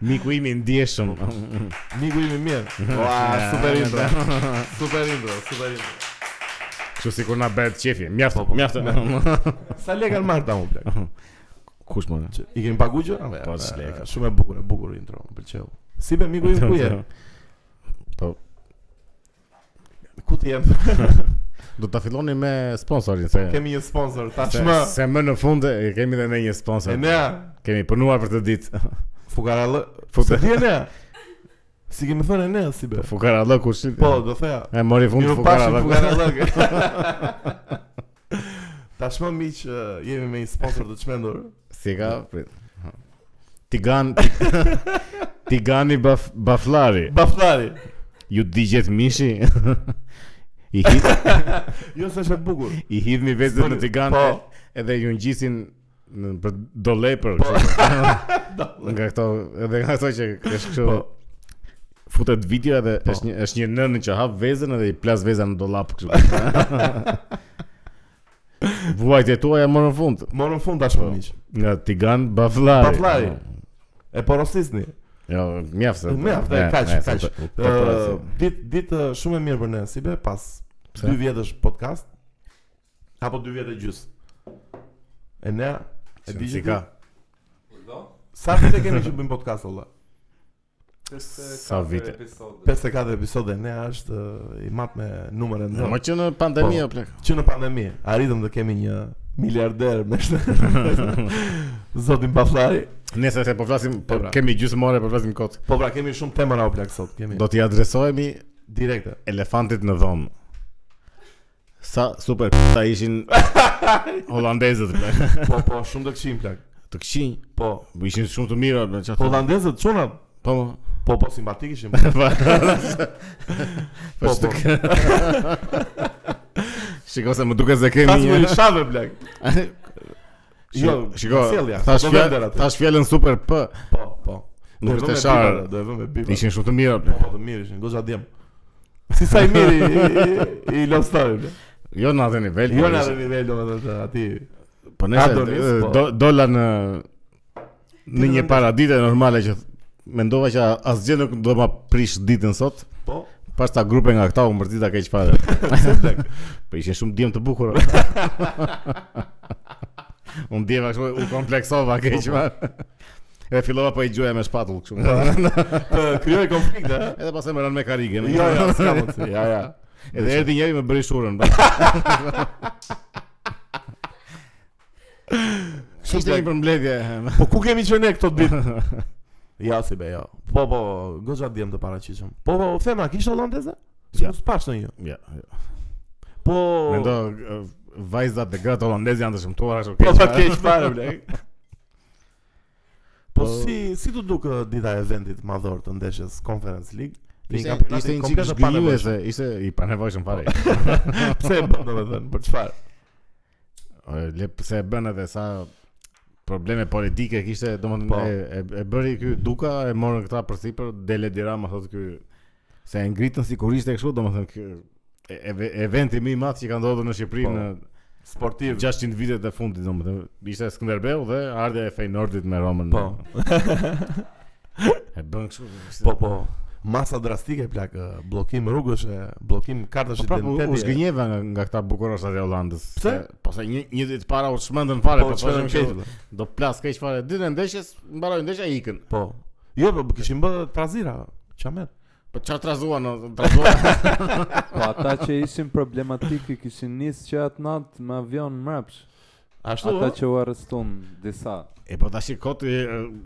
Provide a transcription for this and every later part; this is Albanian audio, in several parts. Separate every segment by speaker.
Speaker 1: Miku imi ndjeshëm.
Speaker 2: Miku imi mirë. Ua, super intro. Super intro, super intro.
Speaker 1: Kështu sikur na bëhet qefi. Mjaft,
Speaker 2: Po, po.
Speaker 1: mjaft.
Speaker 2: Sa lekë kanë marrë ta unë plak?
Speaker 1: Kush më?
Speaker 2: Që I kemi pagu gjë? Apo,
Speaker 1: Po,
Speaker 2: e,
Speaker 1: s'lek.
Speaker 2: e, Shumë e bukur, e bukur intro, më pëlqeu. Si be miku im ku je?
Speaker 1: Po.
Speaker 2: Ku ti je?
Speaker 1: Do ta filloni me sponsorin se
Speaker 2: Kemi një sponsor
Speaker 1: se,
Speaker 2: tashmë.
Speaker 1: se më në fund e kemi edhe ne një
Speaker 2: E
Speaker 1: sponsor.
Speaker 2: ne
Speaker 1: Kemi punuar për të ditë.
Speaker 2: fukarallë.
Speaker 1: Futë.
Speaker 2: Se di e ne. Si kemi thënë e ne si be?
Speaker 1: Fukara lë kush.
Speaker 2: Po, do theja.
Speaker 1: E mori fund
Speaker 2: Ju
Speaker 1: fukara
Speaker 2: pashim
Speaker 1: lë.
Speaker 2: fukarallë. Tashmë miq, e, jemi me një sponsor të çmendur.
Speaker 1: Si ka? prit. Tigan Tigani baf, Baflari.
Speaker 2: Baflari.
Speaker 1: Ju digjet mishi. I hid
Speaker 2: Jo se është e bukur.
Speaker 1: i hidhni vezët në Tigan
Speaker 2: Po.
Speaker 1: edhe ju ngjisin në për dolej për
Speaker 2: Po.
Speaker 1: kështu. nga këto edhe nga këto që është kështu
Speaker 2: Po.
Speaker 1: futet video edhe
Speaker 2: Po.
Speaker 1: është një është një nën që hap vezën edhe i plas vezën në dollap kështu. Vuajtja tuaja morën fund
Speaker 2: Morën fund tashmë
Speaker 1: Po.
Speaker 2: miq.
Speaker 1: nga Tigan Bafllari.
Speaker 2: Bafllari. E porosisni.
Speaker 1: Jo, mjaft. se-
Speaker 2: Mjaft, e,
Speaker 1: Ne,
Speaker 2: kaq,
Speaker 1: ne, se
Speaker 2: kaq.
Speaker 1: të- po, të- të-
Speaker 2: Ë, Ditë ditë ë, shumë e mirë për ne, si be pas
Speaker 1: Pse?
Speaker 2: 2 vjetësh podcast apo 2 vjetë e gjys. E ne e
Speaker 1: Si-
Speaker 2: di
Speaker 1: si
Speaker 2: që
Speaker 1: ka?
Speaker 2: ti- sa vite kemi që bëjmë podcast olla?
Speaker 1: Sa vite?
Speaker 2: 54 episode e ne është ë, i mat me numrin
Speaker 1: Po, Më
Speaker 2: ndonjë.
Speaker 1: që në pandemi
Speaker 2: Po.
Speaker 1: o plak.
Speaker 2: Që në pandemi arritëm të kemi një miliarder me shtë Zotin Baflari
Speaker 1: Nëse se po flasim, po
Speaker 2: E pra.
Speaker 1: kemi gjysmore, po flasim kot.
Speaker 2: Po pra kemi shumë temëra o plak sot kemi
Speaker 1: Do t'i adresohemi
Speaker 2: direkte
Speaker 1: elefantit në dhomë. Sa super p***a ishin holandezët. bre.
Speaker 2: Po po shumë të këshim plak
Speaker 1: Të këqinj,
Speaker 2: Po
Speaker 1: po ishin shumë të mira me çfarë.
Speaker 2: Holandezët çunat
Speaker 1: Po.
Speaker 2: Po po simpatik ishim.
Speaker 1: Po. Po.
Speaker 2: Po,
Speaker 1: Po. Shiko se më duket se kemi
Speaker 2: Pas më
Speaker 1: një.
Speaker 2: lëshave blek.
Speaker 1: Shiko,
Speaker 2: Jo,
Speaker 1: shiko.
Speaker 2: sjellja,
Speaker 1: Thash
Speaker 2: do vender
Speaker 1: fjalën,
Speaker 2: atë.
Speaker 1: thash fjalën super p.
Speaker 2: Po, po.
Speaker 1: Nuk
Speaker 2: Do e
Speaker 1: është
Speaker 2: vëmë
Speaker 1: e
Speaker 2: me
Speaker 1: sharë.
Speaker 2: bipa, Do e vëmë me bipa.
Speaker 1: Ishin shumë të mira.
Speaker 2: po
Speaker 1: bre.
Speaker 2: po të mirë ishin, goxha djem. Si sa i mirë i, i, i Love Story. blek.
Speaker 1: Jo në atë nivel. po
Speaker 2: Jo na
Speaker 1: ishin-
Speaker 2: në nivel domethënë të aty.
Speaker 1: Po nëse e,
Speaker 2: Adonis, po.
Speaker 1: do, dola në në
Speaker 2: Ditën
Speaker 1: një
Speaker 2: e
Speaker 1: paradite normale që mendova që asgjë nuk do ma prish ditën sot.
Speaker 2: Po.
Speaker 1: Pas ta grupe nga këta u mbërtita keq fare.
Speaker 2: blek.
Speaker 1: Po ishin shumë djem të bukur. Unë djeva kështu u kompleksova
Speaker 2: Po,
Speaker 1: keq fare. Edhe fillova po i gjuaja me shpatull kështu.
Speaker 2: Të krijoj konflikte. ha?
Speaker 1: Edhe pastaj më ran me karige.
Speaker 2: Jo, jo, s'ka mundsi. Ja, ja.
Speaker 1: Edhe erdhi njëri me po. bëri shurën. Kështu
Speaker 2: blek.
Speaker 1: të një përmbledhje.
Speaker 2: Po ku kemi qenë ne këto ditë? Ja si be, jo. Po po, goxha djem të paraqitshëm. Po po, thema kishte holandeze?
Speaker 1: Ja.
Speaker 2: S'u spash ndonjë.
Speaker 1: Ja, ja.
Speaker 2: Po.
Speaker 1: Mendo eh, vajzat dhe gratë holandeze janë të shëmtuara kështu
Speaker 2: Po
Speaker 1: keq.
Speaker 2: pa
Speaker 1: fare.
Speaker 2: keq fare blek. Po
Speaker 1: Po-
Speaker 2: si si të duk ë, dita e eventit madhor të ndeshjes Conference League? Një
Speaker 1: Ishte
Speaker 2: kampionati
Speaker 1: ishte një
Speaker 2: komplet
Speaker 1: çik
Speaker 2: të panevojshëm.
Speaker 1: zgjuese, ishte i panevojshëm fare.
Speaker 2: Pse e bën domethënë? Për çfarë?
Speaker 1: Ore, Le pse e bën edhe sa probleme politike kishte, domethënë
Speaker 2: Po.
Speaker 1: e, e, e bëri ky Duka, e morën këta përsipër, Dele Dirama thotë ky se e ngritën sikur ishte kështu, domethënë ky e- e- eventi më i madh që ka ndodhur në Shqipëri
Speaker 2: Po.
Speaker 1: në
Speaker 2: Sportiv.
Speaker 1: 600 vitet e fundit domethënë ishte Skënderbeu dhe ardha e Feyenoordit me Romën.
Speaker 2: Po.
Speaker 1: E bën kështu. ishte-
Speaker 2: Po po. Masa drastike plak ë, bllokim rrugësh, e, bllokim kartash
Speaker 1: Po prapë u- u
Speaker 2: identiteti.
Speaker 1: zgënjeva nga nga këta bukurosat e Holandës.
Speaker 2: Pse?
Speaker 1: Se- Po se një një ditë para u çmendën fare, po
Speaker 2: Po çfarë
Speaker 1: thoshim që
Speaker 2: keq?
Speaker 1: do plas keq fare ditën e ndeshjes, mbaroi ndeshja ikën.
Speaker 2: Po. Jo, po kishin bërë trazira. Çamet.
Speaker 1: Po çfarë trazuan, o, trazuan.
Speaker 3: Po ata që ishin problematik i kishin nisë që atë natë me avion mrapsh.
Speaker 2: Ashtu.
Speaker 3: Ata
Speaker 2: ë?
Speaker 3: që u arrestun disa.
Speaker 1: e po tash i kot i,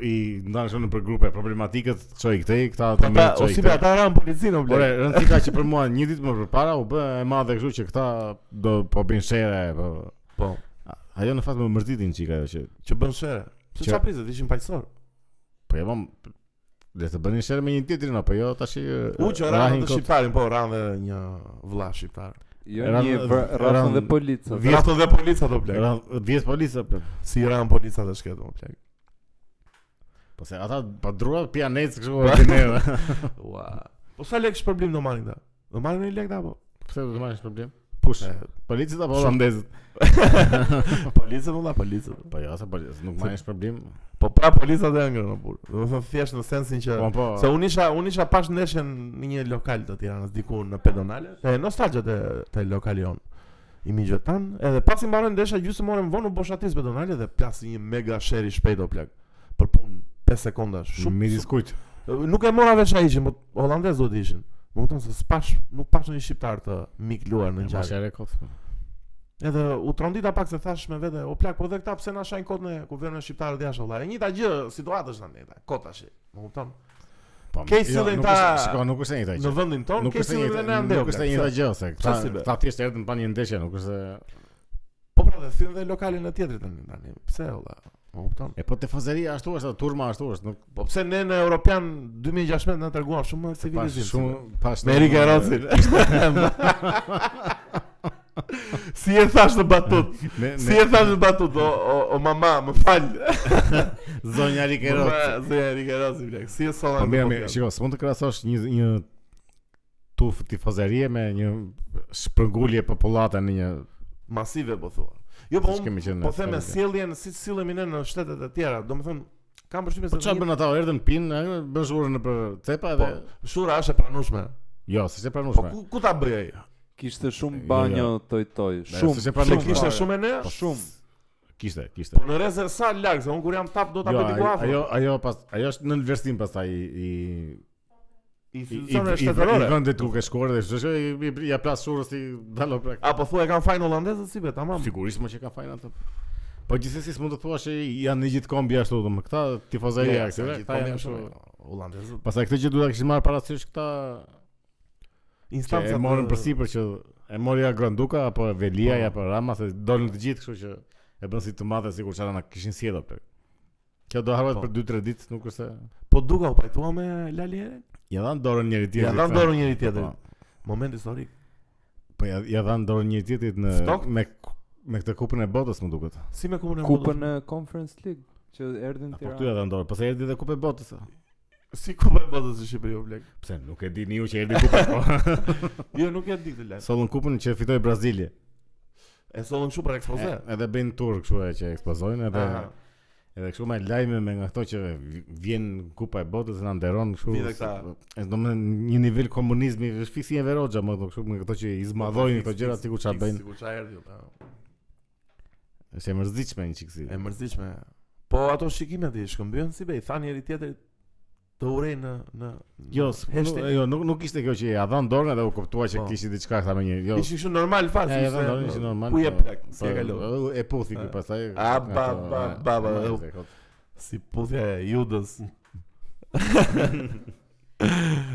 Speaker 1: i ndanë shumë për grupe problematiket, çoi këtej, këta
Speaker 2: Po
Speaker 1: të
Speaker 2: ta,
Speaker 1: mirë
Speaker 2: o
Speaker 1: çoi.
Speaker 2: si be ata ran policinë o
Speaker 1: Ore,
Speaker 2: blek.
Speaker 1: rëndësi ka që për mua një ditë më përpara u bë e madhe kështu që këta do po bin shere, po
Speaker 2: Po.
Speaker 1: A- ajo në fakt më mërtitin çika ajo që
Speaker 2: Që bën shere. Pse
Speaker 1: Që-
Speaker 2: çfarë priset ishin paqësor?
Speaker 1: po e mam le të bënin shere me një tjetrin apo jo tash i,
Speaker 2: U
Speaker 1: rahin
Speaker 2: që ranë të
Speaker 1: kot.
Speaker 2: shqiptarin, po ranë dhe një vlla shqiptar.
Speaker 3: Jo
Speaker 1: Ran-
Speaker 3: një vra-
Speaker 1: ran-
Speaker 3: rafën dhe polica.
Speaker 1: vi- Vjet-
Speaker 2: Vjetë dhe policat o plek.
Speaker 1: Ra- 10 polica po.
Speaker 2: Si ranë policat e shketë o plek.
Speaker 1: Po se ata pa drua pianec kështu po. ordinere.
Speaker 2: Po Ua. Po sa lekë shpërblim do marrin ta? Do marrin një lek ta apo?
Speaker 1: Pse do të marrësh problem?
Speaker 2: Po
Speaker 1: Kush?
Speaker 2: E,
Speaker 1: Policët apo holandezët?
Speaker 2: Policët valla, policët.
Speaker 1: Po jo, se policët nuk marrin problem.
Speaker 2: Po pra policat e ngërë në burë. Do të thënë thjesht në sensin që
Speaker 1: Po, po.
Speaker 2: se unë isha unë isha pas ndeshjen në një lokal të Tiranës diku në pedonale, te nostalgjia te te lokali jon. I miqve tan, edhe pasi mbaroi ndeshja gjysmë orën vonë u bosh atis pedonale dhe plasi një mega sheri shpejt o plak. Për punë 5 sekonda, shumë
Speaker 1: midis kujt.
Speaker 2: Nuk e mora vesh ai ishin, po holandez duhet ishin. Më kupton se s'pash, nuk pash një shqiptar të mik luar në
Speaker 1: Mos
Speaker 2: ngjarje.
Speaker 1: e rekot.
Speaker 2: Edhe u trondita pak se thash me vete, o plak, po dhe këta pse na shajnë kot në ku vjen në shqiptarët jashtë vëlla. E njëjta gjë situatë është tani, ta, kot tash. Më kupton?
Speaker 1: Po.
Speaker 2: Ke
Speaker 1: jo,
Speaker 2: sillin
Speaker 1: nuk
Speaker 2: ta-
Speaker 1: është- Shiko, nuk është e njëjta
Speaker 2: Në
Speaker 1: gjë.
Speaker 2: vendin tonë
Speaker 1: Nuk
Speaker 2: ke
Speaker 1: është e
Speaker 2: sillën dhe ne
Speaker 1: njëjta,
Speaker 2: ande.
Speaker 1: nuk është e njëjta gjë se këta
Speaker 2: si be?
Speaker 1: këta thjesht erdhën pa një ndeshje, nuk është se-
Speaker 2: Po pra dhe thyen dhe lokalin e tjetrit tani tani. Pse olla? Më kupton?
Speaker 1: E po tifozeria ashtu është, turma ashtu është, nuk
Speaker 2: Po pse ne në Europian 2016 na treguam shumë më
Speaker 1: pas
Speaker 2: civilizim.
Speaker 1: shumë pas
Speaker 2: me Erika Rocin. si e thash në batut?
Speaker 1: Me
Speaker 2: Si
Speaker 1: me
Speaker 2: e thash në batut? O, o, o mama, më fal.
Speaker 1: zonja Erika
Speaker 2: Më
Speaker 1: Rocin.
Speaker 2: fal, Si e Erika Rocin, blek. Si e solla?
Speaker 1: Po
Speaker 2: në
Speaker 1: mirë,
Speaker 2: Europian.
Speaker 1: mirë, shiko, s'mund të krahasosh një një tufë tifozerie me një shpërngulje popullate në një
Speaker 2: Masive po thua. Jo, po unë
Speaker 1: kemi qenë.
Speaker 2: po them me sjelljen si sillemi ne në shtetet e tjera. Domethënë kam përshtypjen
Speaker 1: Po
Speaker 2: se
Speaker 1: çfarë
Speaker 2: një-
Speaker 1: bën ata? Erdhën pin, e, bën zhurën në për cepa dhe
Speaker 2: Po, shura është e pranueshme.
Speaker 1: jo, s'është e
Speaker 2: Po
Speaker 1: pranueshme.
Speaker 2: ku, ku ta bëj ai?
Speaker 3: Kishte shumë
Speaker 1: Jo,
Speaker 3: banjo toj toj,
Speaker 1: Ne,
Speaker 3: shumë.
Speaker 1: s'është e
Speaker 2: Se
Speaker 1: pranueshme.
Speaker 3: shumë
Speaker 2: kishte
Speaker 3: fare.
Speaker 2: shumë e ne?
Speaker 1: Pra, Po,
Speaker 3: shumë.
Speaker 1: Kishte, kishte.
Speaker 2: Po në rrezë sa larg, se un kur jam tap do ta
Speaker 1: Jo,
Speaker 2: bëj diku
Speaker 1: ajo-
Speaker 2: afër.
Speaker 1: ajo ajo pas ajo është nën vlerësim pastaj i i
Speaker 2: I
Speaker 1: i
Speaker 2: institucione
Speaker 1: i i
Speaker 2: shtetërore.
Speaker 1: vendi ku ke shkuar dhe çdo i i- ja plas shurës i dalo prak.
Speaker 2: A po thua e kanë fajin holandezët si be, tamam.
Speaker 1: Sigurisht më që ka fajin ato. Po gjithsesi s'mund të thuash se janë në gjithë kombi ashtu domun këta tifozeria
Speaker 2: Ja, se
Speaker 1: këtyre,
Speaker 2: gjithë
Speaker 1: këta janë
Speaker 2: kombin
Speaker 1: ashtu.
Speaker 2: shumë, Holandezët.
Speaker 1: Pastaj këtë që duhet ta kishin marrë parasysh këta që
Speaker 2: Instanca
Speaker 1: e morën përsipër që e mori ja Granduka apo Velia
Speaker 2: Po.
Speaker 1: apo Rama se dolën të gjithë, kështu që e bën si të madhe sikur çfarë na kishin sjellë atë. Kjo do harrohet
Speaker 2: Po.
Speaker 1: për 2-3 ditë, nuk është se
Speaker 2: Po duka u pajtua me Laliere?
Speaker 1: ja dhan dorën njëri tjetrit.
Speaker 2: Ja dhan dorën njëri tjetrit.
Speaker 1: Po.
Speaker 2: Moment historik.
Speaker 1: Po ja, ja dhan dorën njëri tjetrit në
Speaker 2: Stok?
Speaker 1: me me këtë kupën e botës më duket.
Speaker 2: Si me kupën e
Speaker 3: Kupën
Speaker 2: botës?
Speaker 3: e Conference League që erdhin
Speaker 1: Apo ty Po ja
Speaker 3: Tiranë.
Speaker 1: dhan dorën, pse erdhi dhe kupë e botës. a?
Speaker 2: Si kupën e botës në Shqipëri o blek?
Speaker 1: Pse nuk e di niu që erdhi kupën. po.
Speaker 2: Jo, nuk e di këtë lajm.
Speaker 1: Sollën kupën që fitoi Brazilia.
Speaker 2: E sollën kështu për ekspoze.
Speaker 1: E- Edhe bëjnë tur kështu e që ekspozojnë edhe
Speaker 2: Po Aha.
Speaker 1: Edhe kështu me lajme me nga këto që vi- vjen kupa e botës dhe na nderon kështu.
Speaker 2: Vjen dhe
Speaker 1: si-
Speaker 2: këta.
Speaker 1: E do me një nivel komunizmi, është fiksi e Verogja më thonë kështu me këto që i zmadhojnë këto
Speaker 2: Fix,
Speaker 1: gjëra
Speaker 2: fix,
Speaker 1: sikur çfarë
Speaker 2: fix,
Speaker 1: bëjnë.
Speaker 2: Sikur çfarë erdhi. po.
Speaker 1: Është e mërzitshme një çiksi.
Speaker 2: E mërzitshme. Po ato shikimet i shkëmbyen si be, i than njëri tjetrit të urej në në
Speaker 1: Jo,
Speaker 2: në
Speaker 1: s-
Speaker 2: hashtag.
Speaker 1: nuk- jo, nuk nuk ishte kjo që ja dhan dorën edhe u kuptua
Speaker 2: Po.
Speaker 1: që kishin diçka këta me një. Jo.
Speaker 2: Ishin kështu normal fazë.
Speaker 1: Ja, ja,
Speaker 2: ishte-
Speaker 1: normal, ishte normal.
Speaker 2: Ku je
Speaker 1: po,
Speaker 2: plak? Si e
Speaker 1: po,
Speaker 2: kalon?
Speaker 1: E puthi ku
Speaker 2: E.
Speaker 1: pastaj.
Speaker 2: A, ba,
Speaker 1: ato-
Speaker 2: ba,
Speaker 1: e,
Speaker 2: ba, ba,
Speaker 1: e,
Speaker 2: u-
Speaker 1: se kot.
Speaker 2: Si puthja e Judas.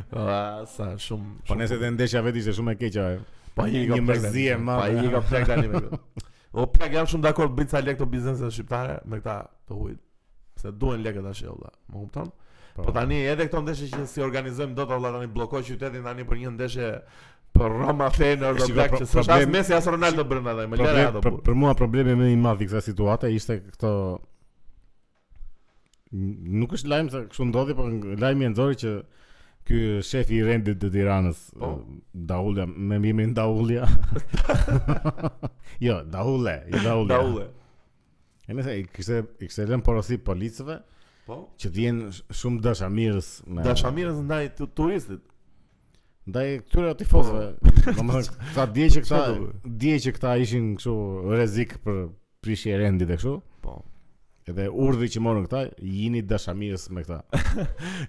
Speaker 2: Ah, sa shumë.
Speaker 1: Po
Speaker 2: shumë-
Speaker 1: nëse të ndeshja vetë ishte shumë e keqe ajo.
Speaker 2: pa i
Speaker 1: një mërzi e madhe.
Speaker 2: Pa i ka plak tani me këtë. O plak jam shumë dakord bëj ca lekë të bizneset shqiptare me këta të hujt. Se duhen lekë tash e olla. Më kupton? Po tani edhe këto ndeshje që si organizojmë dot valla tani bllokoj qytetin tani për një ndeshje për Roma Feyenoord do
Speaker 1: Shiko,
Speaker 2: plak
Speaker 1: pro-
Speaker 2: që s'është as
Speaker 1: problem-
Speaker 2: Messi as Ronaldo brenda tani. Më lëre
Speaker 1: Problem,
Speaker 2: ato.
Speaker 1: për,
Speaker 2: burr.
Speaker 1: për mua problemi më i madh i kësaj situate ishte këto N- nuk është lajm se kështu ndodhi, por ng- lajmi e nxori që ky shefi i rendit të Tiranës,
Speaker 2: Po.
Speaker 1: Daulja, me emrin Daulja. jo, Daule, jo Daulja.
Speaker 2: Daule.
Speaker 1: E nëse i kishte i kishte lënë porosi policëve
Speaker 2: Po.
Speaker 1: që të jenë sh- shumë dashamirës me
Speaker 2: Dashamirës ndaj tu- turistit.
Speaker 1: ndaj këtyre tifozëve. Domethënë, këta dje që këta
Speaker 2: Po. Çfarë do
Speaker 1: dje që këta ishin kështu rrezik për prishje e rendit e kështu.
Speaker 2: Po.
Speaker 1: Edhe urdhri që morën këta, jini dashamirës me këta.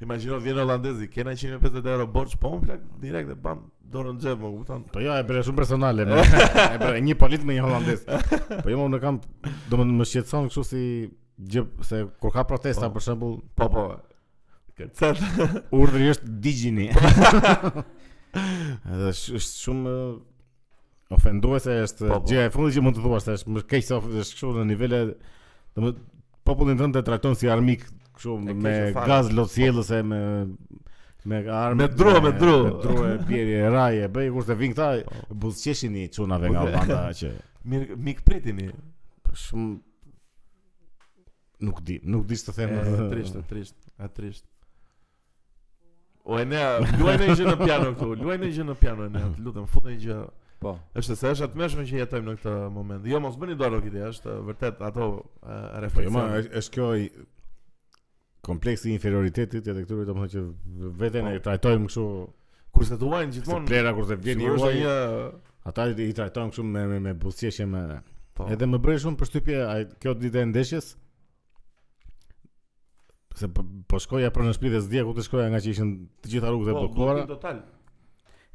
Speaker 2: Imagjino vjen holandezi, kena 150 euro borx, po un plak direkt e bam dorën në xhep, më kupton?
Speaker 1: Po jo, e bëre shumë personale, me, e bëre një polit me një holandez. Po jo, unë kam, do më më shqetëson kështu si gjë se kur ka protesta
Speaker 2: Po.
Speaker 1: për shembull,
Speaker 2: Po po. Kërcet.
Speaker 1: urdhri është digjini. Edhe sh- është shumë eh, ofenduese është
Speaker 2: Po, po.
Speaker 1: gjëja e fundit që mund të thuash, se është më keq se of- është kështu në nivele do më popullin tënd të trajton si armik kështu
Speaker 2: E keq
Speaker 1: me
Speaker 2: e fare.
Speaker 1: gaz lotësjellëse me me armë
Speaker 2: Me dru, me dru.
Speaker 1: me dru e bjerje e raje bëj kurse vin këta buzqeshin i çunave nga
Speaker 2: Po. Buzë-
Speaker 1: Holanda që
Speaker 2: Mirë, mik pritini.
Speaker 1: për shumë nuk di nuk di ç'të them
Speaker 2: E, Trisht, e, trisht, e, trisht. O e ne, luaj në gjë në piano këtu, luaj në gjë në piano e ne, të lutem, fut në gjë
Speaker 3: po.
Speaker 2: Është se është atmeshme që jetojmë në këtë moment. Jo, mos bëni dorë këtë, është vërtet ato e,
Speaker 1: Po jo, ma,
Speaker 2: refleksione.
Speaker 1: është- është kjo i kompleksi i inferioritetit edhe këtyre domethënë që veten
Speaker 2: Po.
Speaker 1: e trajtojmë kështu
Speaker 2: Kurse të uajnë
Speaker 1: se
Speaker 2: gjithmonë
Speaker 1: plera kur se vjen i
Speaker 2: sigurisht
Speaker 1: uaj,
Speaker 2: një
Speaker 1: ata i i trajtojnë kështu me me, me buzëqeshje me
Speaker 2: po.
Speaker 1: Edhe më bëri shumë përshtypje ai kjo ditë e ndeshjes. Se po, po shkoja për në shtëpi dhe zdija ku të shkoja nga që ishin të gjitha rrugët e
Speaker 2: Po,
Speaker 1: bllokuara.
Speaker 2: bllokim total.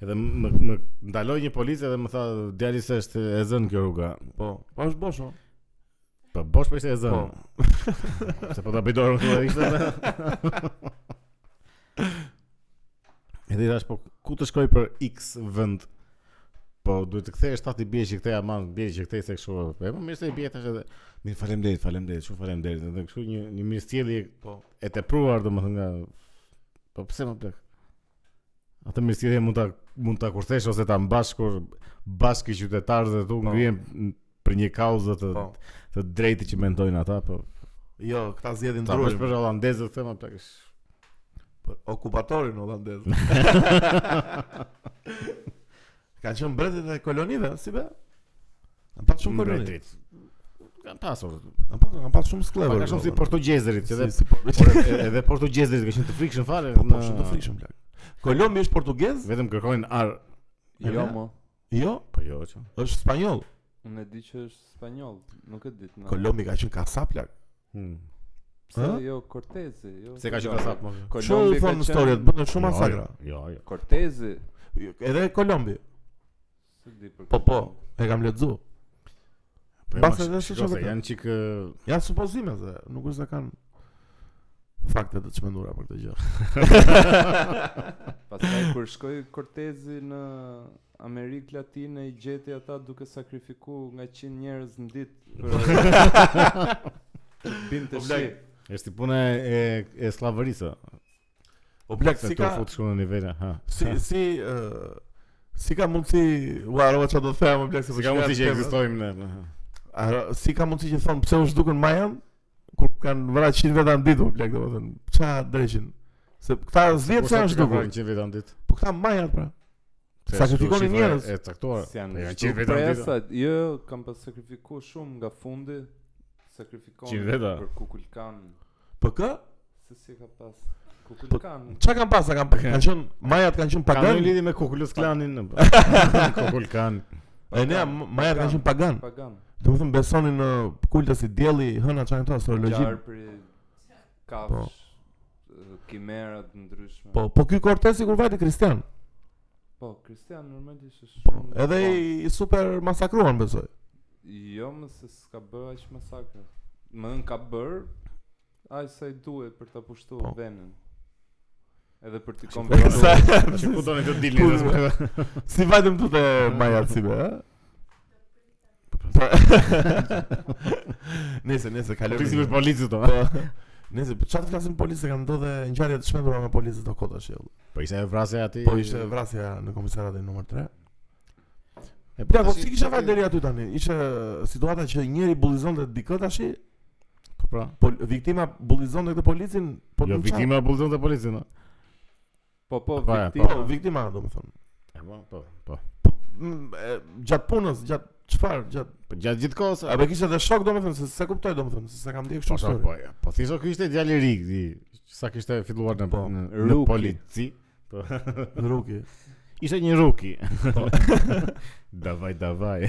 Speaker 1: Edhe më, më ndaloi një policë edhe më tha djali se është e zënë kjo rruga.
Speaker 2: Po, po është bosh. o.
Speaker 1: Po bosh për ishte e zënë.
Speaker 2: Po.
Speaker 1: Se po ta bëj dorën këtu ishte. Edhe i thash po ku të shkoj për X vend. Po duhet të kthehesh tati bie që kthej aman, bie që kthej se kështu. Po e, po, mirë se i bie tash edhe. Mirë, faleminderit, faleminderit, shumë faleminderit. Edhe kështu një një mirësjellje
Speaker 2: Po.
Speaker 1: e tepruar domethënë nga po pse më plak. Atë mirësjellje mund ta mund ta kurthesh ose ta mbash kur bashkë qytetarët dhe tu
Speaker 2: Po.
Speaker 1: ngrihen për një kauzë të
Speaker 2: Po.
Speaker 1: të drejtë që mendojnë ata, po
Speaker 2: Jo, këta zgjedhin
Speaker 1: Ta bësh
Speaker 2: drurin.
Speaker 1: për holandezët them apo tash.
Speaker 2: Për okupatorin holandez. Kanë qenë mbretërit e kolonive, si be? Kanë pas shumë koloni.
Speaker 1: Kan pasur.
Speaker 2: Kanë pas kanë pas shumë po, skllevë.
Speaker 1: Ka shumë si portugezërit, që
Speaker 2: Si,
Speaker 1: edhe
Speaker 2: si por-
Speaker 1: por- e- edhe portugezërit që ishin të frikshëm fare.
Speaker 2: Po, po,
Speaker 1: në-
Speaker 2: shumë të frikshëm plak. Kolombi është portugez?
Speaker 1: Vetëm kërkojnë ar.
Speaker 2: E
Speaker 3: Jo
Speaker 2: ne?
Speaker 3: mo,
Speaker 2: Jo,
Speaker 1: Po jo, që.
Speaker 2: është spanjoll.
Speaker 3: unë e di që është spanjoll, nuk e di. na.
Speaker 2: Kolombi ka qenë kasap plak.
Speaker 1: Hmm.
Speaker 3: Pse
Speaker 2: Ha?
Speaker 3: jo Cortezi, jo.
Speaker 1: Se ka që
Speaker 3: jo,
Speaker 1: kasap më.
Speaker 2: Ço
Speaker 3: Kolombi
Speaker 2: i
Speaker 3: ka
Speaker 2: thon
Speaker 3: qenë-
Speaker 2: historiat, bën shumë
Speaker 1: po- Jo,
Speaker 2: masakra.
Speaker 1: Jo, jo.
Speaker 3: Cortezi.
Speaker 2: Jo, Edhe Kolombi.
Speaker 3: Se di për.
Speaker 2: Po
Speaker 3: këtë.
Speaker 2: po, e kam lexuar.
Speaker 1: Po jo,
Speaker 2: Mbas
Speaker 1: ma,
Speaker 2: edhe
Speaker 1: shiko
Speaker 2: s'është
Speaker 1: se
Speaker 2: vërtet.
Speaker 1: janë çik ë,
Speaker 2: Ja supozime se nuk është se kanë fakte të çmendura për këtë gjë.
Speaker 3: Pastaj kur shkoi Cortezi në Amerikë Latine i gjeti ata duke sakrifiku nga 100 njerëz në ditë për binte
Speaker 2: Po,
Speaker 3: shi.
Speaker 2: blej.
Speaker 1: është si puna e e slavërisë.
Speaker 2: O blek
Speaker 1: Se
Speaker 2: si
Speaker 1: tu
Speaker 2: ka
Speaker 1: fut shumë në nivele, ha.
Speaker 2: si si ë si ka mundsi u harrova çfarë do të them o blek se po
Speaker 1: Si ka mundësi që
Speaker 2: shkruaj atë temë.
Speaker 1: ekzistojmë ne. ha.
Speaker 2: Ara- si ka mundsi që thon pse u zhdukën Majan kur kanë vrarë 100 veta në ditë o blek domethënë ç'a dreqin. Se këta 10
Speaker 1: Kushtat
Speaker 2: janë
Speaker 1: që ka
Speaker 2: zhdukur.
Speaker 1: vënë 100 vetë në ditë.
Speaker 2: Po këta Majat pra.
Speaker 1: Se
Speaker 2: Sakrifikoni
Speaker 1: shifra
Speaker 2: njerëz.
Speaker 1: E caktuar.
Speaker 3: Si janë
Speaker 1: Po Janë
Speaker 3: shtu
Speaker 1: 100 vetë në ditë.
Speaker 3: presa, Jo, jo, kam pas sakrifiku shumë nga fundi. Sakrifikon
Speaker 1: 100 veta.
Speaker 3: për Kukulkan.
Speaker 2: Po kë?
Speaker 3: Se si e ka pas Kukulkan.
Speaker 2: Ç'a kanë pas? a Kanë kanë qenë Majat kanë qenë
Speaker 1: Ka ndonjë
Speaker 2: pagan.
Speaker 1: lidhje me Kukulus Klanin? Kukul Klan.
Speaker 2: E ne Majat kanë qenë pagan.
Speaker 3: Pagan.
Speaker 2: Do të thënë besonin në kulta si dielli, hëna çan këto astrologji.
Speaker 3: Gjarpri, kafsh, kimerat ndryshme.
Speaker 2: Po, po ky Cortesi kur vajti kristian.
Speaker 3: Po, Kristian normalisht është
Speaker 2: Po,
Speaker 3: shumë.
Speaker 2: edhe i, i super masakruan besoj.
Speaker 3: Jo, më se s'ka bërë aq masakra. Më në ka bërë aq sa i duhet për ta pushtuar
Speaker 2: Po.
Speaker 3: venën. Edhe për t'i
Speaker 2: Sa
Speaker 3: konvertuar.
Speaker 1: Që ku doni të dilni
Speaker 2: Kur-
Speaker 1: dhe s'me-
Speaker 2: si vajtëm këtu te Majat si be, ha? Po. Nese, nese,
Speaker 1: Prisi Po, me
Speaker 2: kalojmë.
Speaker 1: policët do.
Speaker 2: Po. Nese, po çfarë të flasim policë kanë ndodhe ngjarje të shmendura me policët ato kota shell.
Speaker 1: Po ishte e vrasja aty.
Speaker 2: Po ishte vrasja në komisaratin numër 3. E pra, po
Speaker 1: tash-
Speaker 2: si kisha vajtë deri aty tani? Ishte situata që njëri bullizonte dikë tash,
Speaker 1: Po pra.
Speaker 2: pol, viktima bullizonte këtë policin, po
Speaker 1: Jo
Speaker 2: në qa-
Speaker 1: viktima bullëzon të policën. no?
Speaker 3: Po, po,
Speaker 1: Po, e,
Speaker 2: Po,
Speaker 3: viktima.
Speaker 2: viktima, domethënë.
Speaker 1: E, Po, po, po.
Speaker 2: Po, m, e, gjatë punës, gjatë çfarë, gjatë
Speaker 1: Po gjatë gjithë kohës.
Speaker 2: Apo kishte edhe shok domethënë se se kuptoj domethënë se sa kam
Speaker 1: Po
Speaker 2: ndjek
Speaker 1: shok,
Speaker 2: kështu histori.
Speaker 1: po. ja. Po thjesht ky ishte djalë i ri, di, sa kishte filluar në
Speaker 2: Po,
Speaker 1: në- në
Speaker 3: Ruki.
Speaker 1: polici. Po.
Speaker 2: Ruki.
Speaker 1: Ishte një ruki.
Speaker 2: Po.
Speaker 1: Davaj, davaj.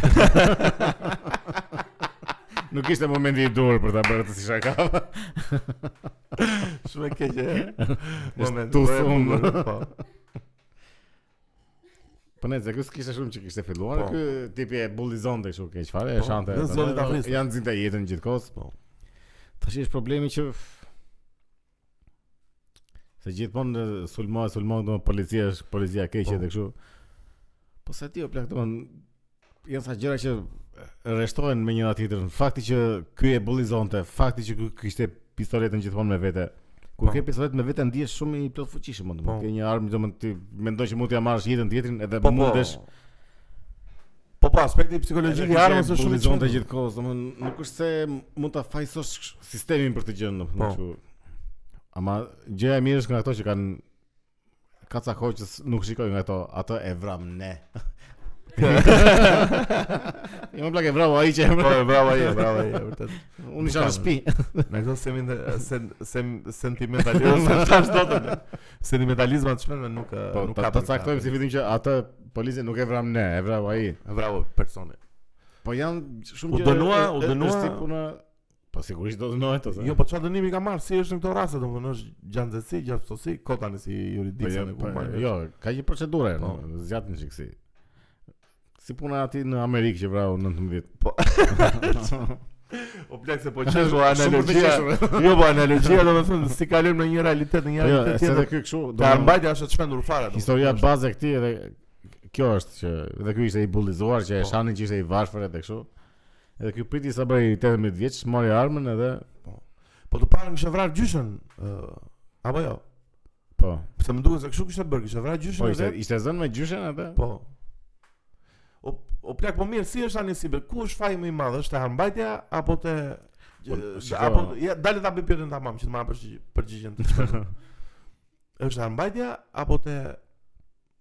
Speaker 1: Nuk ishte momenti i dur për ta bërë të si shakava.
Speaker 2: Shumë e keqe. e. Moment.
Speaker 1: tu
Speaker 2: po e
Speaker 1: thunë.
Speaker 2: bukur, Po.
Speaker 1: Po ne zekus kishte shumë që kishte filluar,
Speaker 2: Po.
Speaker 1: ky tipi e bullizonte kështu keq fare, e
Speaker 2: Po,
Speaker 1: shante.
Speaker 2: dhe zoti ta friste.
Speaker 1: Janë nxinte jetën gjithkohës.
Speaker 2: Po.
Speaker 1: Tash është problemi që f- se gjithmonë e, sulma, sulma, do policia është policia e keqe
Speaker 2: Po.
Speaker 1: dhe kështu. Po se ti o plak domon janë sa gjëra që rreshtohen me njëra tjetrën. Fakti që ky e bullizonte, fakti që ky kishte pistoletën gjithmonë me vete. Kur
Speaker 2: Po.
Speaker 1: ke pistolet me vete ndihesh shumë i plot fuqishëm,
Speaker 2: Po.
Speaker 1: domethënë ke një armë domethënë ti mendoj që mund t'ja marrësh jetën tjetrin edhe
Speaker 2: Po, po.
Speaker 1: mundesh
Speaker 2: Po po, aspekti psikologjik i armës është shumë i
Speaker 1: çonte
Speaker 2: çuditshëm.
Speaker 1: gjithkohës, domethënë nuk është se mund ta fajsosh ksh- sistemin për të gjën, domethënë
Speaker 2: Po.
Speaker 1: kështu. Ama gjëja e mirë është nga ato që kanë kaca hoqës nuk shikojnë nga ato, ato e vram ne. Jo më plakë bravo ai që
Speaker 2: Po,
Speaker 1: emër.
Speaker 2: bravo je, bravo je, vërtet.
Speaker 1: Unë isha në shtëpi.
Speaker 2: Në këto semin sen, sen, sentimentalizëm, se thash dot. Sentimentalizma të shpërmen nuk eh,
Speaker 1: Po
Speaker 2: nuk
Speaker 1: ta
Speaker 2: ka.
Speaker 1: ta caktojmë si vitim që atë polici nuk e vram ne, e vrau ai.
Speaker 2: Bravo personi.
Speaker 1: Po janë shumë
Speaker 2: U
Speaker 1: gjë-
Speaker 2: dënua,
Speaker 1: e-
Speaker 2: u
Speaker 1: e-
Speaker 2: dënua.
Speaker 1: është si puna. Po sigurisht do dënohet ose.
Speaker 2: Jo, po çfarë dënimi ka marrë si është në këto raste, domethënë është gjatësi, gjatësi, kotani si
Speaker 1: Po,
Speaker 2: juridiksa
Speaker 1: jo,
Speaker 2: në
Speaker 1: po,
Speaker 2: kumpani.
Speaker 1: jo, ka një procedurë,
Speaker 2: Po.
Speaker 1: no, zgjatën çiksi. Si puna aty në Amerikë që vrau 19.
Speaker 2: O plak se po qesh o
Speaker 1: Shumë për të
Speaker 2: analogjia.
Speaker 1: qeshur.
Speaker 2: Jo, po analogjia domethënë si kalojmë në një realitet, në një
Speaker 1: Po jo,
Speaker 2: realitet
Speaker 1: se edhe
Speaker 2: tjetër.
Speaker 1: ky kështu, do
Speaker 2: Ka
Speaker 1: të thonë,
Speaker 2: mbajtja është e çmendur fare. domethënë.
Speaker 1: historia bazë e këtij edhe kjo është që edhe ky ishte i bullizuar që e
Speaker 2: Po.
Speaker 1: shanin që ishte i varfër edhe kështu. Edhe ky priti sa bëri 18 vjeç, mori armën edhe
Speaker 2: Po të parën kishte vrarë gjyshin, ë, apo jo?
Speaker 1: po.
Speaker 2: Se më duket se kështu kishte bërë, kishte vrarë gjyshin.
Speaker 1: Po
Speaker 2: e
Speaker 1: ishte
Speaker 2: vet.
Speaker 1: ishte zënë me gjyshen atë.
Speaker 2: Po. O, o plak, po mirë, si është tani si be? Ku është faji më i madh? Është te harmbajtja apo te
Speaker 1: Po,
Speaker 2: e,
Speaker 1: shiko-
Speaker 2: apo ja dale ta bëj pyetjen tamam që të marr përgjigj- përgjigjen të çmendur. është harmbajtja apo te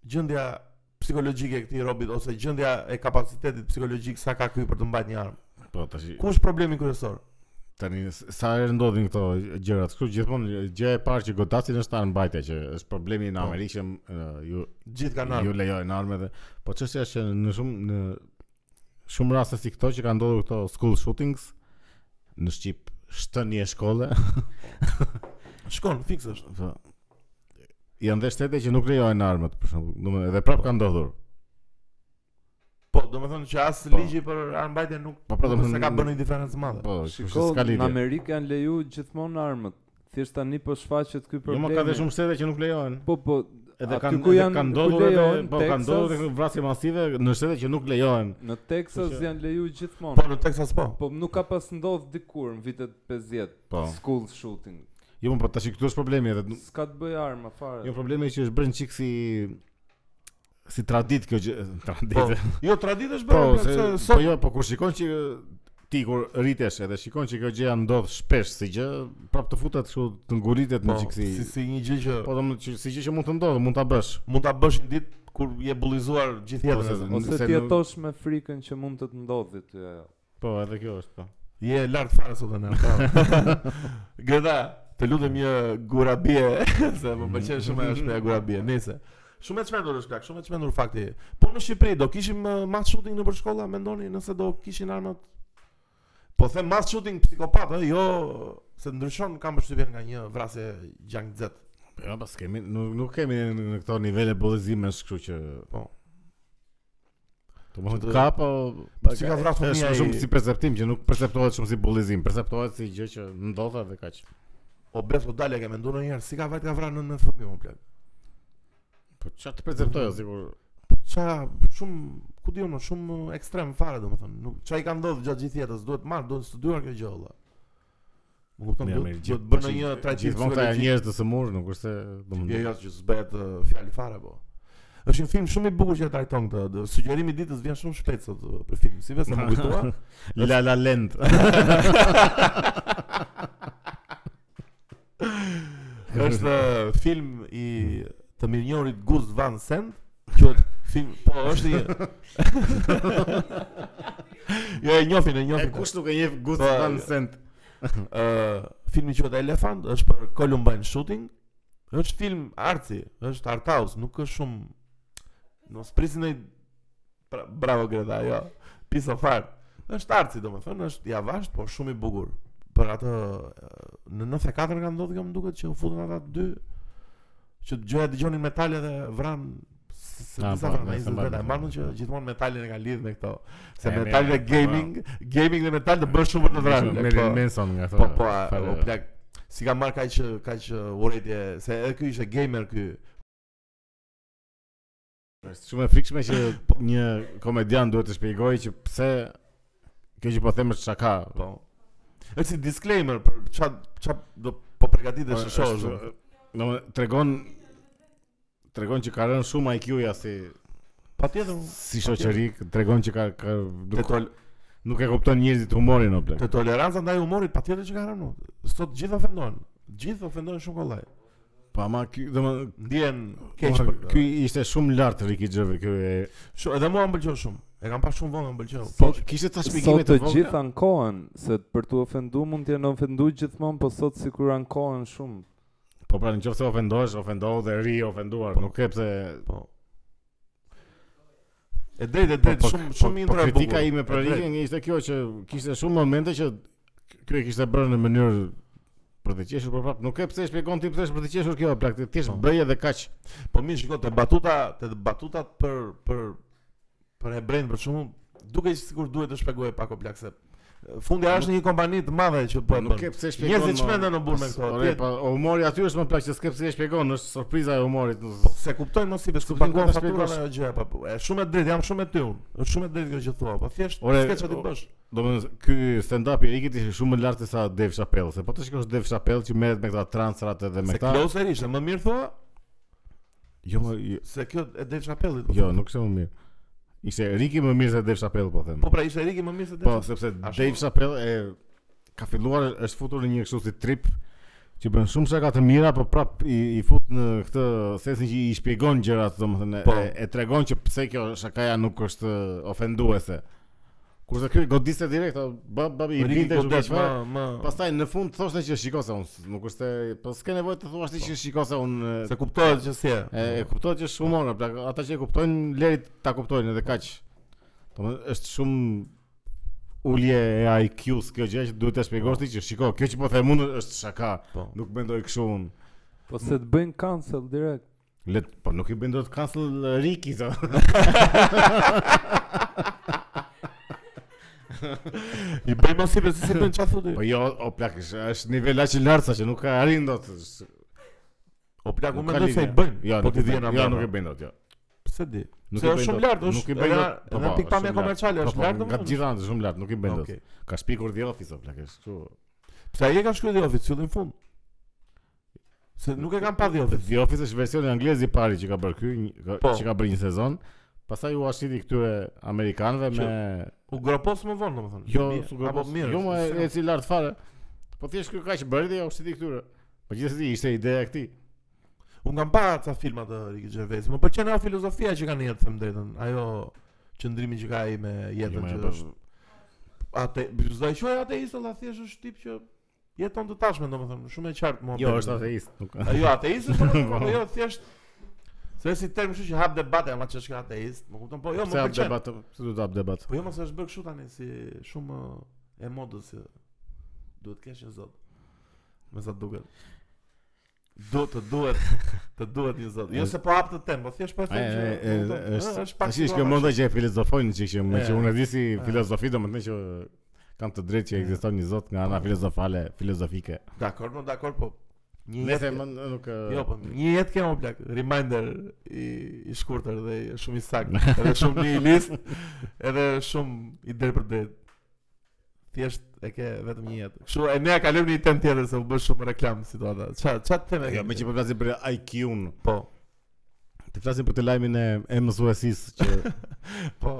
Speaker 2: gjendja psikologjike e këtij robit ose gjendja e kapacitetit psikologjik sa ka ky për të mbajtur një armë.
Speaker 1: Po tash
Speaker 2: Ku është problemi kryesor?
Speaker 1: tani s- sa herë ndodhin këto gjëra. Kështu gjithmonë gjëja e parë që godasin është armbajtja që është problemi në
Speaker 2: Po.
Speaker 1: Amerikë që ë, ju
Speaker 2: Gjithë kanë armë.
Speaker 1: Ju lejojnë armet. dhe- Po çështja është që në shumë në shumë raste si këto që kanë ndodhur këto school shootings në Shqip shtënie shkolle.
Speaker 2: Shkon fiks është.
Speaker 1: Po. Janë dhe shtete që nuk lejojnë armët, për shembull. Domethënë edhe prap ka ndodhur.
Speaker 2: Po, domethënë që as
Speaker 1: Po.
Speaker 2: ligji për armbajtje nuk
Speaker 1: Po pra
Speaker 2: nuk se ka bërë
Speaker 1: domethënë
Speaker 2: një diferencë madhe.
Speaker 1: Po,
Speaker 3: Shiko,
Speaker 1: shiko, s'ka
Speaker 3: në
Speaker 1: lidhje.
Speaker 3: Amerikë janë leju gjithmonë armët. Thjesht tani po shfaqet ky
Speaker 1: Jo,
Speaker 3: problem.
Speaker 1: më ka dhe shumë shtete që nuk lejojnë.
Speaker 3: Po, po,
Speaker 1: Edhe
Speaker 3: aty
Speaker 1: kanë
Speaker 3: ku
Speaker 1: edhe
Speaker 3: janë-
Speaker 1: kanë
Speaker 3: ku
Speaker 1: ndodhur edhe
Speaker 3: lejojnë,
Speaker 1: po kanë ndodhur
Speaker 3: Texas?
Speaker 1: edhe vrasje masive në shtete që nuk lejojnë.
Speaker 3: në Texas
Speaker 1: Që-
Speaker 3: janë leju gjithmonë.
Speaker 2: Po në Texas po.
Speaker 3: Po nuk ka pas ndodh dikur në vitet 50
Speaker 1: Po.
Speaker 3: school shooting.
Speaker 1: Jo, po tash këtu është problemi edhe
Speaker 3: S'ka të bëj arma fare.
Speaker 1: jo problemi që është bërë një çik si si tradit kjo gjë,
Speaker 2: Po.
Speaker 1: tradit.
Speaker 2: Jo, traditë është bërë.
Speaker 1: Po,
Speaker 2: plak,
Speaker 1: se,
Speaker 2: se
Speaker 1: po
Speaker 2: sot
Speaker 1: jo, po kur shikon që ti kur rritesh edhe shikon që kjo gjë ndodh shpesh si gjë, prap të futet kështu të nguritet në
Speaker 2: si,
Speaker 1: çiksi.
Speaker 2: si, një gjë që
Speaker 1: Po do më që si gjë që mund të ndodhë, mund ta bësh.
Speaker 2: mund ta bësh një ditë kur je bullizuar
Speaker 1: Ose-
Speaker 2: gjithë jetën. e zonë.
Speaker 3: Ose
Speaker 1: se
Speaker 3: ti
Speaker 1: nuk-
Speaker 3: jetosh me frikën që mund të të ndodhë ty ajo.
Speaker 1: Po, edhe kjo është po.
Speaker 2: Je lart fare sot në. po. Greta, të lutem një gurabie, se më pëlqen shumë ajo shpreha gurabie. Nice. Shumë e çmendur është plak, shumë e çmendur fakti. Po në Shqipëri do kishim uh, mass shooting nëpër shkolla, mendoni nëse do kishin armat? Po them mass shooting psikopat, ë, jo se ndryshon kam përshtypjen nga një vrasje gjangzet.
Speaker 1: Po, ja, pas kemi nuk, nuk kemi në në këto nivele bullizimesh, kështu që
Speaker 2: Po.
Speaker 1: Do më
Speaker 2: Që të-
Speaker 1: thotë ka po
Speaker 2: Si ka vrarë
Speaker 1: është
Speaker 2: fëmia i-
Speaker 1: shumë si perceptim që nuk perceptohet shumë si bullizim, perceptohet si gjë që ndodha dhe kaq.
Speaker 2: O bes po dalë e ke menduar ndonjëherë si ka vajt ka vrarë nën me fëmijë më plak.
Speaker 1: Po çfarë të perceptojë sikur
Speaker 2: Ça shumë ku diun më shumë ekstrem fare domethënë. Nuk çai ka ndodhur gjatë gjithë jetës, duhet marr, duhet studuar kjo gjë valla. Më kupton,
Speaker 1: Mirë,
Speaker 2: duhet
Speaker 1: mirë,
Speaker 2: duhet
Speaker 1: gjithë-
Speaker 2: bërë një trajtim
Speaker 1: gjithmonë këta janë
Speaker 2: psikologjik.
Speaker 1: njerëz të sëmurë, nuk është se
Speaker 2: Jo,
Speaker 1: domethënë.
Speaker 2: jo, që s'bëhet uh, fjalë fare po. Është një film shumë i bukur që e trajton këtë. dhe Sugjerimi i ditës vjen shumë shpejt sot uh, për film. Si vetë më kujtoa.
Speaker 1: La La Land.
Speaker 2: është uh, film i të mirënjohurit Gus Van Sant, quhet film, po është një Jo, e njohin, e
Speaker 1: E
Speaker 2: njohin.
Speaker 1: kush nuk e njeh Gus
Speaker 2: Po,
Speaker 1: Van Sant?
Speaker 2: Ë, filmi quhet Elephant, është për Columbine Shooting. Është film arti, është art house, nuk është shumë mos prisin ai Bra- bravo Greta, jo. Piece of art. Është arti domethënë, është i avasht, por shumë i bukur. Për atë ë, në 94 ka ndodhur kjo më duket që u futën ata dy që dëgjoja dëgjonin metale dhe vran se se
Speaker 1: Ah,
Speaker 2: disa
Speaker 1: po,
Speaker 2: vran
Speaker 1: me
Speaker 2: ai
Speaker 1: së mbarë,
Speaker 2: zënë
Speaker 1: me
Speaker 2: marrën
Speaker 1: së
Speaker 2: që
Speaker 1: mbarë.
Speaker 2: gjithmonë metalin e kanë lidhë me këto se
Speaker 1: E, mirë,
Speaker 2: metali dhe
Speaker 1: po, po.
Speaker 2: gaming gaming dhe metal të bën shumë për të vrarë
Speaker 1: Marilyn Manson nga
Speaker 2: Po po, a- o plak. Si ka marr kaq kaq urrëtie se edhe ky ishte gamer ky.
Speaker 1: Është shumë e frikshme që një komedian duhet të shpjegojë që pse kjo që po them është shaka.
Speaker 2: Po. Është si disclaimer për ça ça do po përgatitesh të shohësh. do.
Speaker 1: Domethënë tregon tregon që ka rënë shumë IQ-ja si
Speaker 2: Patjetër.
Speaker 1: si shoqëri, tregon që ka, ka
Speaker 2: Te,
Speaker 1: nuk,
Speaker 2: tol
Speaker 1: nuk e kupton njerëzit humorin o plak.
Speaker 2: te toleranca ndaj humorit patjetër që ka rënë. Sot gjithë ofendohen. Gjithë ofendohen shumë kollaj.
Speaker 1: Pa ma Po, ky, domethënë
Speaker 2: Ndjen keq
Speaker 1: Ora,
Speaker 2: për këtë.
Speaker 1: Ky ishte shumë lart Ricky Gervais, ky e
Speaker 2: Shumë, edhe mua më pëlqeu shumë. E kam pas shumë vonë, më pëlqeu.
Speaker 1: po kishte ta shpjegime
Speaker 3: Sot
Speaker 1: të
Speaker 3: të
Speaker 1: vogla.
Speaker 3: gjithë ankohen, se për të ofendu mund t'jenë ofendu gjithmonë, po sot sikur ankohen shumë.
Speaker 1: Po pra nëse ofendohesh, ofendohu dhe ri ofenduar,
Speaker 2: Po.
Speaker 1: nuk e pse
Speaker 2: Po. E drejtë, e
Speaker 1: Po,
Speaker 2: drejtë,
Speaker 1: po,
Speaker 2: shumë
Speaker 1: po,
Speaker 2: shumë
Speaker 1: po,
Speaker 2: intro e bukur.
Speaker 1: Kritika ime për
Speaker 2: E drejtë.
Speaker 1: Rikin ishte kjo që kishte shumë momente që ky e kishte bërë në mënyrë për të qeshur, por prap nuk e pse e shpjegon ti pse është për të qeshur kjo plak, ti thjesht
Speaker 2: Po.
Speaker 1: bëje dhe kaq.
Speaker 2: Po mirë, shikoj, te batuta, te batutat për për për Hebrein për shkakun, duke që sikur duhet të shpjegoj pak o plak se fundja është një kompani të madhe që po e
Speaker 1: Nuk e
Speaker 2: bën.
Speaker 1: pse e shpjegon.
Speaker 2: Njerëzit
Speaker 1: mo.
Speaker 2: çmenden në burr me këto.
Speaker 1: Ore,
Speaker 2: tjetë-
Speaker 1: pa, o humori aty është më plak që s'ke pse e shpjegon, është surpriza e humorit.
Speaker 2: Po se kuptojnë mos i besoj
Speaker 1: Kuptim
Speaker 2: paguam
Speaker 1: ku ta
Speaker 2: faturën
Speaker 1: shpjegosh.
Speaker 2: ajo gjë po. po, Është shumë e drejtë, jam shumë e ty unë. Është shumë e drejtë kjo që thua, po thjesht
Speaker 1: Ore,
Speaker 2: s'ke çfarë të
Speaker 1: o-
Speaker 2: bësh.
Speaker 1: Domethënë ky stand-up i Rikit ishte shumë më lart se sa Dave Chappelle, se po të shikosh Dave Chappelle që merret me këta transrat edhe me
Speaker 2: Se
Speaker 1: këta.
Speaker 2: Klauser ishte më mirë thua
Speaker 1: Jo, më, jo,
Speaker 2: se kjo e Dave Chappelle-it. po.
Speaker 1: jo, nuk ishte më mirë. Ishte Riki më mirë se Dave Chappelle po them.
Speaker 2: Po pra ishte Riki më mirë se Dave.
Speaker 1: Po, sepse Dave Chappelle e ka filluar është futur në një kështu si trip që bën shumë shaka të mira, po prap i, i fut në këtë sesin që i shpjegon gjërat, domethënë
Speaker 2: Po.
Speaker 1: e, e tregon që pse kjo shakaja nuk është ofenduese. Kurse ky godiste direkt, o, bab bab i
Speaker 2: Riki
Speaker 1: binte kështu
Speaker 2: Godet
Speaker 1: ka
Speaker 2: më
Speaker 1: çfarë.
Speaker 2: më
Speaker 1: Pastaj në fund thoshte që shiko se unë s- nuk është e- po s'ke nevojë të thuash ti që shiko se unë e,
Speaker 2: se kuptohet që si e.
Speaker 1: E, e kuptoj që shumë ona, plak, ata që e kuptojnë lerit ta kuptojnë edhe kaq. Domethënë është shumë ulje e IQ-s kjo gjë që duhet ta shpjegosh ti që shiko, kjo që po them unë është shaka.
Speaker 2: Po.
Speaker 1: Nuk mendoj kështu unë.
Speaker 3: Po se të bëjnë cancel direkt.
Speaker 1: Le, po nuk i bën dot cancel e, Riki sa.
Speaker 2: I bëj mos i besoj se bën çfarë thotë.
Speaker 1: Po jo, o plak, është, është nivel aq i lartë sa që nuk ka arrin dot. s-
Speaker 2: O plak, unë
Speaker 1: nuk ka
Speaker 2: mendoj se i
Speaker 1: linja.
Speaker 2: bëjnë.
Speaker 1: Jo,
Speaker 2: po
Speaker 1: nuk
Speaker 2: ti
Speaker 1: i
Speaker 2: vjen
Speaker 1: bëjnë. Jo, nuk e bën dot, jo.
Speaker 2: Pse di?
Speaker 1: Nuk
Speaker 2: Se
Speaker 1: i
Speaker 2: është
Speaker 1: bën
Speaker 2: shumë
Speaker 1: dot,
Speaker 2: lart, është.
Speaker 1: Nuk i bën
Speaker 2: edhe-
Speaker 1: dot. po,
Speaker 2: edhe
Speaker 1: po,
Speaker 2: pikpamja
Speaker 1: shumë lart. Po,
Speaker 2: komerciale është
Speaker 1: po,
Speaker 2: lart,
Speaker 1: Nga
Speaker 2: domethënë?
Speaker 1: të gjithë anët është shumë lart, nuk i bën dot.
Speaker 2: Okej.
Speaker 1: Ka shpikur the office o plak, është kështu.
Speaker 2: Pse ai e ka shkruar The Office fillin fund? Se nuk e kam pa The Office.
Speaker 1: The Office është versioni anglez i pari që ka bërë ky, një- ka-
Speaker 2: Po.
Speaker 1: që ka bërë një sezon. Pastaj u ashiti këtyre amerikanëve
Speaker 2: Që-
Speaker 1: me
Speaker 2: U gropos më vonë domethënë.
Speaker 1: jo
Speaker 2: Mirë,
Speaker 1: sugar
Speaker 2: apo
Speaker 1: boss,
Speaker 2: mirë.
Speaker 1: jo më
Speaker 2: s'ka.
Speaker 1: e cili lart fare. Po thjesht ky kaq bëri dhe ja u ashiti këtyre. Po gjithsesi ishte ideja e këtij.
Speaker 2: Po, Unë kam parë ca filma të Ricky Gervais. Më pëlqen ajo filozofia që kanë jetë, them drejtën. Ajo qëndrimi që ka ai me jetën
Speaker 1: Jo,
Speaker 2: që
Speaker 1: më e
Speaker 2: është ate, s'do e quaj ateist, olla thjesht është tip që jeton të tashme, domethënë, shumë e qartë mua.
Speaker 1: Jo, është ateist, nuk.
Speaker 2: A, Jo, ateist, është, domethënë, po jo thjesht Se si term kështu që hap debate, ama ç'është ka ateist, më kupton? Po jo,
Speaker 1: Pse
Speaker 2: më
Speaker 1: hap
Speaker 2: pëlqen.
Speaker 1: debat? Pse do të hap debat?
Speaker 2: Po jo, mos është bërë kështu tani si shumë e modës që duhet të kesh një zot. Me sa duket. Do të duhet, të duhet një zot. Jo se po hap të temë, po thjesht po e
Speaker 1: Ai
Speaker 2: them që kupton,
Speaker 1: është
Speaker 2: ë,
Speaker 1: tash është kjo mendoj që e filozofojnë çik që me
Speaker 2: E,
Speaker 1: që unë e di si
Speaker 2: e.
Speaker 1: filozofi domethënë që kam të drejtë që
Speaker 2: E. Po.
Speaker 1: ekziston një zot nga ana filozofale, filozofike.
Speaker 2: Dakor, më dakor, po. Një
Speaker 1: Nëse
Speaker 2: jetë.
Speaker 1: më nuk e-
Speaker 2: Jo, po një jetë kemë o plak. Reminder i i shkurtër dhe i- shumë i saktë, edhe shumë nihilist, edhe shumë i drejtë për drejtë. Thjesht e ke vetëm një jetë. Kështu e ne e kalojmë në një temë tjetër se u bë shumë reklam situata. Ça ça temë? e
Speaker 1: Jo,
Speaker 2: kemi?
Speaker 1: me që po flasim për IQ-un,
Speaker 2: po.
Speaker 1: të flasim për të lajmin e, e mësuesisë që
Speaker 2: Po.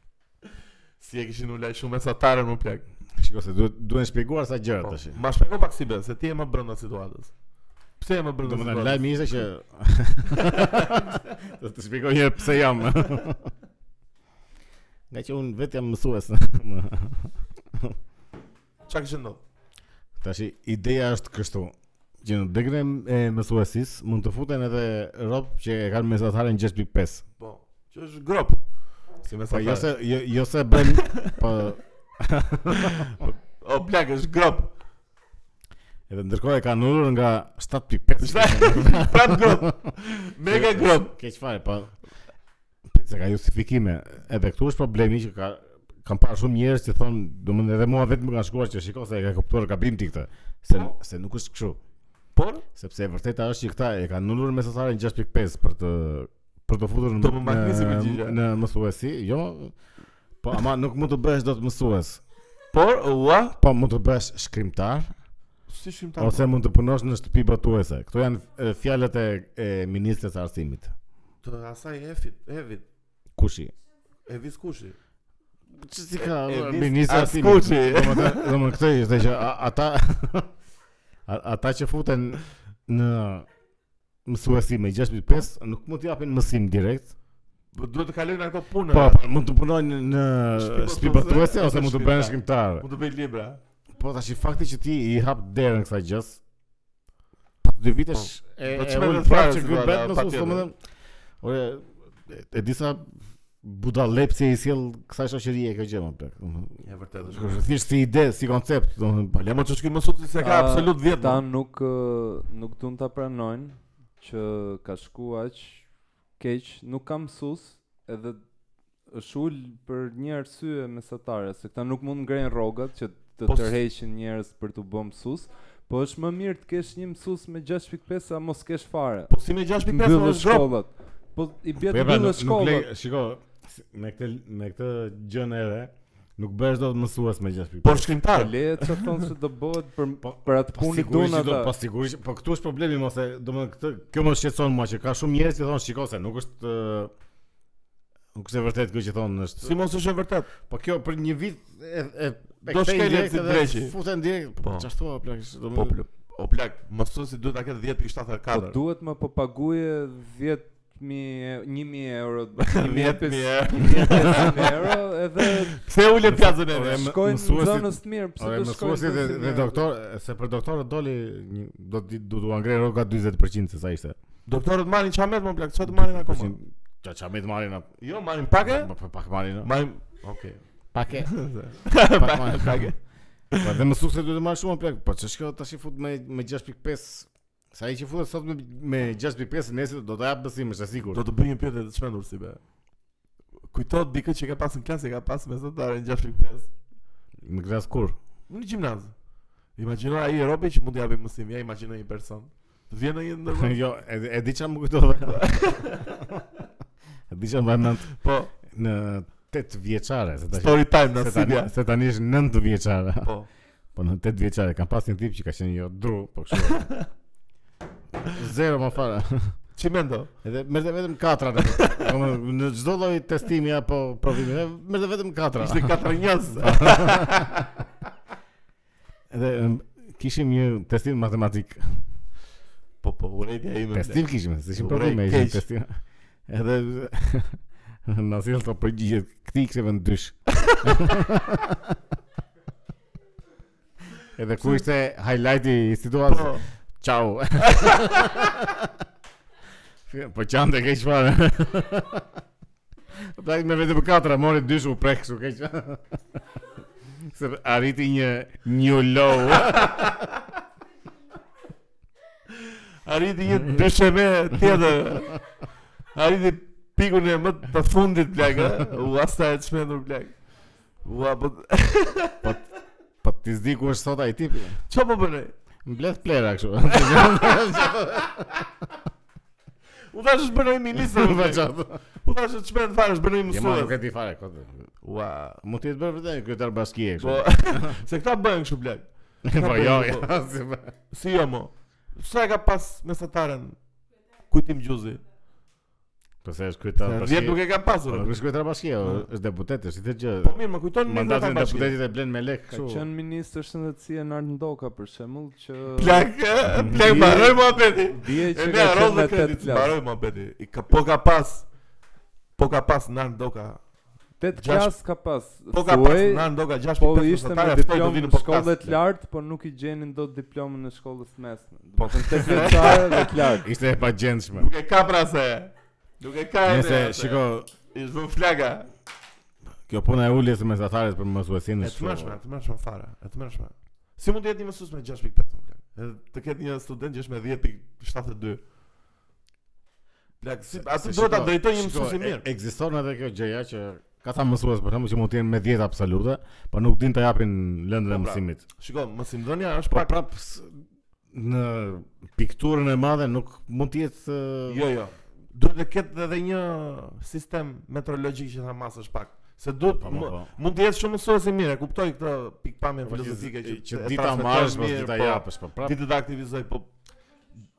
Speaker 2: si e kishin ulaj shumë mesatarën më plak.
Speaker 1: shiko se duhet duhen shpjeguar sa gjëra
Speaker 2: Po,
Speaker 1: tash.
Speaker 2: ma shpjego pak si bën, se ti je më brenda situatës. Pse je më brenda
Speaker 1: Domethënë
Speaker 2: situatës?
Speaker 1: lajmi ishte që Do të shpjegoj një herë pse jam. Nga që unë vetë jam mësues.
Speaker 2: Çka kishin ndodhur?
Speaker 1: Tash ideja është kështu që në degën e mësuesisë mund të futen edhe rob që e kanë mesataren 6.5.
Speaker 2: Po. Që është grop. Si
Speaker 1: Po
Speaker 2: mesatarë.
Speaker 1: jo se jo, jo se bën po
Speaker 2: O plak, është grop.
Speaker 1: edhe ndërkohë e kanë ulur nga 7.5.
Speaker 2: Prap grop. Pra Mega grop.
Speaker 1: Keq fare, po. Se ka justifikime. Edhe këtu është problemi që ka kam parë shumë njerëz që thonë, domethënë edhe mua vetëm më kanë shkuar që shiko se e ka kuptuar gabim ti këtë. Se
Speaker 2: Po.
Speaker 1: se nuk është kështu,
Speaker 2: Por
Speaker 1: sepse e vërteta është që këta e kanë nulur mesataren 6.5 për të për të futur
Speaker 2: Do më magnisi përgjigje.
Speaker 1: në, në mësuesi, jo. Po ama nuk mund të bëhesh dot mësues.
Speaker 2: por ua
Speaker 1: Po mund të bëhesh shkrimtar
Speaker 2: si shkrimtar.
Speaker 1: ose mund të punosh në shtëpi batuese. Këto janë e, fjalët e, e ministres së arsimit.
Speaker 2: të asaj efit, evit.
Speaker 1: Kushi?
Speaker 2: Evis kushi.
Speaker 1: Që si ka
Speaker 2: E- e nis-
Speaker 1: ministra
Speaker 2: as
Speaker 1: si
Speaker 2: kuqi.
Speaker 1: Domethënë domethënë këtë ishte që a- ata a- ata që futen në mësuesi me 6.5 nuk mund t'japin mësim direkt.
Speaker 2: Po, Duhet të kalojnë ato punë.
Speaker 1: Po, po, mund të punojnë në
Speaker 2: Shpibatuese
Speaker 1: shtëpi batuese ose
Speaker 2: ose
Speaker 1: mund të
Speaker 2: shpibra.
Speaker 1: bëhen shkrimtar.
Speaker 2: Mund të bëj libra.
Speaker 1: Po tash i fakti që ti i hap derën kësaj gjës. Pas dy vitesh e
Speaker 2: po
Speaker 1: e
Speaker 2: çfarë
Speaker 1: ul
Speaker 2: do të
Speaker 1: prapë
Speaker 2: fare
Speaker 1: që
Speaker 2: si
Speaker 1: good
Speaker 2: valla,
Speaker 1: bet mos
Speaker 2: patjetër.
Speaker 1: u them. Ore e- e disa budallepsi i sjell kësaj shoqërie kjo gjë më plak. Domethënë,
Speaker 2: E vërtet
Speaker 1: është thjesht si ide, si koncept, domethënë, po le
Speaker 2: Le më ç'shkoj më sot se ka
Speaker 3: Ta-
Speaker 2: absolut 10.
Speaker 3: Ta nuk ë, nuk duan ta pranojnë që ka shku aq keq, nuk ka mësues edhe është ul për një arsye mesatare, se këta nuk mund ngrejnë rrogat që të
Speaker 2: Po s-
Speaker 3: tërheqin njerëz për të bërë mësues, po është më mirë të kesh një mësues me 6.5 sa mos kesh fare.
Speaker 2: Po si me 6.5
Speaker 3: Mbyllë
Speaker 2: është grop.
Speaker 3: shkollat. Po i bie
Speaker 1: Po
Speaker 3: të
Speaker 1: e pra,
Speaker 3: mbyllë
Speaker 1: nuk- nuk
Speaker 3: shkollat.
Speaker 1: le- Shiko, si- me këtë me këtë gjën e re, nuk bëhesh dot mësues me 6.5.
Speaker 2: Por Po, shkrimtar.
Speaker 3: Le të thonë se do bëhet për
Speaker 1: Po-
Speaker 3: për atë
Speaker 1: Po
Speaker 3: punë
Speaker 1: sigurisht
Speaker 3: duan
Speaker 1: që do, po
Speaker 3: ata.
Speaker 1: sigurisht, po këtu është problemi mos e, domethënë këtë kjo më shqetëson mua që ka shumë njerëz që thonë shiko se nuk është ë, nuk është e vërtet kjo që thonë
Speaker 2: Si
Speaker 1: është.
Speaker 2: mos është e vërtet.
Speaker 1: Po kjo për një vit e e e
Speaker 2: Do
Speaker 1: kthejnë
Speaker 2: shkelet
Speaker 1: direkt
Speaker 2: si
Speaker 1: edhe
Speaker 2: dreqi.
Speaker 1: Futen direkt. Po
Speaker 2: Po.
Speaker 1: çfarë thua plak, është,
Speaker 2: Po
Speaker 1: domethënë.
Speaker 2: pl- O plak, mësuesi duhet ta ketë
Speaker 3: Po
Speaker 2: 10.74.
Speaker 3: duhet më po paguje 10.000 1000 euro,
Speaker 2: 10.000 euro.
Speaker 3: 10.000 euro edhe
Speaker 2: Pse ulet pjazën e
Speaker 1: Ore, Po,
Speaker 2: vet?
Speaker 1: më-
Speaker 3: shkojnë në
Speaker 1: mësuesit-
Speaker 3: zonës të mirë, pse
Speaker 1: Ore
Speaker 3: do shkojnë
Speaker 1: mësuesit dhe,
Speaker 3: zonës të
Speaker 1: dhe
Speaker 3: mirë?
Speaker 1: doktor, se për doktorët doli një, do të do të angrej rroga 40% se sa ishte.
Speaker 2: Doktorët marrin çamet më plak, çfarë të marrin akoma?
Speaker 1: Përqin- Ja çamë të marrin apo?
Speaker 2: Jo, marrin pakë?
Speaker 1: Po pak marrin. a?
Speaker 2: Marrin Okej.
Speaker 1: Pakë.
Speaker 2: Pak
Speaker 1: marrin.
Speaker 2: pakë.
Speaker 1: Po dhe më sukses duhet të marr shumë plak. Po ç'është kjo tash i fut me me 6.5. Sa ai që futet sot me me 6.5 nesër do ta jap besim, është e
Speaker 2: Do
Speaker 1: sigurt.
Speaker 2: të bëj një pyetje të çmendur si be. Kujtohet dikë që ka pas në klasë, e ka pas mesatare në 6.5.
Speaker 1: Në klas kur?
Speaker 2: Në gjimnaz. Imagjino ai robi që mund të japë mësim, ja imagjino një person. Të vjen në një ndërmjet.
Speaker 1: jo, e, e di çam më kujtove. e di çam vënë
Speaker 2: Po,
Speaker 1: në 8 vjeçare, se tash
Speaker 2: story time na
Speaker 1: se tani,
Speaker 2: Sibia.
Speaker 1: se tani është 9 vjeçare.
Speaker 2: Po.
Speaker 1: Po në 8 vjeçare kam pas një tip që ka qenë jo dru, po kështu. Zero më fare.
Speaker 2: Çimendo.
Speaker 1: Edhe merrte vetëm katra. në- Domethënë në çdo lloj testimi apo provimi, merrte vetëm katra.
Speaker 2: Ishte katërnjës.
Speaker 1: Edhe em, kishim një testim matematik.
Speaker 2: Po, po, urejtja ime.
Speaker 1: Testim kishim, se ishim
Speaker 2: Ure,
Speaker 1: provime, ishim
Speaker 2: keq.
Speaker 1: testim. Edhe na sjell të përgjigjet këtij kishte vend dysh. Edhe ku ishte highlighti i situatës.
Speaker 2: Po,
Speaker 1: Ciao. po qante keq fare. Plak me vetëm katra, mori dysh u prek kështu keq. Se arriti një new low.
Speaker 2: arriti një dysheme tjetër. Arriti pikun e më të fundit plak, ë? u asta e çmendur plak. Ua, po
Speaker 1: Po ti s'di ku është sot ai tipi.
Speaker 2: çfarë po bënë?
Speaker 1: Mbledh plera kështu.
Speaker 2: U thash është bënoj ministër.
Speaker 1: Po
Speaker 2: plak.
Speaker 1: çfarë?
Speaker 2: U thash është çmend fare, është bënoj
Speaker 1: Jo, ma nuk
Speaker 2: mësues.
Speaker 1: e di fare kot.
Speaker 2: Ua.
Speaker 1: Mund të jetë bërë vërtet kryetar bashkie kështu.
Speaker 2: Po, se këta bëjnë kështu plak.
Speaker 1: Po jo, jo. si bë-
Speaker 2: Si jo mo? Sa e ka pas mesataren kujtim gjuzi?
Speaker 1: Po se është kryetar
Speaker 3: Pra,
Speaker 2: Vjet nuk
Speaker 1: bashkie.
Speaker 2: e ka
Speaker 1: Po
Speaker 2: pasur.
Speaker 1: nuk është kryetar bashkie, o, është deputet, është i të gjë.
Speaker 2: Po mirë, më kujton një
Speaker 1: Mandatin e
Speaker 2: bashkë.
Speaker 1: deputetit e blen me lek
Speaker 3: Ka
Speaker 1: kështu.
Speaker 3: qenë ministër shëndetësie Nart Ndoka për shembull që
Speaker 2: Plak, eh, plak mbaroj muhabeti.
Speaker 3: dije
Speaker 2: E
Speaker 3: që
Speaker 2: ne
Speaker 3: ka qenë
Speaker 2: arroz
Speaker 3: me
Speaker 2: dhe
Speaker 3: tet
Speaker 2: kredit,
Speaker 3: klasë.
Speaker 2: mbaroj muhabeti. I ka po ka pas. Po ka pas nën doka.
Speaker 3: Tet
Speaker 2: Gjashtë-
Speaker 3: klasë ka pas.
Speaker 2: Po ka pas
Speaker 3: Thuaj,
Speaker 2: nën doka 6.5.
Speaker 3: Po ishte me
Speaker 2: mesatare, ftoj të
Speaker 3: diplomë
Speaker 2: vinë në
Speaker 3: në
Speaker 2: podcast.
Speaker 3: shkollë të lartë, por nuk i gjenin dot diplomën në shkollës mesme.
Speaker 2: Po.
Speaker 3: Po kanë tek veçare dhe të lartë.
Speaker 1: Ishte e pagjendshme.
Speaker 2: Nuk e ka pra se. Nuk e ka.
Speaker 1: Nëse shiko,
Speaker 2: Ish vën flaga.
Speaker 1: kjo puna e uljes së mesatarit për mësuesinë
Speaker 2: E të mërshme, e të mërshme fare, e të mërshme. Si mund të jetë një mësues me 6.5? më plak? Edhe të ketë një student që është me 10.72. Plak, si atë duhet ta drejtoj një mësues i mirë.
Speaker 1: Ekziston edhe kjo gjëja që ka sa mësues për shembull që mund të jenë me 10 absolute, por nuk din ta japin lëndën e
Speaker 2: Po, pra.
Speaker 1: mësimit.
Speaker 2: Shiko, mësimdhënia është
Speaker 1: Po
Speaker 2: pak
Speaker 1: prap s- në pikturën e madhe nuk mund të jetë ë,
Speaker 2: Jo, jo. Duhet të ketë edhe një sistem metrologjik që ta masësh pak. Se duhet
Speaker 1: Po, po,
Speaker 2: mu-
Speaker 1: po.
Speaker 2: mund të jetë shumë mësues i mirë, e kuptoj këtë pikpamje
Speaker 1: po,
Speaker 2: filozofike që
Speaker 1: që
Speaker 2: e
Speaker 1: dita
Speaker 2: transmetoj
Speaker 1: marrësh mos
Speaker 2: mirë,
Speaker 1: dita
Speaker 2: po.
Speaker 1: japësh, po prap.
Speaker 2: Ti të aktivizoj, po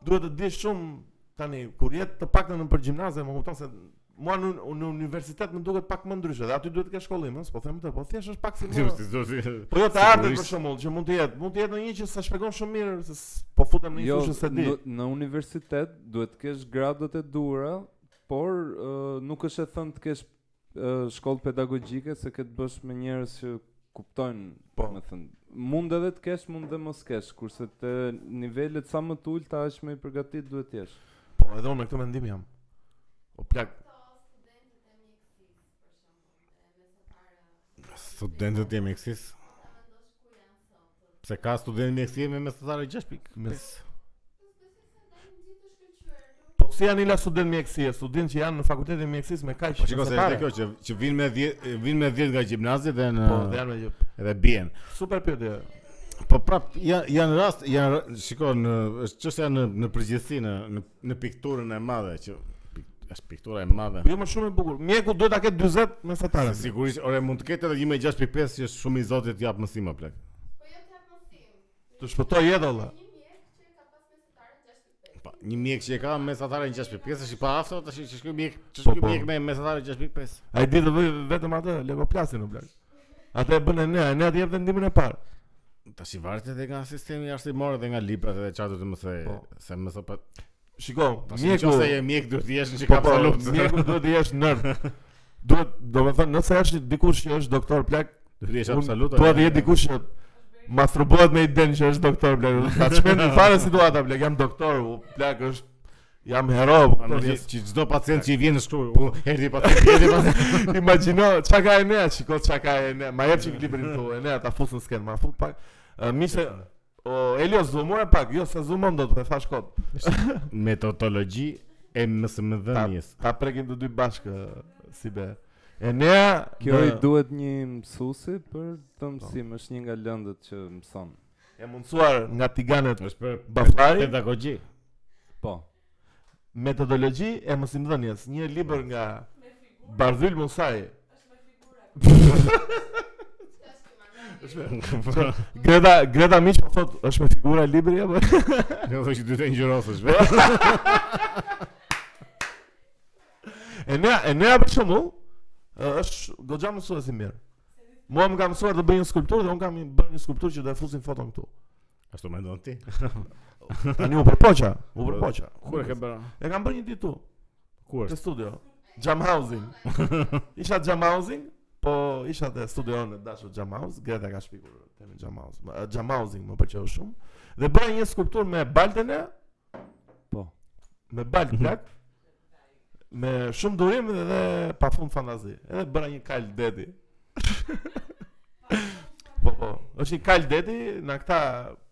Speaker 2: duhet të dish shumë tani kur jetë të paktën në për gjimnaze, më kupton se Mua në, në universitet më duket pak më ndryshe, dhe aty duhet të kesh shkollim, ëh, s'po them të, po thjesht është pak si
Speaker 1: Si
Speaker 2: më.
Speaker 1: si do si.
Speaker 2: Po jo të artet për
Speaker 1: Sigurisht.
Speaker 2: shembull, që mund të jetë, mund të jetë ndonjë që sa shpjegon shumë mirë se s- po futem
Speaker 1: Jo,
Speaker 2: në një fushë se di.
Speaker 3: Jo, në, në universitet duhet të kesh gradat e duhura, por ë, nuk është e thënë të kesh ë, shkollë pedagogjike se këtë bësh me njerëz që kuptojnë,
Speaker 2: Po.
Speaker 3: me thënë. Mund edhe të kesh, mund dhe mos kesh, kurse të nivelet sa më të ulta aq më i përgatit duhet të jesh.
Speaker 2: Po, edhe unë me këtë mendim jam. O plak,
Speaker 1: Studentët e mjekësisë. Pse ka student mjekësie me mesatare 6 pikë.
Speaker 2: Me s- Po si janë ila student mjekësie, student që janë në fakultetin e mjekësisë me kaq
Speaker 1: Po shikoj se
Speaker 2: mesatare.
Speaker 1: është kjo që që vinë me 10 vinë me 10 nga gjimnazi dhe në
Speaker 2: Po, dhe janë me gjë.
Speaker 1: edhe bien.
Speaker 2: Super pyetje.
Speaker 1: Po prap janë janë rast, janë ra- shikoj në është çështja në në përgjithësi në në, në pikturën e madhe që pik- është piktura e madhe.
Speaker 2: Jo më shumë e bukur. Mjeku duhet ta ketë 40 mesatare.
Speaker 1: Se sigurisht ore mund të ketë edhe 1.6.5 që është shumë i zotit jap mësim apo plak.
Speaker 2: Të shpëtoj jetë olla.
Speaker 1: Po, një mjek që e ka mesatare në 6.5 është i paaftë tash që shkoj mjek, që
Speaker 2: Po,
Speaker 1: shkoj
Speaker 2: po.
Speaker 1: mjek me mesatare 6.5.
Speaker 2: Ai ditë vë- vetëm atë legoplasin në blak. Atë e bën e ne, e ne atë jep dhe ndihmën e parë.
Speaker 1: Tash i varet edhe nga sistemi arsimor dhe nga librat edhe çfarë do të më se
Speaker 2: Po.
Speaker 1: se më thopa.
Speaker 2: Shiko,
Speaker 1: Tash
Speaker 2: mjeku
Speaker 1: nëse je mjek duhet të jesh në
Speaker 2: Po, po,
Speaker 1: çka luftë.
Speaker 2: mjeku duhet të jesh nerd. Duhet, domethënë, nëse është dikush që është doktor plak,
Speaker 1: Duhet të jesh
Speaker 2: unë
Speaker 1: absolut.
Speaker 2: Duhet të jetë dikush që masturbohet me idenë që është doktor plak. Ta çmend fare situata plak, jam doktor, u plak është jam hero. kupton,
Speaker 1: Ano që
Speaker 2: jes-
Speaker 1: po që çdo pacient që i vjen në shkollë, u erdhi pacient, erdhi pacient.
Speaker 2: Imagjino çka ka e nea, shiko çka ka e nea. Ma jep çik librin tu, e nea ta fus në skenë, ma fut pak. Ë, Mi se O Elio zoomore pak, jo se zoomon do të me thash kod
Speaker 1: Metodologji e MSMD-jes.
Speaker 2: Ta prekim të dy bashkë si be E nea
Speaker 3: Kjo i
Speaker 2: në-
Speaker 3: duhet një mësuesi për
Speaker 2: Po.
Speaker 3: të mësim, është një nga lëndët që mëson.
Speaker 2: E mundsuar nga tiganet
Speaker 1: Është për
Speaker 2: Bafari
Speaker 1: pedagogji.
Speaker 3: Po.
Speaker 2: Metodologji e mësimdhënies, një libër nga Bardhyl Musaj.
Speaker 1: Po.
Speaker 2: Greta Greta Miq po thot, është me figura libri apo?
Speaker 1: Ne do të dytë ngjyrosësh. po.
Speaker 2: E nea, e nea për shembull, ë, është goxha mësues i mirë. Mua më ka mësuar të bëj një skulpturë dhe unë kam bërë një skulpturë që do e fusin foton këtu.
Speaker 1: Ashtu mendon ti?
Speaker 2: Tani u përpoqa, u përpoqa.
Speaker 1: Kur e ke bërë?
Speaker 2: E kam bërë një ditë tu.
Speaker 1: Ku
Speaker 2: Te
Speaker 1: është?
Speaker 2: studio. Jam housing. isha jam housing, po isha te studio në dashur jam house, Greta ka shpikur temën jam house. Ma- Jam housing më pëlqeu shumë. Dhe bëra një skulptur me baltën e,
Speaker 3: Po.
Speaker 2: me balt plak. me shumë durim dhe, dhe pafund fantazi. Edhe bëra një kal deti. po po, është një kal deti në këta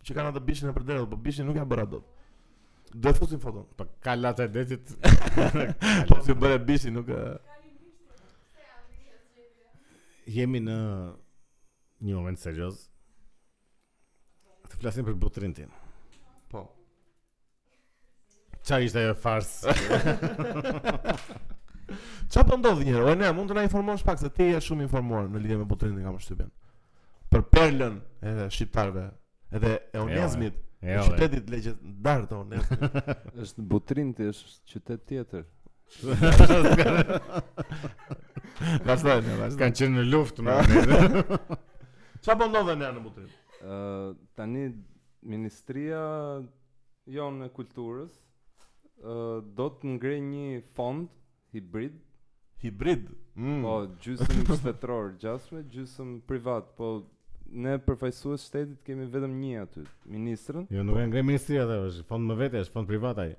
Speaker 2: që kanë atë bishin e përderë, po bishin nuk ja bëra dot. Do e fusin foton.
Speaker 1: Po kalat e detit.
Speaker 2: Po si bëre bishin nuk e...
Speaker 1: Jemi në një moment serioz. Të flasim për butrin tim.
Speaker 2: Po.
Speaker 1: Çfarë ishte ajo farsë?
Speaker 2: Qa po ndodhi njëherë? O ne, mund të na informosh pak se ti je shumë informuar në lidhje me Butrinë dhe kam përshtypjen. Për perlën e shqiptarëve, edhe e onezmit, e
Speaker 1: Jo. e.
Speaker 2: qytetit legjendar të onezmit.
Speaker 3: Është Butrinti, është qytet tjetër.
Speaker 2: Vazhdoj, ne vazhdoj.
Speaker 1: Kanë qenë në luftë më.
Speaker 2: Qa po ndodhe ne në Butrinë?
Speaker 3: Ë, tani Ministria jonë e Kulturës ë, do të ngrejë një fond hibrid,
Speaker 2: Hibrid. Mm.
Speaker 3: po gjysmë shtetror, gjasme, gjysmë privat, po ne përfaqësues shtetit kemi vetëm një aty, ministrën.
Speaker 1: Jo, nuk e ngre ministria atë, është fond më vete, është fond privat ai.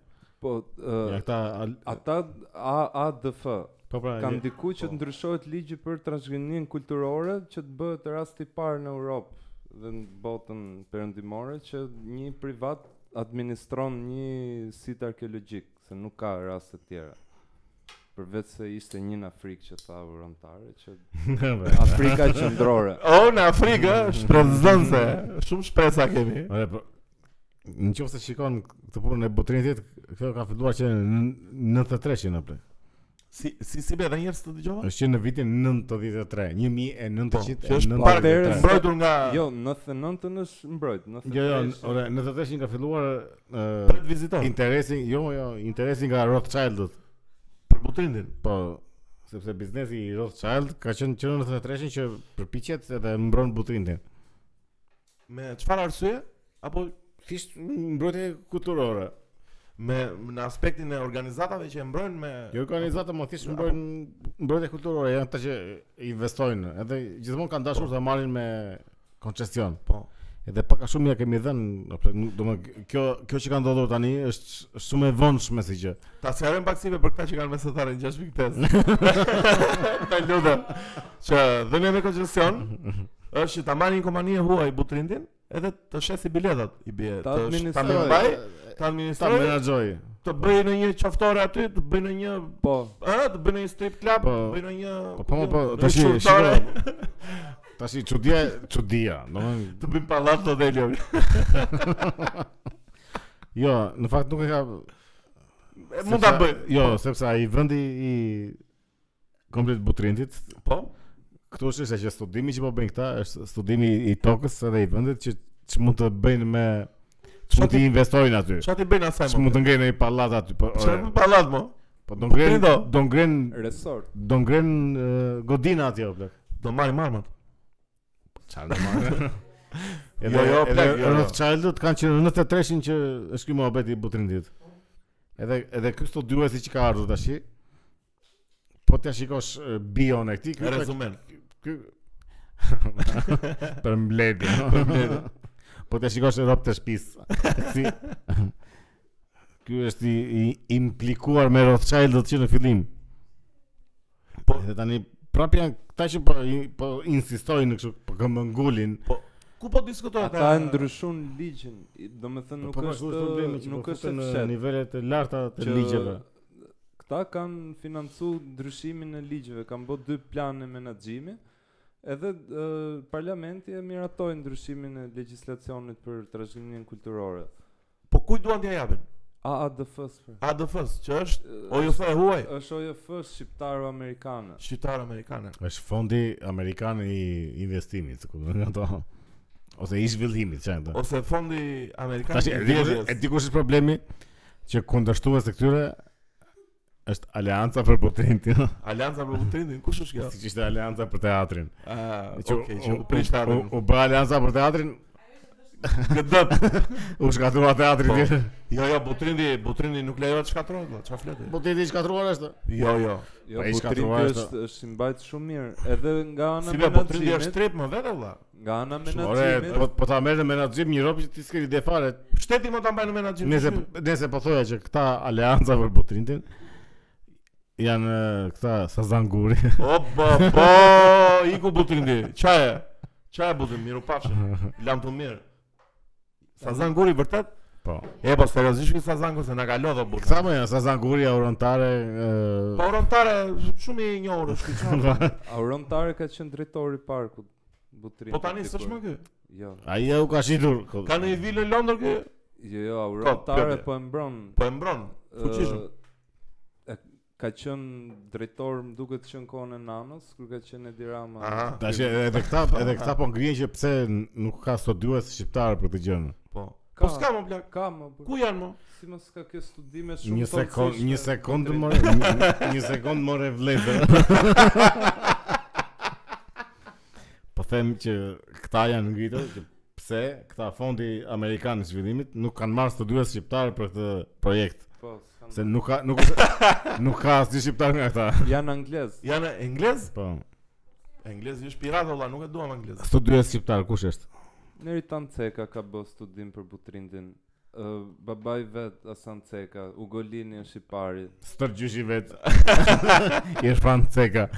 Speaker 3: Po
Speaker 1: Ja
Speaker 3: ë,
Speaker 1: këta al-
Speaker 3: ata A- ADF
Speaker 1: po pra.
Speaker 3: kam
Speaker 1: je-
Speaker 3: diku që
Speaker 1: po.
Speaker 3: të ndryshohet ligji për transgrimimin kulturore që të bëhet rast i parë në Europë dhe në botën perëndimore që një privat administron një sit arkeologjik, se nuk ka raste të tjera. Përveç se ishte një në Afrikë që tha vërontarë që Afrika qendrore.
Speaker 2: O, në Afrikë, shprezënëse, shumë shpresa kemi.
Speaker 1: Ore, po në qoftë se shikon këtë punën e Butrinit, kjo ka filluar që në 93 që në apo.
Speaker 2: Si, si, si be, dhe njerës të dëgjova?
Speaker 1: Është që në vitin 93, 1993.
Speaker 2: Po, që është
Speaker 3: parë
Speaker 2: Parë mbrojtur nga
Speaker 3: Jo, 99-ën është mbrojt, 93.
Speaker 1: Jo, jo, ore, 93 ka filluar ë,
Speaker 2: pret vizitor.
Speaker 1: interesi, jo, jo, interesi nga Rothschildët
Speaker 2: Për Putrindin.
Speaker 1: Po, sepse biznesi i Rothschild ka qenë që në 93-shin që përpiqet edhe mbron Butrindin.
Speaker 2: Me çfarë arsye? Apo
Speaker 1: Thjesht mbrojtje kulturore.
Speaker 2: me në aspektin e organizatave që e mbrojnë me
Speaker 1: Jo organizata më thjesht mbrojnë mbrojtje kulturore, janë ata që investojnë, edhe gjithmonë kanë dashur ta marrin me koncesion.
Speaker 2: po.
Speaker 1: Edhe pak a shumë ja kemi dhënë, apo nuk- domethënë kjo kjo që ka ndodhur tani është sh- shumë e vonshme si gjë.
Speaker 2: Ta sqarojmë pak sive për këta që kanë mesatarën 6.5. Ta lutem që dhënia me koncesion është që ta marrin një kompani e huaj Butrindin edhe të shesi biletat i bie
Speaker 3: Ta
Speaker 2: të sh- ta
Speaker 3: administrojë.
Speaker 2: mbaj, ta
Speaker 1: ta
Speaker 2: administrojë,
Speaker 1: menaxhoj.
Speaker 2: të bëjë në një qoftore aty, të bëjë në një
Speaker 3: Po,
Speaker 2: ë, të bëjë në një strip club,
Speaker 1: Po.
Speaker 2: të bëjë në një
Speaker 1: Po po po,
Speaker 2: në një
Speaker 1: tash
Speaker 2: qurtore,
Speaker 1: shikoj. Tash çudia, çudia, domethënë
Speaker 2: të bëjmë pallat të dheljo.
Speaker 1: jo, në fakt nuk e ka
Speaker 2: Mund ta
Speaker 1: Sepse-
Speaker 2: bëj.
Speaker 1: Jo, sepse ai vendi i komplet Butrindit,
Speaker 2: po.
Speaker 1: këtu është ishte që studimi që po bëjnë këta është studimi i tokës edhe i vendit që që mund të bëjnë me që mund të investojnë aty.
Speaker 2: Çfarë ti bëjnë asaj
Speaker 1: Që
Speaker 2: më?
Speaker 1: mund të ngrenë një pallat aty, po
Speaker 2: Çfarë
Speaker 1: ore,
Speaker 2: bëjnë pallat më?
Speaker 1: po do ngren
Speaker 2: Prindo.
Speaker 1: do ngren
Speaker 3: resort.
Speaker 1: do ngren eh, godina atje o plak.
Speaker 2: Do marrim armat.
Speaker 1: Çfarë do marrë? Edhe, jo,
Speaker 2: Jo, jo,
Speaker 1: jo,
Speaker 2: plak, jo,
Speaker 1: edhe
Speaker 2: jo.
Speaker 1: Rothschildët kanë qenë në 93-shin që është ky mohabet i Butrindit. Edhe edhe ky studiuesi që ka ardhur tash, po t'ja shikosh eh, bion e këtij, ky
Speaker 2: Rezumen.
Speaker 1: ky për mbledhje. për mbledhje. po të shikosh e rob të shtëpis. Si Ky është i, i implikuar me Rothschildët që në fillim.
Speaker 2: Po.
Speaker 1: Po edhe tani prapë janë këta që po i- po insistojnë në kështu po këmbë ngulin.
Speaker 2: Ku po diskutohet?
Speaker 3: Ata e ndryshun ligjin, i- do me thënë nuk
Speaker 1: po,
Speaker 3: është, nuk është e
Speaker 1: në
Speaker 3: fshetë.
Speaker 1: nivele të larta të
Speaker 3: që
Speaker 1: ligjeve.
Speaker 3: Këta kanë financu ndryshimin e ligjeve, kanë bërë dy plane menaxhimi. Edhe e, parlamenti e miratoi ndryshimin e legjislacionit për trashëgiminë kulturore.
Speaker 2: Po kujt duan t'ja japin?
Speaker 3: AADF-s për.
Speaker 2: ADF-s, që është OJF e huaj,
Speaker 3: është OJF shqiptaro amerikane.
Speaker 2: shqiptar amerikanë.
Speaker 1: Është fondi amerikan i investimit, ku do ato ose i zhvillimit, çfarë do.
Speaker 2: Ose fondi amerikan
Speaker 1: Tash
Speaker 2: i
Speaker 1: e dikush e
Speaker 2: vjedhjes.
Speaker 1: dikush është problemi që kundërshtues e këtyre është Alianca për Potentin,
Speaker 2: Alianca për Butrindin, kush është kjo?
Speaker 1: siç ishte Alianca për Teatrin.
Speaker 2: Ah,
Speaker 1: Që
Speaker 2: okay, Jo. që
Speaker 1: u-
Speaker 2: u prish
Speaker 1: u,
Speaker 2: tarën.
Speaker 1: u bë Alianca për Teatrin,
Speaker 2: Gëdët.
Speaker 1: u shkatrua teatri
Speaker 2: Po.
Speaker 1: tjetër.
Speaker 2: Jo, jo, Butrindi, Butrindi nuk lejohet shkatrohet, valla, çfarë fleti?
Speaker 1: Potenti i shkatruar është.
Speaker 2: Jo, jo.
Speaker 3: Jo,
Speaker 1: Pa i
Speaker 3: Butrindi
Speaker 1: shkatruar
Speaker 3: është është i mbajt shumë mirë, edhe nga ana
Speaker 2: Si be Butrindi është
Speaker 3: menaxhimit,
Speaker 2: trip më vetë valla.
Speaker 3: nga ana
Speaker 1: Shumë, Ore, po,
Speaker 3: menaxhimit.
Speaker 1: po ta merrë në menaxhim një rrobë që ti s'ke ide fare.
Speaker 2: Shteti më ta mbajnë në menaxhim.
Speaker 1: Nëse nëse po thoja që këta Alianca për Potentin janë eh, këta Sazanguri.
Speaker 2: O, po, po, iku Butrindi. Çaje. Çaje Butrindi, miru pafshim. Lam të mirë. Sazan Guri vërtet?
Speaker 1: Po.
Speaker 2: E po seriozisht ky Sazan Guri se na ka lodhë burr.
Speaker 1: Këta më janë Sazanguri, Aurontare, eh,
Speaker 2: Po rontare shumë i njohur është ky çfarë?
Speaker 3: Aurontare ka qenë drejtori i parkut. Butrindi.
Speaker 2: Po tani s'është
Speaker 3: dikur.
Speaker 2: më ky.
Speaker 3: Jo.
Speaker 1: Ai e u ka shitur. ko-
Speaker 2: Ka në një vilë në Londër ky?
Speaker 3: Jo, jo, Aurontare
Speaker 2: plotje.
Speaker 3: po e mbron
Speaker 2: Po e mbron. Fuqishëm.
Speaker 3: Ë, e- ka qenë drejtor, më duket që në kohën e Nanos, kur ka qenë Edi Rama.
Speaker 2: Aha.
Speaker 1: Tash edhe këta edhe këta po ngrihen që pse n- nuk ka studiues shqiptar për këtë gjë.
Speaker 2: Po.
Speaker 3: Ka.
Speaker 2: Po s'ka më plak.
Speaker 3: Ka më bërë.
Speaker 2: Ku janë më?
Speaker 3: Si mos ka kjo studime shumë
Speaker 1: Një sekond,
Speaker 3: toksishme.
Speaker 1: një sekond more, një- një sekond more vlezë. po them që këta janë ngritur që pse këta fondi amerikan i zhvillimit nuk kanë marrë studiues shqiptar për këtë projekt
Speaker 3: Po, s'kan
Speaker 1: se nuk ka nuk është- nuk ka asnjë shqiptar nga këta.
Speaker 3: janë anglez.
Speaker 2: Janë anglez?
Speaker 1: Po.
Speaker 2: Anglezi është pirat valla, nuk e duam anglez.
Speaker 1: Studiues shqiptar kush është?
Speaker 3: Neri Tanceka ka bë studim për Butrindin. Uh, babai vet Asan Ceka, Ugolini është i pari.
Speaker 1: Stërgjyshi vetë I është fan ceka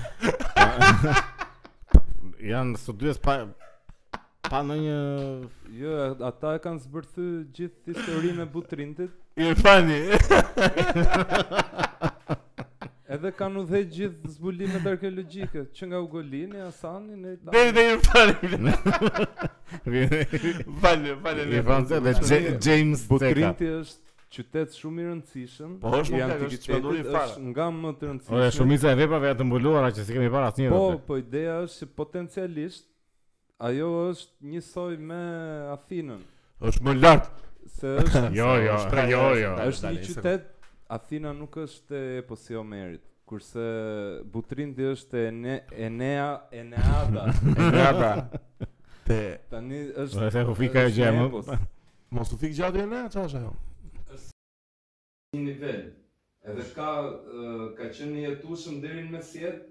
Speaker 1: Janë studiues pa Pa në një
Speaker 3: Jo, a- ata e kanë zbërthy gjithë historinë e Butrindit,
Speaker 2: Irfani.
Speaker 3: edhe kanë udhëheq gjithë zbulimet arkeologjike, që nga Ugolini, Asani, Neri Tanceka.
Speaker 2: Deri te Irfani.
Speaker 1: I
Speaker 2: Falë, falë.
Speaker 1: fan ceka dhe J- James Ceka
Speaker 3: Butrinti është qytet shumë i rëndësishëm.
Speaker 2: Po, është,
Speaker 3: i
Speaker 2: më plak, është
Speaker 3: antikitetit,
Speaker 2: shpënduri i fare.
Speaker 3: është nga më të rëndësishme.
Speaker 1: Ore, shumica e veprave janë të mbuluara që si kemi parë asnjëherë.
Speaker 3: Po,
Speaker 1: Po,
Speaker 3: po ideja është se potencialisht ajo është njësoj me Athinën,
Speaker 2: Është më lart.
Speaker 3: se është
Speaker 1: jo, jo,
Speaker 2: shpreh,
Speaker 1: jo, jo.
Speaker 2: shpreh.
Speaker 3: është
Speaker 2: dale,
Speaker 3: një
Speaker 2: se-
Speaker 3: po qytet Athina nuk është e eposi e Homerit. Kurse Butrindi është Ene, Enea, Eneada.
Speaker 2: E pra. gata. Te
Speaker 3: Tani
Speaker 1: Po,
Speaker 3: është
Speaker 1: e the, po fika e
Speaker 3: është
Speaker 1: gjë,
Speaker 3: një
Speaker 1: më-
Speaker 3: epos,
Speaker 2: mos u fik gjatë e ne, çfarë është ajo?
Speaker 3: Një nivel. Edhe ka ë, ka qenë i jetueshëm deri në mesjet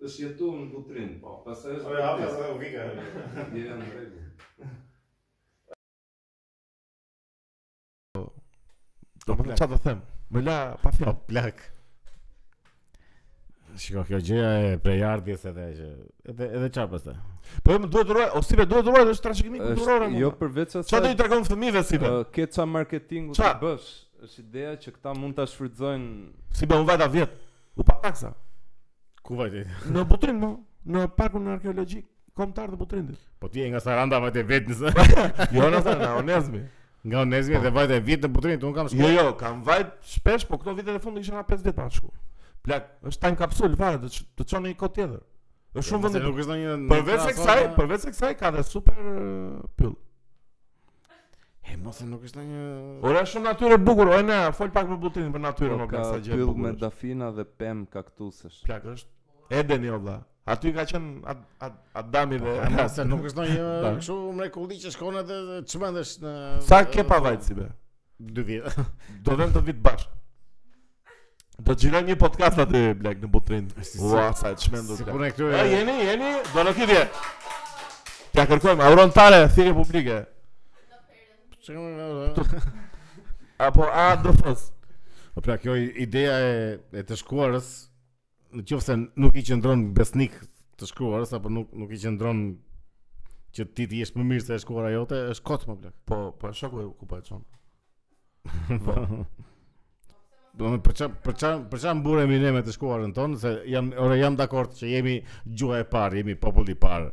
Speaker 3: është jetuar në Butrin, po. Pastaj është Butrin.
Speaker 1: u vika.
Speaker 3: Je në rregull.
Speaker 2: Do më thënë çfarë do them. Më la pa
Speaker 1: Po
Speaker 2: fjalë.
Speaker 1: plak. Shiko, kjo gjëja e prejardhjes edhe që edhe edhe çfarë pastaj.
Speaker 2: Po më duhet rroj, o Sibe duhet rroj, është trashëgimi kulturor.
Speaker 3: Është jo Po. përveç asaj.
Speaker 2: Çfarë do i tregon fëmijëve Sibe?
Speaker 3: ë, ke ça marketingu të
Speaker 2: Ça?
Speaker 3: bësh? Është ideja që këta mund ta shfrytëzojnë
Speaker 2: Sibe unë vajta vjet. U pa taksa.
Speaker 1: Ku vajti?
Speaker 2: Në Butrin më, në parkun arkeologjik kombëtar të Butrindit.
Speaker 1: Po ti je nga Saranda vajte vetëm se
Speaker 2: Jo, në thënë, në Onezmi.
Speaker 1: nga Onezmi dhe vajte vit në Butrinit, po un kam
Speaker 2: Jo,
Speaker 1: shkuar.
Speaker 2: jo, kam vajt shpesh, po këto vitet e fundit isha nga 5 vjet pa shku. Plak, është time capsule fare, të ç- të çon në një kohë tjetër. Është shumë
Speaker 1: Se
Speaker 2: vende.
Speaker 1: nuk është ndonjë.
Speaker 2: Përveç se
Speaker 1: nuk ka
Speaker 2: kësaj,
Speaker 1: asfalt,
Speaker 2: përveç se kësaj ka dhe super eh, pyll.
Speaker 1: E mos e nuk është ndonjë.
Speaker 2: Ora është shumë natyrë e bukur, oj na, fol pak për Butrinë, për natyrën
Speaker 3: po,
Speaker 2: o
Speaker 3: ka
Speaker 2: plak sa gjë. e
Speaker 3: pyll
Speaker 2: bukur
Speaker 3: me
Speaker 2: është.
Speaker 3: dafina dhe pem kaktusesh.
Speaker 2: Plak është Edeni o vlla. Aty ka qen Ad- Ad- Adami dhe
Speaker 1: E mos e nuk është
Speaker 2: Da.
Speaker 1: ndonjë kështu mrekulli që shkon edhe dhe çmendesh në
Speaker 2: Sa ke pa vajt si be?
Speaker 1: Dy vjet.
Speaker 2: Do vëm të vit bash. Do të gjirojmë një podcast aty Black në Butrin.
Speaker 1: Si-
Speaker 2: Ua, sa e çmendur.
Speaker 1: Si
Speaker 2: Black.
Speaker 1: punë e
Speaker 2: A
Speaker 1: këtyre.
Speaker 2: jeni, jeni, do në kidje. Ja kërkojmë aurontare thirrje publike.
Speaker 1: Çka-
Speaker 2: Apo a do thos.
Speaker 1: Po pra kjo i- ideja e e të shkruarës në qoftë se nuk i qëndron besnik të shkruarës apo nuk nuk i qëndron që ti të jesh më mirë se e shkruara jote, është kot më plak.
Speaker 2: Po, po e shoku e ku po e çon.
Speaker 1: Po. Do më për çfarë për çfarë për çfarë mburemi ne me të shkruarën tonë se jam ore jam dakord që jemi gjuha e parë, jemi popull i parë.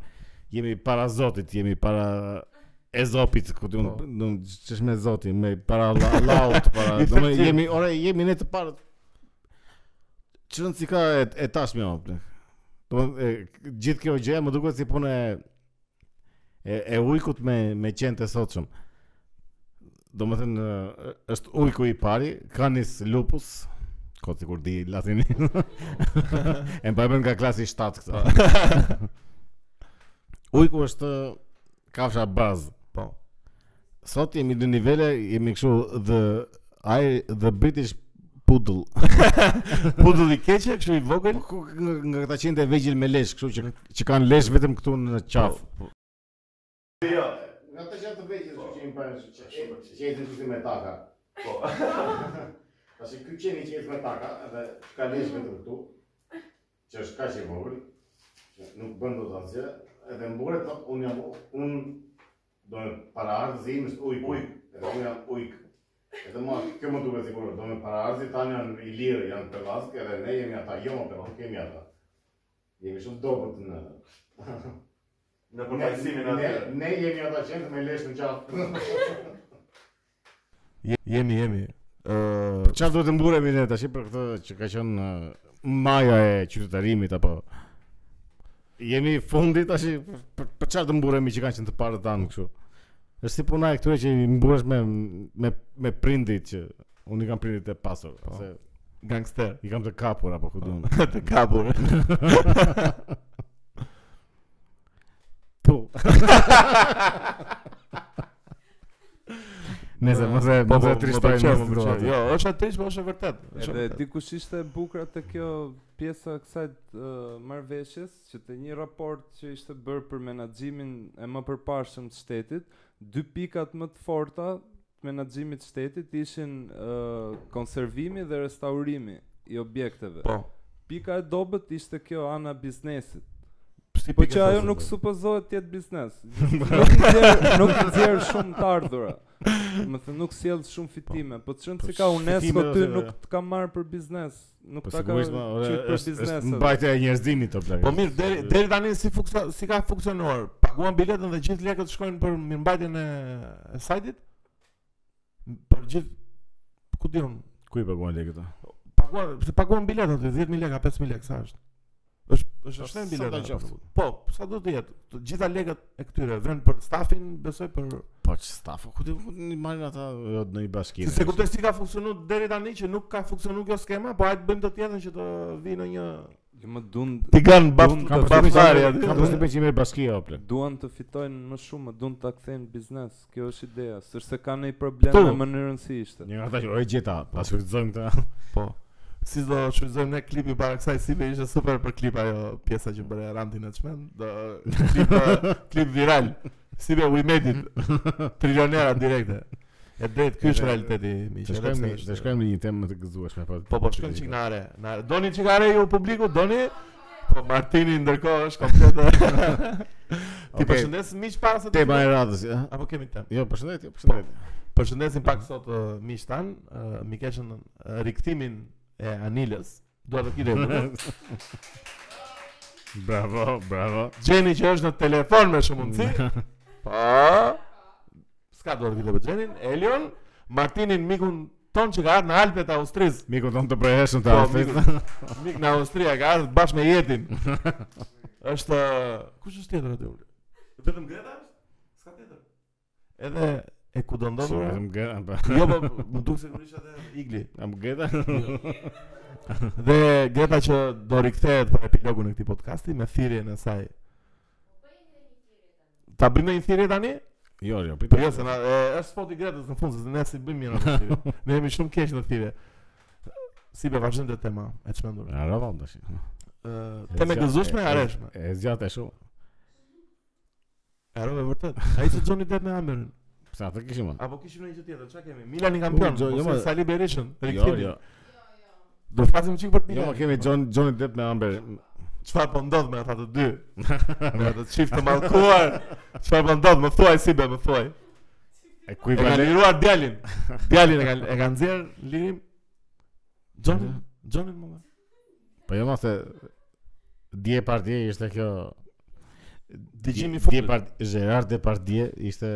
Speaker 1: Jemi para Zotit, jemi para Ezopit, ku do
Speaker 2: Po.
Speaker 1: do ç'është me Zotin, me para Allah- Allahut, para
Speaker 2: I
Speaker 1: do më
Speaker 2: thërqim.
Speaker 1: jemi ore jemi ne të parët. Çrën si ka e, e tashmë apo plak. Do më e, gjithë kjo gjë më duket si punë e e, e ujkut me me qenë të sotshëm. Do më thënë, ë, është ujku i pari, canis lupus, kot sikur di latinin. e më bëjmë nga klasi 7 këta. ujku është kafsha bazë.
Speaker 2: Po.
Speaker 1: Sot jemi në nivele, jemi kështu the ai the British poodle.
Speaker 2: Pudulli keqe, kështu i vogël.
Speaker 1: Po ku nga, nga këta qenë të vegjël me lesh, kështu që që kanë lesh vetëm këtu në qaf. Jo, nga të qenë të vegjël, kështu që i bën që që jetën këtu me taka. Po. Tash ky qeni që jetë me taka, edhe ka lesh vetëm këtu, që është kaq i vogël, që nuk bën dot asgjë, edhe mburet thot unë jam unë do të para ardhzim është ujk. Ujk. Edhe unë jam ujk. Edhe ma, kjo më duket sikur do me para ardhi tani janë i lirë, janë të vaskë edhe ne jemi ata, jo më nuk kemi ata. Jemi shumë dobët në
Speaker 4: Në
Speaker 1: ne,
Speaker 4: përfaqësimin
Speaker 1: ne,
Speaker 4: atyre.
Speaker 1: ne jemi ata qenë me lesh në qafë.
Speaker 2: Je- Jemi, jemi. Ë,
Speaker 1: Po Çfarë duhet të mburemi ne tash për këtë që ka qenë ë, maja e qytetarimit apo jemi fundi tash për për çfarë të mburemi që kanë qenë të parët tanë kështu. Është si puna e këtyre që i mburesh me me me prindit që unë i kam prindit e pasur, ose
Speaker 2: gangster.
Speaker 1: i kam të kapur apo ku duam.
Speaker 2: Të kapur.
Speaker 1: Po. Nëse mos e
Speaker 2: Po,
Speaker 1: mos e trishtojmë në
Speaker 2: pëlqeu, më pëlqeu.
Speaker 1: situatë.
Speaker 2: Jo, është e trisht, po është e vërtet. Është e
Speaker 3: Edhe
Speaker 2: vërtet.
Speaker 3: dikush ishte e bukur te kjo pjesa e kësaj uh, marrëveshjes që te një raport që ishte bërë për menaxhimin e më përparshëm të shtetit, dy pikat më të forta të menaxhimit të shtetit ishin uh, konservimi dhe restaurimi i objekteve.
Speaker 2: Po.
Speaker 3: Pika e dobët ishte kjo ana biznesit.
Speaker 2: Si
Speaker 3: Po
Speaker 2: pike
Speaker 3: që ajo
Speaker 2: thosë,
Speaker 3: nuk
Speaker 2: bro.
Speaker 3: supozohet të jetë biznes. Nuk i nxjerr- nuk i nxjerr shumë të ardhura. Më thënë nuk sjell shumë fitime, po çon
Speaker 1: Po,
Speaker 3: se ka UNESCO
Speaker 1: fitime
Speaker 3: ty
Speaker 1: ose-
Speaker 3: nuk të ka marr për biznes, nuk
Speaker 1: Po
Speaker 3: ta ka
Speaker 1: sigurisht ma, ore,
Speaker 3: qyt për
Speaker 1: është
Speaker 3: biznes.
Speaker 1: është mbajtja e njerëzimit to plagë.
Speaker 2: Po mirë, deri deri tani si funksion si ka funksionuar? Paguan biletën dhe gjithë lekët shkojnë për mirëmbajtjen e, e sajtit? Për gjithë ku diun,
Speaker 1: ku i paguan lekët?
Speaker 2: paguan se paguan biletën aty 10000 lekë, a 5000 lekë sa është? Është Është
Speaker 1: Sa-
Speaker 2: shtem
Speaker 1: sa do
Speaker 2: biletë.
Speaker 1: qoftë.
Speaker 2: Po, sa do të jetë? Të gjitha lekët e këtyre vënë për stafin, besoj për
Speaker 1: Po që stafu, ku ti ku ti marrin ata jo, në një bashkim.
Speaker 2: Se se kuptoj si ka funksionuar deri tani që nuk ka funksionuar kjo skema, po hajtë bëjmë të tjetën që të vi në një
Speaker 3: Jo më duan
Speaker 2: tigan baf
Speaker 1: Kam
Speaker 2: baftari
Speaker 1: përshtypjen
Speaker 2: aty.
Speaker 1: kam përshtypjen që jemi bashki o plan.
Speaker 3: duan të fitojnë më shumë, më duan ta kthejnë në biznes. Kjo është ideja, sërse kanë një problem
Speaker 2: Tu.
Speaker 3: me mënyrën si ishte.
Speaker 1: Një nga ata që oj gjeta, pas u zëm këta.
Speaker 2: Po. Si do shfrytëzojmë ne klipi para kësaj si be ishte super për klip ajo pjesa që bëre Rantin e çmen, do klip klip viral. Si be we made it. Trilionera direkte. E drejt, ky është realiteti miq.
Speaker 1: Të
Speaker 2: edhe
Speaker 1: shkojmë
Speaker 2: pse
Speaker 1: të
Speaker 2: është-
Speaker 1: shkojmë në një temë më të gëzueshme po.
Speaker 2: Po po shkojmë çik në are. në are. Doni çik në are ju publiku, doni Po Martini ndërkohë është komplet. Ti
Speaker 1: Okej.
Speaker 2: përshëndes miq para se të
Speaker 1: Tema e radhës, ëh.
Speaker 2: apo kemi temë.
Speaker 1: Jo, përshëndetje, përshëndetje.
Speaker 2: Përshëndesim pak sot uh, miq tan, uh, mikeshën uh, rikthimin e Anilës. Dua të kire bukur.
Speaker 1: Bravo, bravo.
Speaker 2: Gjeni që është në telefon me shumë mundësi. Po. S'ka dorë vite për Gjenin, Elion, Martinin mikun ton që ka ardhur në Alpet e Austrisë.
Speaker 1: Miku tonë të preheshëm të
Speaker 2: Po,
Speaker 1: afet.
Speaker 2: miku, mik në Austri e ka ardhur bashkë me jetin. është kush është tjetër aty ulë? Vetëm Greta është? S'ka tjetër. Edhe e ku do ndodhur?
Speaker 1: Vetëm gëta. po.
Speaker 2: Jo, po më duk sigurisht atë Igli.
Speaker 1: Am gëta.
Speaker 2: Dhe Greta që do rikthehet për epilogun e këtij podcasti me thirrjen e saj. Ta bëjmë një thirrje tani?
Speaker 1: Jo, jo,
Speaker 2: Po
Speaker 1: pritë.
Speaker 2: jo se na e, është spoti i Gretës në fund, se ne si bëjmë mirë atë thirrje. Ne jemi shumë keq në thirrje. Si be vazhdim te tema e çmendur.
Speaker 1: Aravam tash.
Speaker 2: Ë tema e gëzueshme e areshme.
Speaker 1: E zgjatë shumë.
Speaker 2: Harove vërtet. Ai që Johnny Depp me Amberin.
Speaker 1: Pse atë kishim? a?
Speaker 2: Apo kishim ndonjë gjë tjetër, çka kemi? Milani kampion,
Speaker 1: U, jo, jo,
Speaker 2: ose
Speaker 1: ma-
Speaker 2: Sali Berishën,
Speaker 1: Jo,
Speaker 2: rikthimin.
Speaker 1: jo.
Speaker 2: Do të flasim çik për
Speaker 1: Jo, ma
Speaker 2: Milan.
Speaker 1: kemi John Johnny Depp me Amber.
Speaker 2: Çfarë po ndodh me ata të dy? me ata të çift të mallkuar. Çfarë po ndodh? Më thuaj si be, më thuaj.
Speaker 1: E
Speaker 2: E kanë
Speaker 1: kuivale.
Speaker 2: liruar djalin. Djalin e kanë e kanë nxjerr lirim. Johnny, Johnny më. dhe.
Speaker 1: Po jo, ma se dje par dje ishte kjo
Speaker 2: Dëgjimi
Speaker 1: Dje
Speaker 2: i fundit.
Speaker 1: par Gerard Depardieu ishte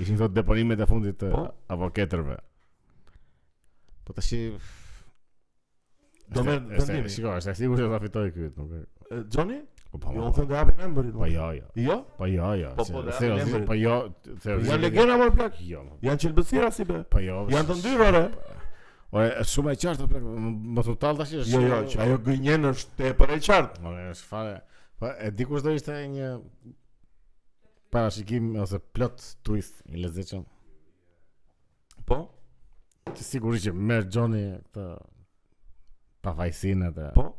Speaker 1: Ishin thot deponimet e fundit të
Speaker 2: Po.
Speaker 1: avokatërve. Po tash i-
Speaker 2: Do merr
Speaker 1: Është- është-
Speaker 2: vendimin.
Speaker 1: Shiko, është e sigurt se ta fitoj ky, nuk e.
Speaker 2: E, Johnny,
Speaker 1: Po po.
Speaker 2: ju
Speaker 1: mo,
Speaker 2: u thënë të hapin emrin.
Speaker 1: Po jo, jo.
Speaker 2: Jo?
Speaker 1: Po jo, jo.
Speaker 2: Po,
Speaker 1: se-
Speaker 2: po, dhe
Speaker 1: se-
Speaker 2: janë
Speaker 1: se-
Speaker 2: emrit.
Speaker 1: Po jo, se-
Speaker 2: Janë
Speaker 1: se-
Speaker 2: legenda më plak.
Speaker 1: Jo. mo,
Speaker 2: Janë çelbësira si be.
Speaker 1: Po jo.
Speaker 2: Janë të ndyrë ore.
Speaker 1: Ore, është shumë e qartë plak, më- më total tash është.
Speaker 2: Jo, jo, që ajo gënjen është tepër e qartë.
Speaker 1: Ore, është fare. Po e di kush do ishte një parashikim ose plot twist i lezetshëm.
Speaker 2: Po,
Speaker 1: Që sigurisht që merr Johnny këtë pavajsinë atë.
Speaker 2: po,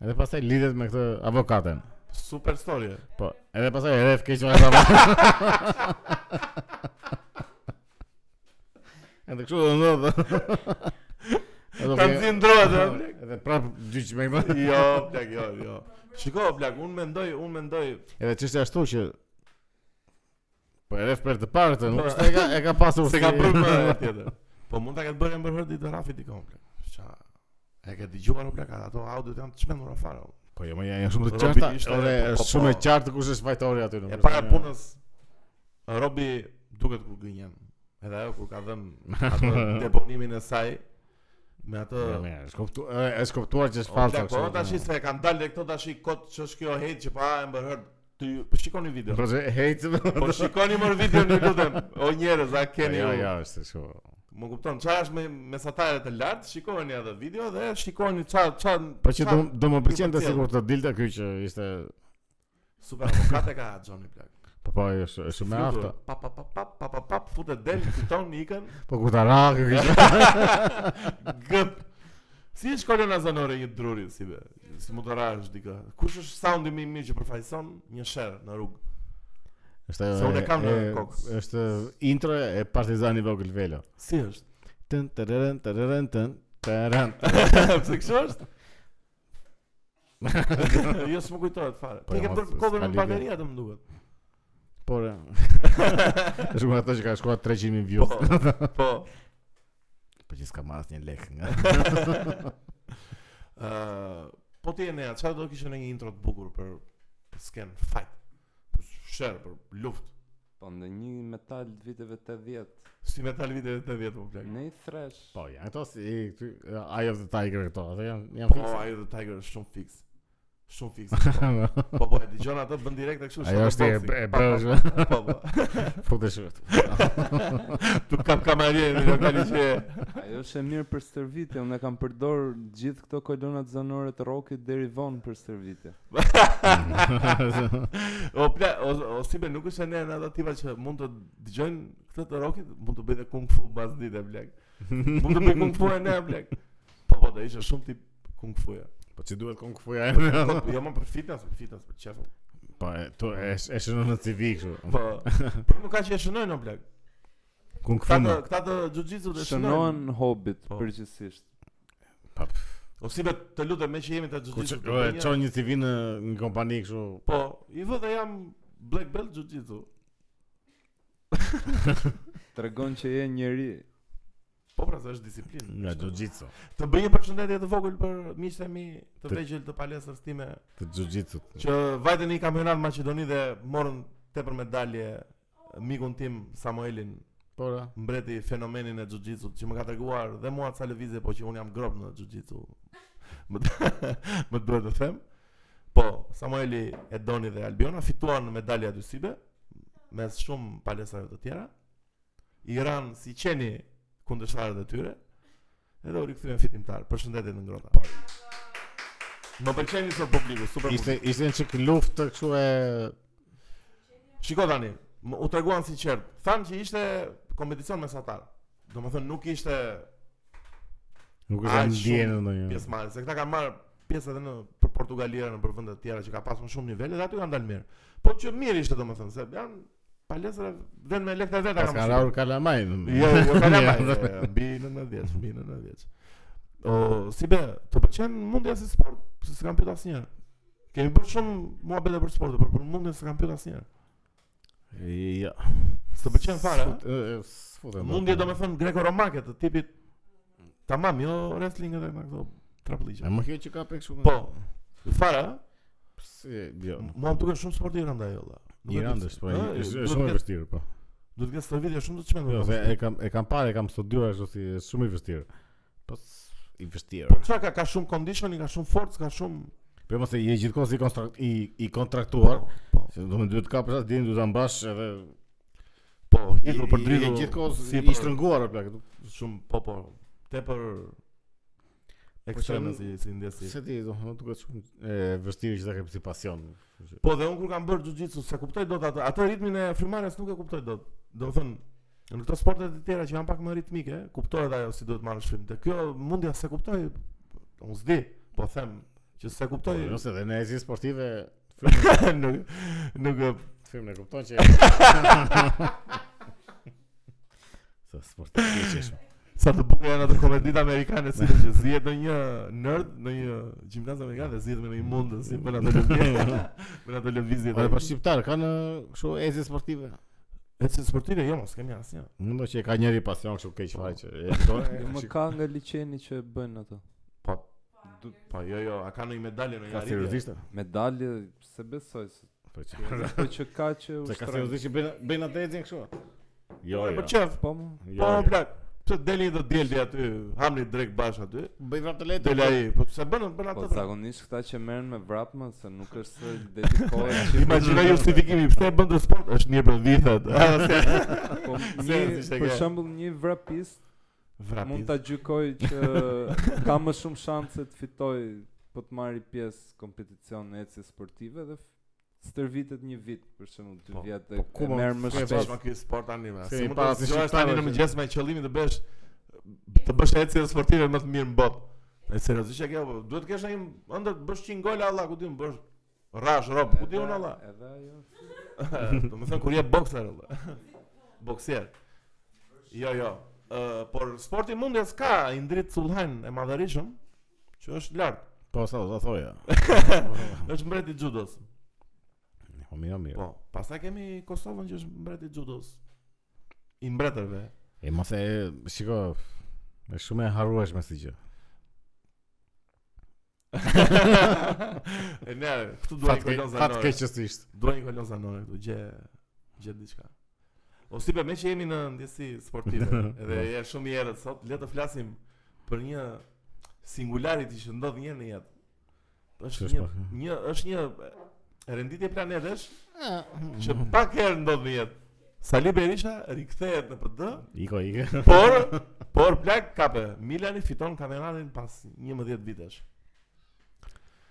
Speaker 1: Edhe pastaj lidhet me këtë avokaten.
Speaker 2: super story.
Speaker 1: Po, edhe pastaj e rreth keq vajza. Edhe kështu do ndodhë. Edhe
Speaker 2: Kam
Speaker 1: ke-
Speaker 2: zi ndrohet. e, blek.
Speaker 1: Edhe prap gjyq me këtë.
Speaker 2: Jo, plak, jo, jo. Shiko, plak, unë mendoj, unë mendoj.
Speaker 1: Edhe çështja ashtu që po e rreth për të parë të, nuk është e ka e ka pasur
Speaker 2: Se ka
Speaker 1: si-
Speaker 2: bërë më e tjetër. Po mund ta ketë bërë më herë ditë Rafit i kom, plak. Qa, e ke dëgjuar o plak, ato audiot janë të çmendur afare. o.
Speaker 1: Po jo, më janë janë shumë të
Speaker 2: Robi
Speaker 1: qarta.
Speaker 2: ishte-
Speaker 1: Edhe
Speaker 2: po, po,
Speaker 1: është shumë e
Speaker 2: po.
Speaker 1: qartë kush është fajtori aty. nuk
Speaker 2: E
Speaker 1: është-
Speaker 2: para punës Robi duket kur gënjen. Edhe ajo kur ka dhënë atë deponimin e saj me atë
Speaker 1: Jo, mirë, Është kuptuar, është kuptuar që është
Speaker 2: O,
Speaker 1: falso.
Speaker 2: plak, Po tash se kanë dalë dhe këto tash kot ç'është kjo hate që pa e mbërhër. Ty po shikoni video.
Speaker 1: Po se hejtë.
Speaker 2: Po shikoni më videon ju lutem. O njerëz, a keni Po,
Speaker 1: Jo,
Speaker 2: ju?
Speaker 1: jo, është kështu.
Speaker 2: Më kupton, çfarë është me mesatare të lartë, shikoni atë video dhe shikoni çfarë çfarë
Speaker 1: Po që do,
Speaker 2: çfarë
Speaker 1: do më pëlqente
Speaker 2: përcjell.
Speaker 1: sikur të dilte ky që ishte
Speaker 2: super avokate ka Johnny Plak.
Speaker 1: po po është është shumë e aftë.
Speaker 2: Flutur, Pa pa pa pa pa pa pa futet del, fiton ikën.
Speaker 1: Po ku ta ra ky kishte.
Speaker 2: Gëp. Si e shkollën azanore një druri si be, si mund të rash dikë. Kush është soundi më i mirë që përfaqëson një sherr në rrugë?
Speaker 1: Është
Speaker 2: Se unë e kam në
Speaker 1: e-
Speaker 2: kokë.
Speaker 1: Është intro e Partizani Vogël Velo.
Speaker 2: Si është?
Speaker 1: Tën tërën tërën tën tërën.
Speaker 2: Pse kështu është? jo s'më kujtohet fare.
Speaker 1: Po,
Speaker 2: Po,
Speaker 1: jo,
Speaker 2: ke
Speaker 1: mos-
Speaker 2: bërë cover
Speaker 1: s'ka
Speaker 2: në
Speaker 1: lidhje.
Speaker 2: bateri atë më duket.
Speaker 1: Por e, është nga ato që ka shkuar 300.000 views.
Speaker 2: Po. po.
Speaker 1: Po që s'ka marrë asnjë lek nga.
Speaker 2: Ë, po ti e nea, çfarë do kishe në një intro të bukur për për sken fight, për sherr, për luftë.
Speaker 3: Po Po ndë një metal të viteve 80
Speaker 2: Si me tal viteve 80 po plak.
Speaker 3: Ne i thresh
Speaker 1: Po, janë ato si i, këty, Eye of the Tiger këto, ato janë janë
Speaker 2: Po
Speaker 1: fikse.
Speaker 2: ajo the Tiger është shumë fiks. Shumë fiks. Po po e dëgjon atë bën direkt e kështu.
Speaker 1: Ajo është
Speaker 2: shumë
Speaker 1: e-
Speaker 2: boxing.
Speaker 1: e bërshme,
Speaker 2: Po, po, Po po.
Speaker 1: futesh vetë.
Speaker 2: Tu kam kamarien në lokali që
Speaker 3: Ajo është e mirë për stërvitje Unë e kam përdor gjithë këto kolonat zanore të rockit deri vonë për stërvitje
Speaker 2: o pla o, o si be, nuk është e ne në ato tipa që mund të dëgjojnë këtë të rokit, mund të bëjë dhe kung fu mbas ditë blek. Mund të bëjë kung fu e ne blek. Po po, do ishte shumë tip kung fu. ja.
Speaker 1: Po që duhet kung fuja e
Speaker 2: Po, jo më për fitness, për fitness, për çfarë?
Speaker 1: Po, e- tu e sh- e shënon në CV kështu.
Speaker 2: Po, po më ka që e shënojnë o blek.
Speaker 1: Kung fu.
Speaker 2: Këta të,
Speaker 1: më.
Speaker 2: këta të jiu-jitsu të shënojnë.
Speaker 3: Shënohen hobit
Speaker 2: Po.
Speaker 3: përgjithsisht
Speaker 1: Po, pff,
Speaker 2: O si be, të lutem me që jemi të
Speaker 1: Ku që
Speaker 2: jiu-jitsu.
Speaker 1: e
Speaker 2: të bënja,
Speaker 1: çon një CV në një kompani kështu.
Speaker 2: Po, i vë dhe jam black belt jiu-jitsu.
Speaker 3: Tregon që je njeri
Speaker 2: Po pra, se është disiplinë.
Speaker 1: Nga jiu-jitsu.
Speaker 2: Të bëj një përshëndetje të vogël për miqtë e mi të
Speaker 1: Të-
Speaker 2: vegjël të palestrës time
Speaker 1: Të jiu-jitsu.
Speaker 2: që vajtën një kampionat Maqedoni dhe morën tepër medalje mikun tim Samuelin
Speaker 1: Po, ra.
Speaker 2: mbreti fenomenin e jiu-jitsu që më ka treguar dhe mua ca lëvizje po që un jam grob në jiu-jitsu. Më d- më duhet të them. Po, Samueli Edoni dhe Albiona fituan medalje dysibe mes shumë palestrave të tjera. I ranë si qeni kundërshtarët e tyre. Edhe u rikthyen fitimtar. Përshëndetje në ngrota.
Speaker 1: Po.
Speaker 2: Më pëlqen sot publiku, super.
Speaker 1: Ishte
Speaker 2: Ishte...
Speaker 1: ishte një çik luftë kështu e
Speaker 2: Shiko tani, më, u treguan sinqert. Thanë që ishte kompeticion mesatar. Domethënë nuk ishte
Speaker 1: nuk
Speaker 2: Aq
Speaker 1: është
Speaker 2: shumë
Speaker 1: ndjenë ndonjë.
Speaker 2: pjesëmarrje, se këta kanë marrë pjesë edhe në për Portugalia në për vende të tjera që ka pasur shumë nivele dhe aty kanë dalë mirë. Po që mirë ishte domethënë se janë palestra vend me lekë të veta
Speaker 1: Pas ka raur kalamaj.
Speaker 2: Jo, jo, ka lajmë. Mbi 90, mbi 90. O, si be, të pëlqen mundja si sport, se s'kam pyet asnjëherë. Kemi bërë shumë muhabete për sportin, por për mundjen s'kam pyet asnjëherë.
Speaker 1: Jo.
Speaker 2: S'të pëlqen fare.
Speaker 1: Sfut-
Speaker 2: a?
Speaker 1: e, po, e, Sfutem.
Speaker 2: Mundje domethënë greko-romake të tipit tamam, jo wrestling edhe nga këto
Speaker 1: E
Speaker 2: traplliqe.
Speaker 1: më kjo që ka pe kështu.
Speaker 2: Po. Fare. a?
Speaker 1: Si, jo.
Speaker 2: Mua më duken shumë sport i rënda ajo valla. Nuk e
Speaker 1: Një
Speaker 2: di
Speaker 1: randë
Speaker 2: pse.
Speaker 1: është po,
Speaker 2: Ë,
Speaker 1: është është
Speaker 2: duhet
Speaker 1: shumë e
Speaker 2: të ketë-
Speaker 1: vështirë po.
Speaker 2: Duhet të ketë stërvitje shumë të çmendur.
Speaker 1: Jo,
Speaker 2: domethënë.
Speaker 1: se e kam e kam parë, e kam studiuar kështu si është shumë i vështirë. Po s- i
Speaker 2: Po
Speaker 1: vështirë.
Speaker 2: çka ka, ka shumë conditioning, ka shumë forcë, ka shumë
Speaker 1: Po mos e je gjithkohë si kontrakt i i kontraktuar,
Speaker 2: Po.
Speaker 1: se do të duhet ka për sa dinë duhet ta mbash edhe
Speaker 2: Po,
Speaker 1: hidhur për dritur. Gjithkohë si po i
Speaker 2: për-
Speaker 1: shtrënguar apo plak.
Speaker 2: shumë po po tepër ekstreme si si ndjesi.
Speaker 1: Po Se ti do të duket shumë e vështirë që ta ke si pasion.
Speaker 2: Po dhe unë kur kam bërë jiu-jitsu, se kuptoj dot atë atë ritmin e frymarrjes nuk e kuptoj dot. Do të thënë në këto sporte të tjera që janë pak më ritmike, kuptohet ajo si duhet marrësh frym. Te kjo mundja se kuptoj, unë s'di, po them që se
Speaker 1: Po,
Speaker 2: kuptoj.
Speaker 1: nëse dhe në ezi sportive
Speaker 2: nuk nuk e-
Speaker 1: film e kupton që Sa sportiv që është.
Speaker 2: sa të bukur janë ato komeditë amerikane si që zihet në një nerd, në një gjimnaz amerikan dhe zihet me një mundë si me ato lëvizje. me ato lëvizje.
Speaker 1: Po po shqiptar kanë kështu ezi sportive.
Speaker 2: Ecë sportive jo, mos kemi asnjë.
Speaker 1: Mendo që e ka njëri pasion kështu keq fare që e kupton.
Speaker 3: Jo më ka nga liçeni që e bëjnë ato
Speaker 2: Po. Du, po jo jo, a ka ndonjë medalje në një
Speaker 1: Ka seriozisht?
Speaker 3: Medalje se besoj se
Speaker 1: Po që.
Speaker 3: Po që ka që
Speaker 1: Se ka
Speaker 3: ushtron
Speaker 1: seriozisht që bëjnë bëjnë atë ecin kështu. Jo,
Speaker 2: Po
Speaker 1: jo.
Speaker 2: për çef.
Speaker 3: Po më
Speaker 2: Po plak. Pse deli do djeli aty, hamni drek bash aty.
Speaker 1: Bëj vrap të lehtë.
Speaker 2: Deli ai, po pse bën bën
Speaker 3: Po
Speaker 2: atë. pra?
Speaker 3: zakonisht këta që merren me vrapma se nuk është se dedikohen që
Speaker 2: Imagjinoj justifikimi pse e bën të sport, është mirë për vithat.
Speaker 3: po një
Speaker 2: Se, si se
Speaker 3: për
Speaker 2: ke.
Speaker 3: shembull një vrapist
Speaker 2: Vrapi.
Speaker 3: mund ta gjykoj që ka më shumë shanse të fitoj po të marri pjesë kompeticion në ecje sportive dhe f- stërvitet një vit për shembull dy
Speaker 2: Po,
Speaker 3: vjet e,
Speaker 1: po ku
Speaker 3: e
Speaker 1: mo-
Speaker 3: merr më
Speaker 1: ku e
Speaker 2: Tash
Speaker 3: shpesh.
Speaker 2: ma ky sport tani më.
Speaker 1: Se
Speaker 2: Si
Speaker 1: i
Speaker 2: mund
Speaker 1: para
Speaker 2: ta
Speaker 1: si
Speaker 2: zgjohesh tani
Speaker 1: shqiptarëve
Speaker 2: në
Speaker 1: që-
Speaker 2: mëngjes me qëllimin të bësh të bësh ecje sportive më të mirë në botë. E seriozisht e kjo, po, duhet të kesh një ëndër të bësh 100 gola Allah, ku ti më bësh rash rob, ku ti Po unë Allah.
Speaker 3: Edhe ajo.
Speaker 2: Do më thënë kur je bokser valla. Boksier. Jo, jo. Ë, por sporti mundjes ka i ndrit Sullhan e madhërisëm, që është lart.
Speaker 1: Po sa do thoja.
Speaker 2: Është mbreti i judos.
Speaker 1: Po mirë, mirë.
Speaker 2: Po, pastaj kemi Kosovën që është mbreti i judos. I mbretërve.
Speaker 1: E mos e shiko është shumë e harrueshme si gjë.
Speaker 2: e ne, këtu
Speaker 1: Fat
Speaker 2: duhet një
Speaker 1: keq,
Speaker 2: kolon
Speaker 1: fat
Speaker 2: zanore.
Speaker 1: keq që ishte.
Speaker 2: Duhet një kolon zanore këtu, gje gje diçka. O si me që jemi në ndjesi sportive Edhe
Speaker 1: Po.
Speaker 2: e shumë i erët sot Le të flasim për një singularit që ndodh një herë në jetë është
Speaker 1: Qështë
Speaker 2: një,
Speaker 1: pak, ja.
Speaker 2: një, është një renditje planetesh Që pak herë ndodh në jetë Sali Berisha rikthehet në PD,
Speaker 1: Iko, iko.
Speaker 2: por por plak kape. Milani fiton kampionatin pas 11 vitesh.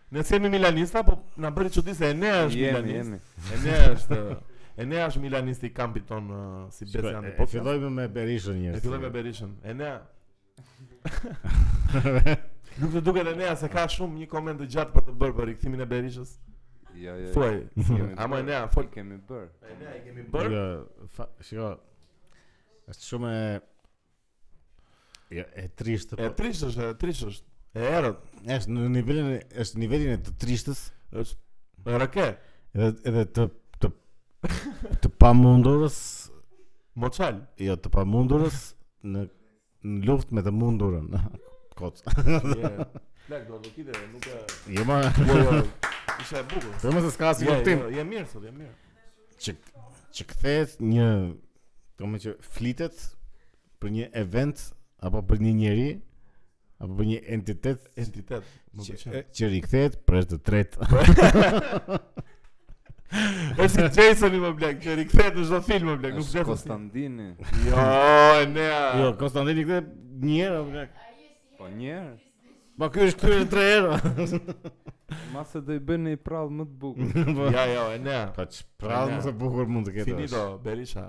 Speaker 2: Ne jemi milanista, po na bëri çudi se e ne është
Speaker 3: Jemi,
Speaker 2: milanist.
Speaker 3: jemi.
Speaker 2: E ne është E ne është milanisti i kampit ton uh, si
Speaker 1: Shiko,
Speaker 2: Besi Andi
Speaker 1: e- e
Speaker 2: Po
Speaker 1: Fillojmë me Berishën njerëz.
Speaker 2: E filloj me Berishën E ne Nuk të duket e nea se ka shumë një koment të gjatë për të bërë për rikthimin e Berishës
Speaker 3: Jo, jo.
Speaker 2: Thuaj
Speaker 3: kemi
Speaker 2: Ama e
Speaker 3: bërë,
Speaker 2: nea, fol
Speaker 3: i kemi bër.
Speaker 2: E nea i kemi bërë
Speaker 1: Shiko, fa, shiko. Është shumë e jo, e trishtë.
Speaker 2: E
Speaker 1: po-
Speaker 2: trisht është, e trisht është E erët
Speaker 1: Është në nivelin e- është nivelin e të trishtës
Speaker 2: është Rëke
Speaker 1: edhe edhe të të të pamundurës,
Speaker 2: Moçal
Speaker 1: jo të pamundurës në në luftë me të mundurën. Koc.
Speaker 2: Je. Plak do të kite Nuk e
Speaker 1: Jo më,
Speaker 2: Jo, jo Isha e bukur
Speaker 1: po më se s'ka asnjë
Speaker 2: Je,
Speaker 1: luftim.
Speaker 2: je, Je mirë sot, je mirë
Speaker 1: që që kthehet një domë që flitet për një event apo për një njeri apo për një entitet
Speaker 2: Entitet Më
Speaker 1: që,
Speaker 2: pëlqen.
Speaker 1: që rikthehet për është të tretë.
Speaker 2: Është si Jasoni më blek Që rikthehet në çdo film më blek Nuk
Speaker 3: Është
Speaker 2: gjetë
Speaker 3: Konstantini.
Speaker 2: Jo, e nea
Speaker 1: jo, Konstantin rikthehet një herë apo kak.
Speaker 3: Po njerë,
Speaker 1: Po ky është kryer tre herë.
Speaker 3: ma se do i bëjnë një prallë më të bukur.
Speaker 1: Po
Speaker 2: Ja, jo, e nea
Speaker 1: po çprallë më të bukur mund të ketë.
Speaker 2: Finito
Speaker 1: është.
Speaker 2: Berisha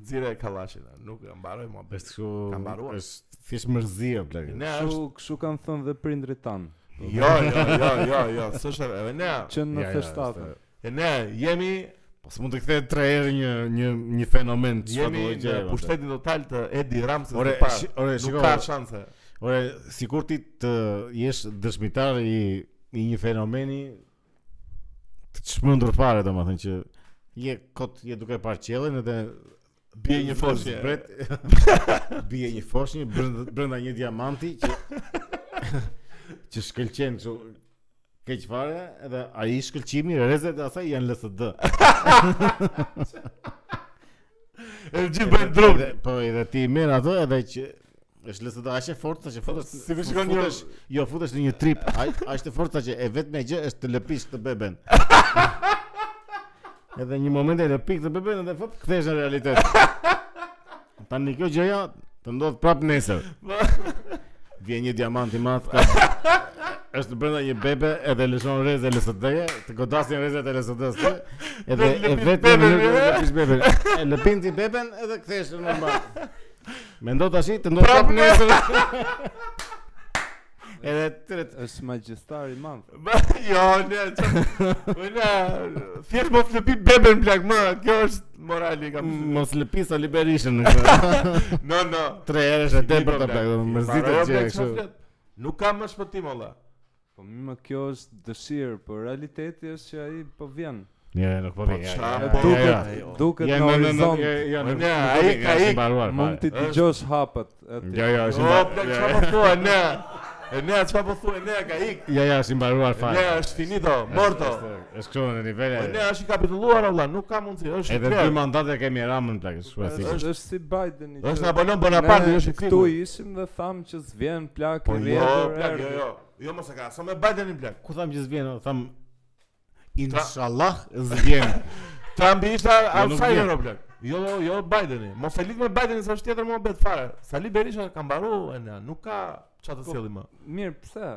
Speaker 2: Nxire e kallashin, a, nuk e mbaroj mua.
Speaker 1: Është kështu
Speaker 2: Ka mbaruar.
Speaker 1: është thjesht mërzi apo blek.
Speaker 2: Ne
Speaker 3: Kështu,
Speaker 2: është
Speaker 3: kështu kanë thënë dhe prindrit tanë.
Speaker 2: Jo, jo, jo, jo, jo, s'është e ne.
Speaker 3: Që në
Speaker 1: Ja, ja,
Speaker 3: 97.
Speaker 1: është-
Speaker 2: E ne jemi
Speaker 1: Po s'mund të kthehet tre herë një një një fenomen çfarë
Speaker 2: jemi
Speaker 1: do
Speaker 2: në
Speaker 1: gjë. apo.
Speaker 2: pushtetin total të Edi Ramses
Speaker 1: Ore,
Speaker 2: të parë.
Speaker 1: shi- ore, shiko.
Speaker 2: Nuk ka shanse.
Speaker 1: Ore, sikur ti të jesh dëshmitar i, i një fenomeni të çmendur fare domethënë që je kot je duke parë qiellin edhe
Speaker 2: Bie një foshnjë.
Speaker 1: Zbret, bie një foshnjë brenda brenda një diamanti që që shkëlqen kështu keq fare edhe ai shkëlqimi rrezet e asaj janë LSD.
Speaker 2: E gjithë bëjnë drug.
Speaker 1: Edhe- Po edhe ti i merr ato edhe që është LSD aq e fortë sa që futesh
Speaker 2: Si kur shikon një-
Speaker 1: futesh- jo futesh në një trip ai aq të fortë sa që e vetmja gjë është të lëpish të beben. edhe një moment e lëpik të beben edhe fop kthehesh në realitet. Tani kjo gjëja të ndodh prap nesër. Vjen një diamant i madh ka është brenda një bebe edhe lëshon rrezë LSD-je, të godasin rrezet e LSD-s. -të, Edhe
Speaker 2: Dhe
Speaker 1: e
Speaker 2: lëpin
Speaker 1: vetëm
Speaker 2: beben,
Speaker 1: në
Speaker 2: e?
Speaker 1: lëpish beben. E lëpin ti beben edhe kthehesh në normal. Mendo tash të ndodh
Speaker 2: Prap
Speaker 1: prap nesër. Edhe tret
Speaker 3: është magjistar i madh.
Speaker 2: jo, ne. Po ne thjesht mos të pi beben plak më. Kjo është morali kam.
Speaker 1: mos lëpis Ali Berishën në këtë.
Speaker 2: No, no.
Speaker 1: Tre herë është e tepërt apo do
Speaker 2: I
Speaker 1: mërzitet
Speaker 2: mbaroj,
Speaker 1: gjë
Speaker 2: plak,
Speaker 1: kështu.
Speaker 2: çfarë flet? Nuk kam më shpëtim olla.
Speaker 3: Po mi më kjo është dëshirë, po realiteti është që ai po vjen.
Speaker 1: Ja, nuk po vjen. ja,
Speaker 2: çfarë
Speaker 1: ja,
Speaker 2: po-
Speaker 1: ja, ja.
Speaker 2: ja, jo.
Speaker 3: Duket, duket
Speaker 1: Ja,
Speaker 3: në
Speaker 1: no, no, no,
Speaker 3: horizont.
Speaker 1: ja, ja, nuk-
Speaker 2: Ne,
Speaker 1: nuk po
Speaker 2: ai-
Speaker 1: vjen, ja,
Speaker 2: ai-
Speaker 1: është i mbaruar,
Speaker 3: Mund
Speaker 1: fare.
Speaker 3: t'i dëgjosh hapët. aty.
Speaker 1: Ja, ja, është i
Speaker 2: O,
Speaker 1: mbaruar.
Speaker 2: Jo, plak,
Speaker 1: ja, ja.
Speaker 2: çfarë po thua, ne? E ne, çfarë po thua, ne, ka ik.
Speaker 1: Ja, ja, është i mbaruar fare.
Speaker 2: Ne, është finito, morto.
Speaker 1: Është- Është kështu në nivele.
Speaker 2: E Po ne, është i kapitulluar, olla, nuk ka mundësi, është i
Speaker 1: Edhe dy
Speaker 2: kler.
Speaker 1: mandate kemi Ramën plak, është shumë e sigurt.
Speaker 3: Është është si Bideni.
Speaker 2: Është
Speaker 3: që
Speaker 2: Napoleon Bonaparte,
Speaker 3: ne
Speaker 2: është i
Speaker 3: Këtu
Speaker 2: flitur.
Speaker 3: ishim dhe thamë që s'vjen plak
Speaker 2: jo, Po
Speaker 3: i
Speaker 2: jo,
Speaker 3: rrjedhur,
Speaker 2: plak, jo,
Speaker 3: erdhi.
Speaker 2: jo. Jo, mos e ka, sa me Bidenin, plak.
Speaker 1: Ku tham që s'vjen, o, tham inshallah s'vjen.
Speaker 2: Trumpi ishte
Speaker 1: vjen.
Speaker 2: outsider, o, plak. Jo, jo, Bideni. Mos e lidh me Bidenin, s'është tjetër muhabet fare. Sali Berisha ka mbaru, e ne, nuk ka çfarë të sjellim më.
Speaker 3: Mirë, pse?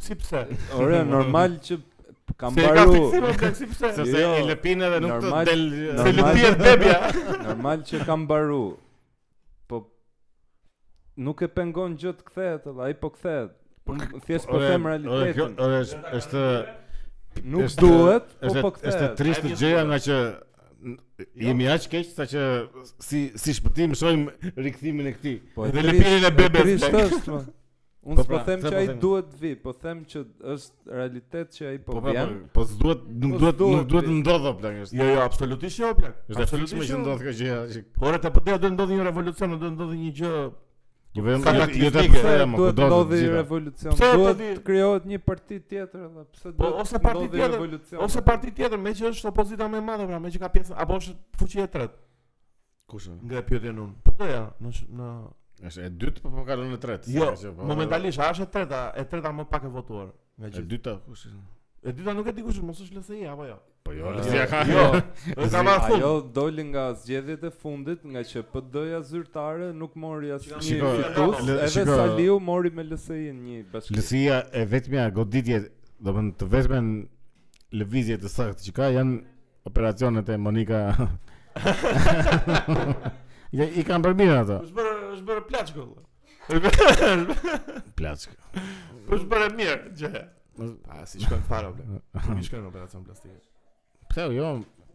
Speaker 2: Si pse?
Speaker 3: Ore, normal që kam
Speaker 2: Se e ka
Speaker 3: mbaru.
Speaker 2: fiksim, o, plak, si pse?
Speaker 1: Sepse
Speaker 3: Jo,
Speaker 1: i lëpin edhe nuk të
Speaker 3: normal-
Speaker 1: del
Speaker 2: Se
Speaker 1: se
Speaker 3: normal-
Speaker 2: lëpijet bebja.
Speaker 3: Normal që kam mbaru. Po nuk e pengon gjë të kthehet, edhe ai po kthehet. Unë Thjesht po them realitetin.
Speaker 1: Është është
Speaker 3: Nuk
Speaker 1: është-
Speaker 3: duhet, po
Speaker 1: është
Speaker 3: po
Speaker 1: është
Speaker 3: kthehet.
Speaker 1: trishtë
Speaker 2: Ai
Speaker 1: gjëja
Speaker 2: vjen
Speaker 1: nga që n- jemi aq keq sa që si si shpëtim shohim rikthimin e këtij.
Speaker 3: Po e
Speaker 2: Dhe
Speaker 3: trisht-
Speaker 2: lëpirjen e bebes,
Speaker 3: Trisht
Speaker 2: plak.
Speaker 3: është, më.
Speaker 1: Po
Speaker 3: Unë s'po
Speaker 1: pra,
Speaker 3: them
Speaker 1: pse
Speaker 3: që
Speaker 1: po
Speaker 3: ai
Speaker 1: themi?
Speaker 3: duhet vi, po them që është realitet që ai po
Speaker 1: Po
Speaker 2: pra,
Speaker 1: po,
Speaker 3: vjen.
Speaker 1: po s'duhet nuk
Speaker 3: Po
Speaker 1: duhet nuk
Speaker 3: s'duhet,
Speaker 1: duhet të
Speaker 3: pi.
Speaker 1: ndodhë o, plak është.
Speaker 2: Jo, jo, absolutisht jo, plak.
Speaker 1: Është e frikshme që
Speaker 2: jo.
Speaker 1: ndodh kjo gjë. që-
Speaker 2: Ora të PD do të ndodhi një revolucion, do të ndodhi një gjë.
Speaker 1: Jo vetëm
Speaker 2: Kataklizmike.
Speaker 1: jo të
Speaker 2: Pse
Speaker 1: pse më
Speaker 3: duhet
Speaker 2: po,
Speaker 1: do të
Speaker 3: ndodhi
Speaker 1: gjitha.
Speaker 3: revolucion.
Speaker 2: Pse
Speaker 3: Duhet
Speaker 2: të di-
Speaker 3: të krijohet një parti tjetër edhe pse
Speaker 2: Po
Speaker 3: duhet
Speaker 2: ose parti
Speaker 3: ndodhi
Speaker 2: tjetër,
Speaker 3: revolucion.
Speaker 2: ose parti tjetër, me që është opozita më e madhe pra, me që ka pjesën apo është fuqia e tretë.
Speaker 1: Kush? e?
Speaker 2: Nga e pyetjen unë. Po doja në sh- në
Speaker 1: Është e dytë po po kalon në tretë.
Speaker 2: jo,
Speaker 1: Sa, që, po,
Speaker 2: momentalisht a është e treta, e treta më pak e votuar nga
Speaker 1: E
Speaker 2: gjithë.
Speaker 1: dyta kush? e?
Speaker 2: E dyta nuk e di kush është, mos është LSI apo jo.
Speaker 1: Po jo,
Speaker 3: Jo,
Speaker 1: Lësia ka.
Speaker 2: Jo, është ama fund.
Speaker 3: Ajo doli nga zgjedhjet e fundit, nga që PD-ja zyrtare nuk mori asnjë
Speaker 1: Shiko,
Speaker 3: fitus,
Speaker 1: le-
Speaker 3: edhe
Speaker 1: shiko.
Speaker 3: Saliu mori me LSI-n një bashkë.
Speaker 1: Lësia e vetmja goditje, domethënë të vetmen lëvizje të saktë që ka janë operacionet e Monika. ja, i kanë bërë mirë ato.
Speaker 2: Është bërë është bërë plaç goll. Është
Speaker 1: Plaçk.
Speaker 2: bërë mirë gjë.
Speaker 1: Mos-
Speaker 2: Pa, si shkojnë fare bla. Nuk i shkojnë në operacion plastike.
Speaker 1: Pse jo,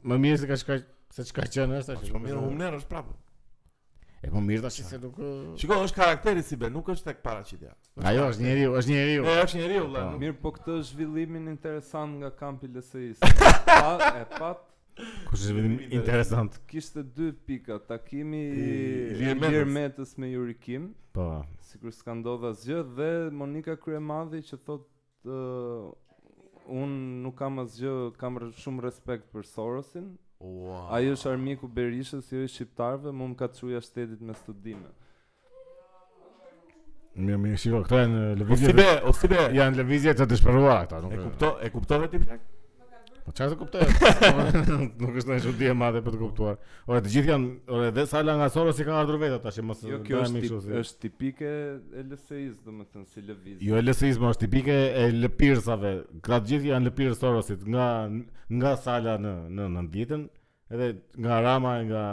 Speaker 1: më mirë se ka shka se çka qenë është tash.
Speaker 2: Po mirë, humner është prapë.
Speaker 1: E po mirë tash se nuk ë,
Speaker 2: Shiko, është karakteri si be, nuk është tek paraqitja.
Speaker 1: Ajo është njeriu, është njeriu.
Speaker 2: E është njeriu vëlla.
Speaker 1: Po.
Speaker 2: nuk-
Speaker 3: Mirë, po këtë zhvillimin interesant nga kampi LSI-s. Pa, e pat
Speaker 1: Kush është vetëm interesant.
Speaker 3: kishte dy pika, takimi
Speaker 2: I-
Speaker 3: i
Speaker 2: Ilir Metës.
Speaker 3: Ilir Metës me Jurikim,
Speaker 1: Po.
Speaker 3: sikur s'ka ndodhur asgjë dhe Monika Kryemadhi që thot uh, un nuk kam asgjë, kam r- shumë respekt për Sorosin.
Speaker 2: Ua.
Speaker 3: Ai është armiku Berishës, jo i shqiptarëve, mua më ka çuja shtetit me studime.
Speaker 1: Mirë, mirë, shiko, këto janë
Speaker 3: Po
Speaker 2: O si
Speaker 1: lëvizje.
Speaker 2: be, o si be.
Speaker 1: janë lëvizje të dëshpëruara këta, nuk
Speaker 2: E kupto, e kuptove ti plak?
Speaker 1: Po çfarë të kuptoj? nuk është ndonjë çudi e madhe për të kuptuar. Ora të gjithë janë, ora edhe Sala nga Soro si kanë ardhur vetë tash, mos
Speaker 3: Jo, kjo
Speaker 1: bëhemi
Speaker 3: është
Speaker 1: kështu
Speaker 3: tip,
Speaker 1: si-
Speaker 3: është tipike e LSI-s, domethënë si lëvizje.
Speaker 1: Jo e lësizma është tipike e lëpirsave. Këta të gjithë janë lëpirë Sorosit nga nga Sala në në 90-ën, edhe nga Rama, nga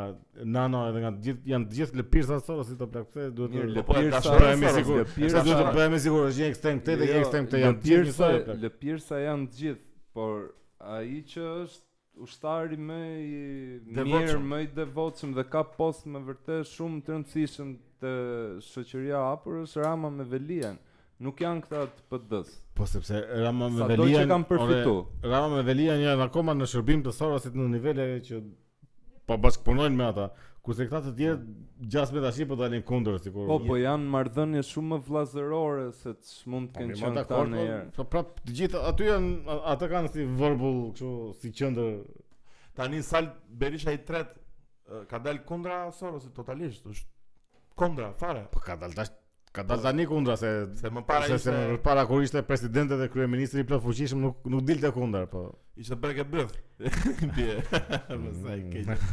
Speaker 1: Nano, edhe nga të gjithë janë të gjithë lëpirsa e Sorosit ato plak. Pse duhet
Speaker 3: Mirë,
Speaker 1: të
Speaker 2: po, e
Speaker 3: lëpirsa,
Speaker 2: tash
Speaker 1: bëhemi
Speaker 2: Soros,
Speaker 1: sigurt?
Speaker 3: lëpirsa-
Speaker 1: Pse duhet të bëhemi sigurt është një ekstrem këtë dhe një
Speaker 3: Jo,
Speaker 1: ekstrem këtë janë të gjithë
Speaker 3: lëpirsa-
Speaker 1: njësoj plak.
Speaker 3: Lëpirsa janë të gjithë, por ai që është ushtari më i mirë,
Speaker 2: Devotshëm.
Speaker 3: më i devotshëm dhe ka post më vërtet shumë të rëndësishëm të shoqëria e hapur është Rama me Velien. Nuk janë këta të PD-s.
Speaker 1: Po sepse Rama me
Speaker 3: Sa do që
Speaker 1: Velian
Speaker 3: kanë përfitu.
Speaker 1: ore, Rama me Velian janë akoma në shërbim të Sorosit në nivele që po bashkëpunojnë me ata. Kurse këta të tjerë gjasme tashi po dalin kundër sikur.
Speaker 3: Po, po janë marrëdhënie shumë më vëllazërore se ç'mund të kenë
Speaker 1: Mirë, ma
Speaker 3: qenë këta
Speaker 1: dakord,
Speaker 3: në
Speaker 1: po,
Speaker 3: herë.
Speaker 1: Po prap të gjithë aty janë a- ata kanë si verbal kështu si qendër.
Speaker 2: Tani Sal Berisha i tret ë, ka dal kundra Sorosit totalisht, është kundra fare.
Speaker 1: Po ka dal tash ka dal tani kundra se
Speaker 2: Se më para
Speaker 1: se, se
Speaker 2: ishte
Speaker 1: më para kur ishte presidenti dhe kryeministri i plot fuqishëm nuk nuk dilte kundër, po.
Speaker 2: ishte brek e bëth. Bie. Më sa
Speaker 1: Mm.
Speaker 2: i keq.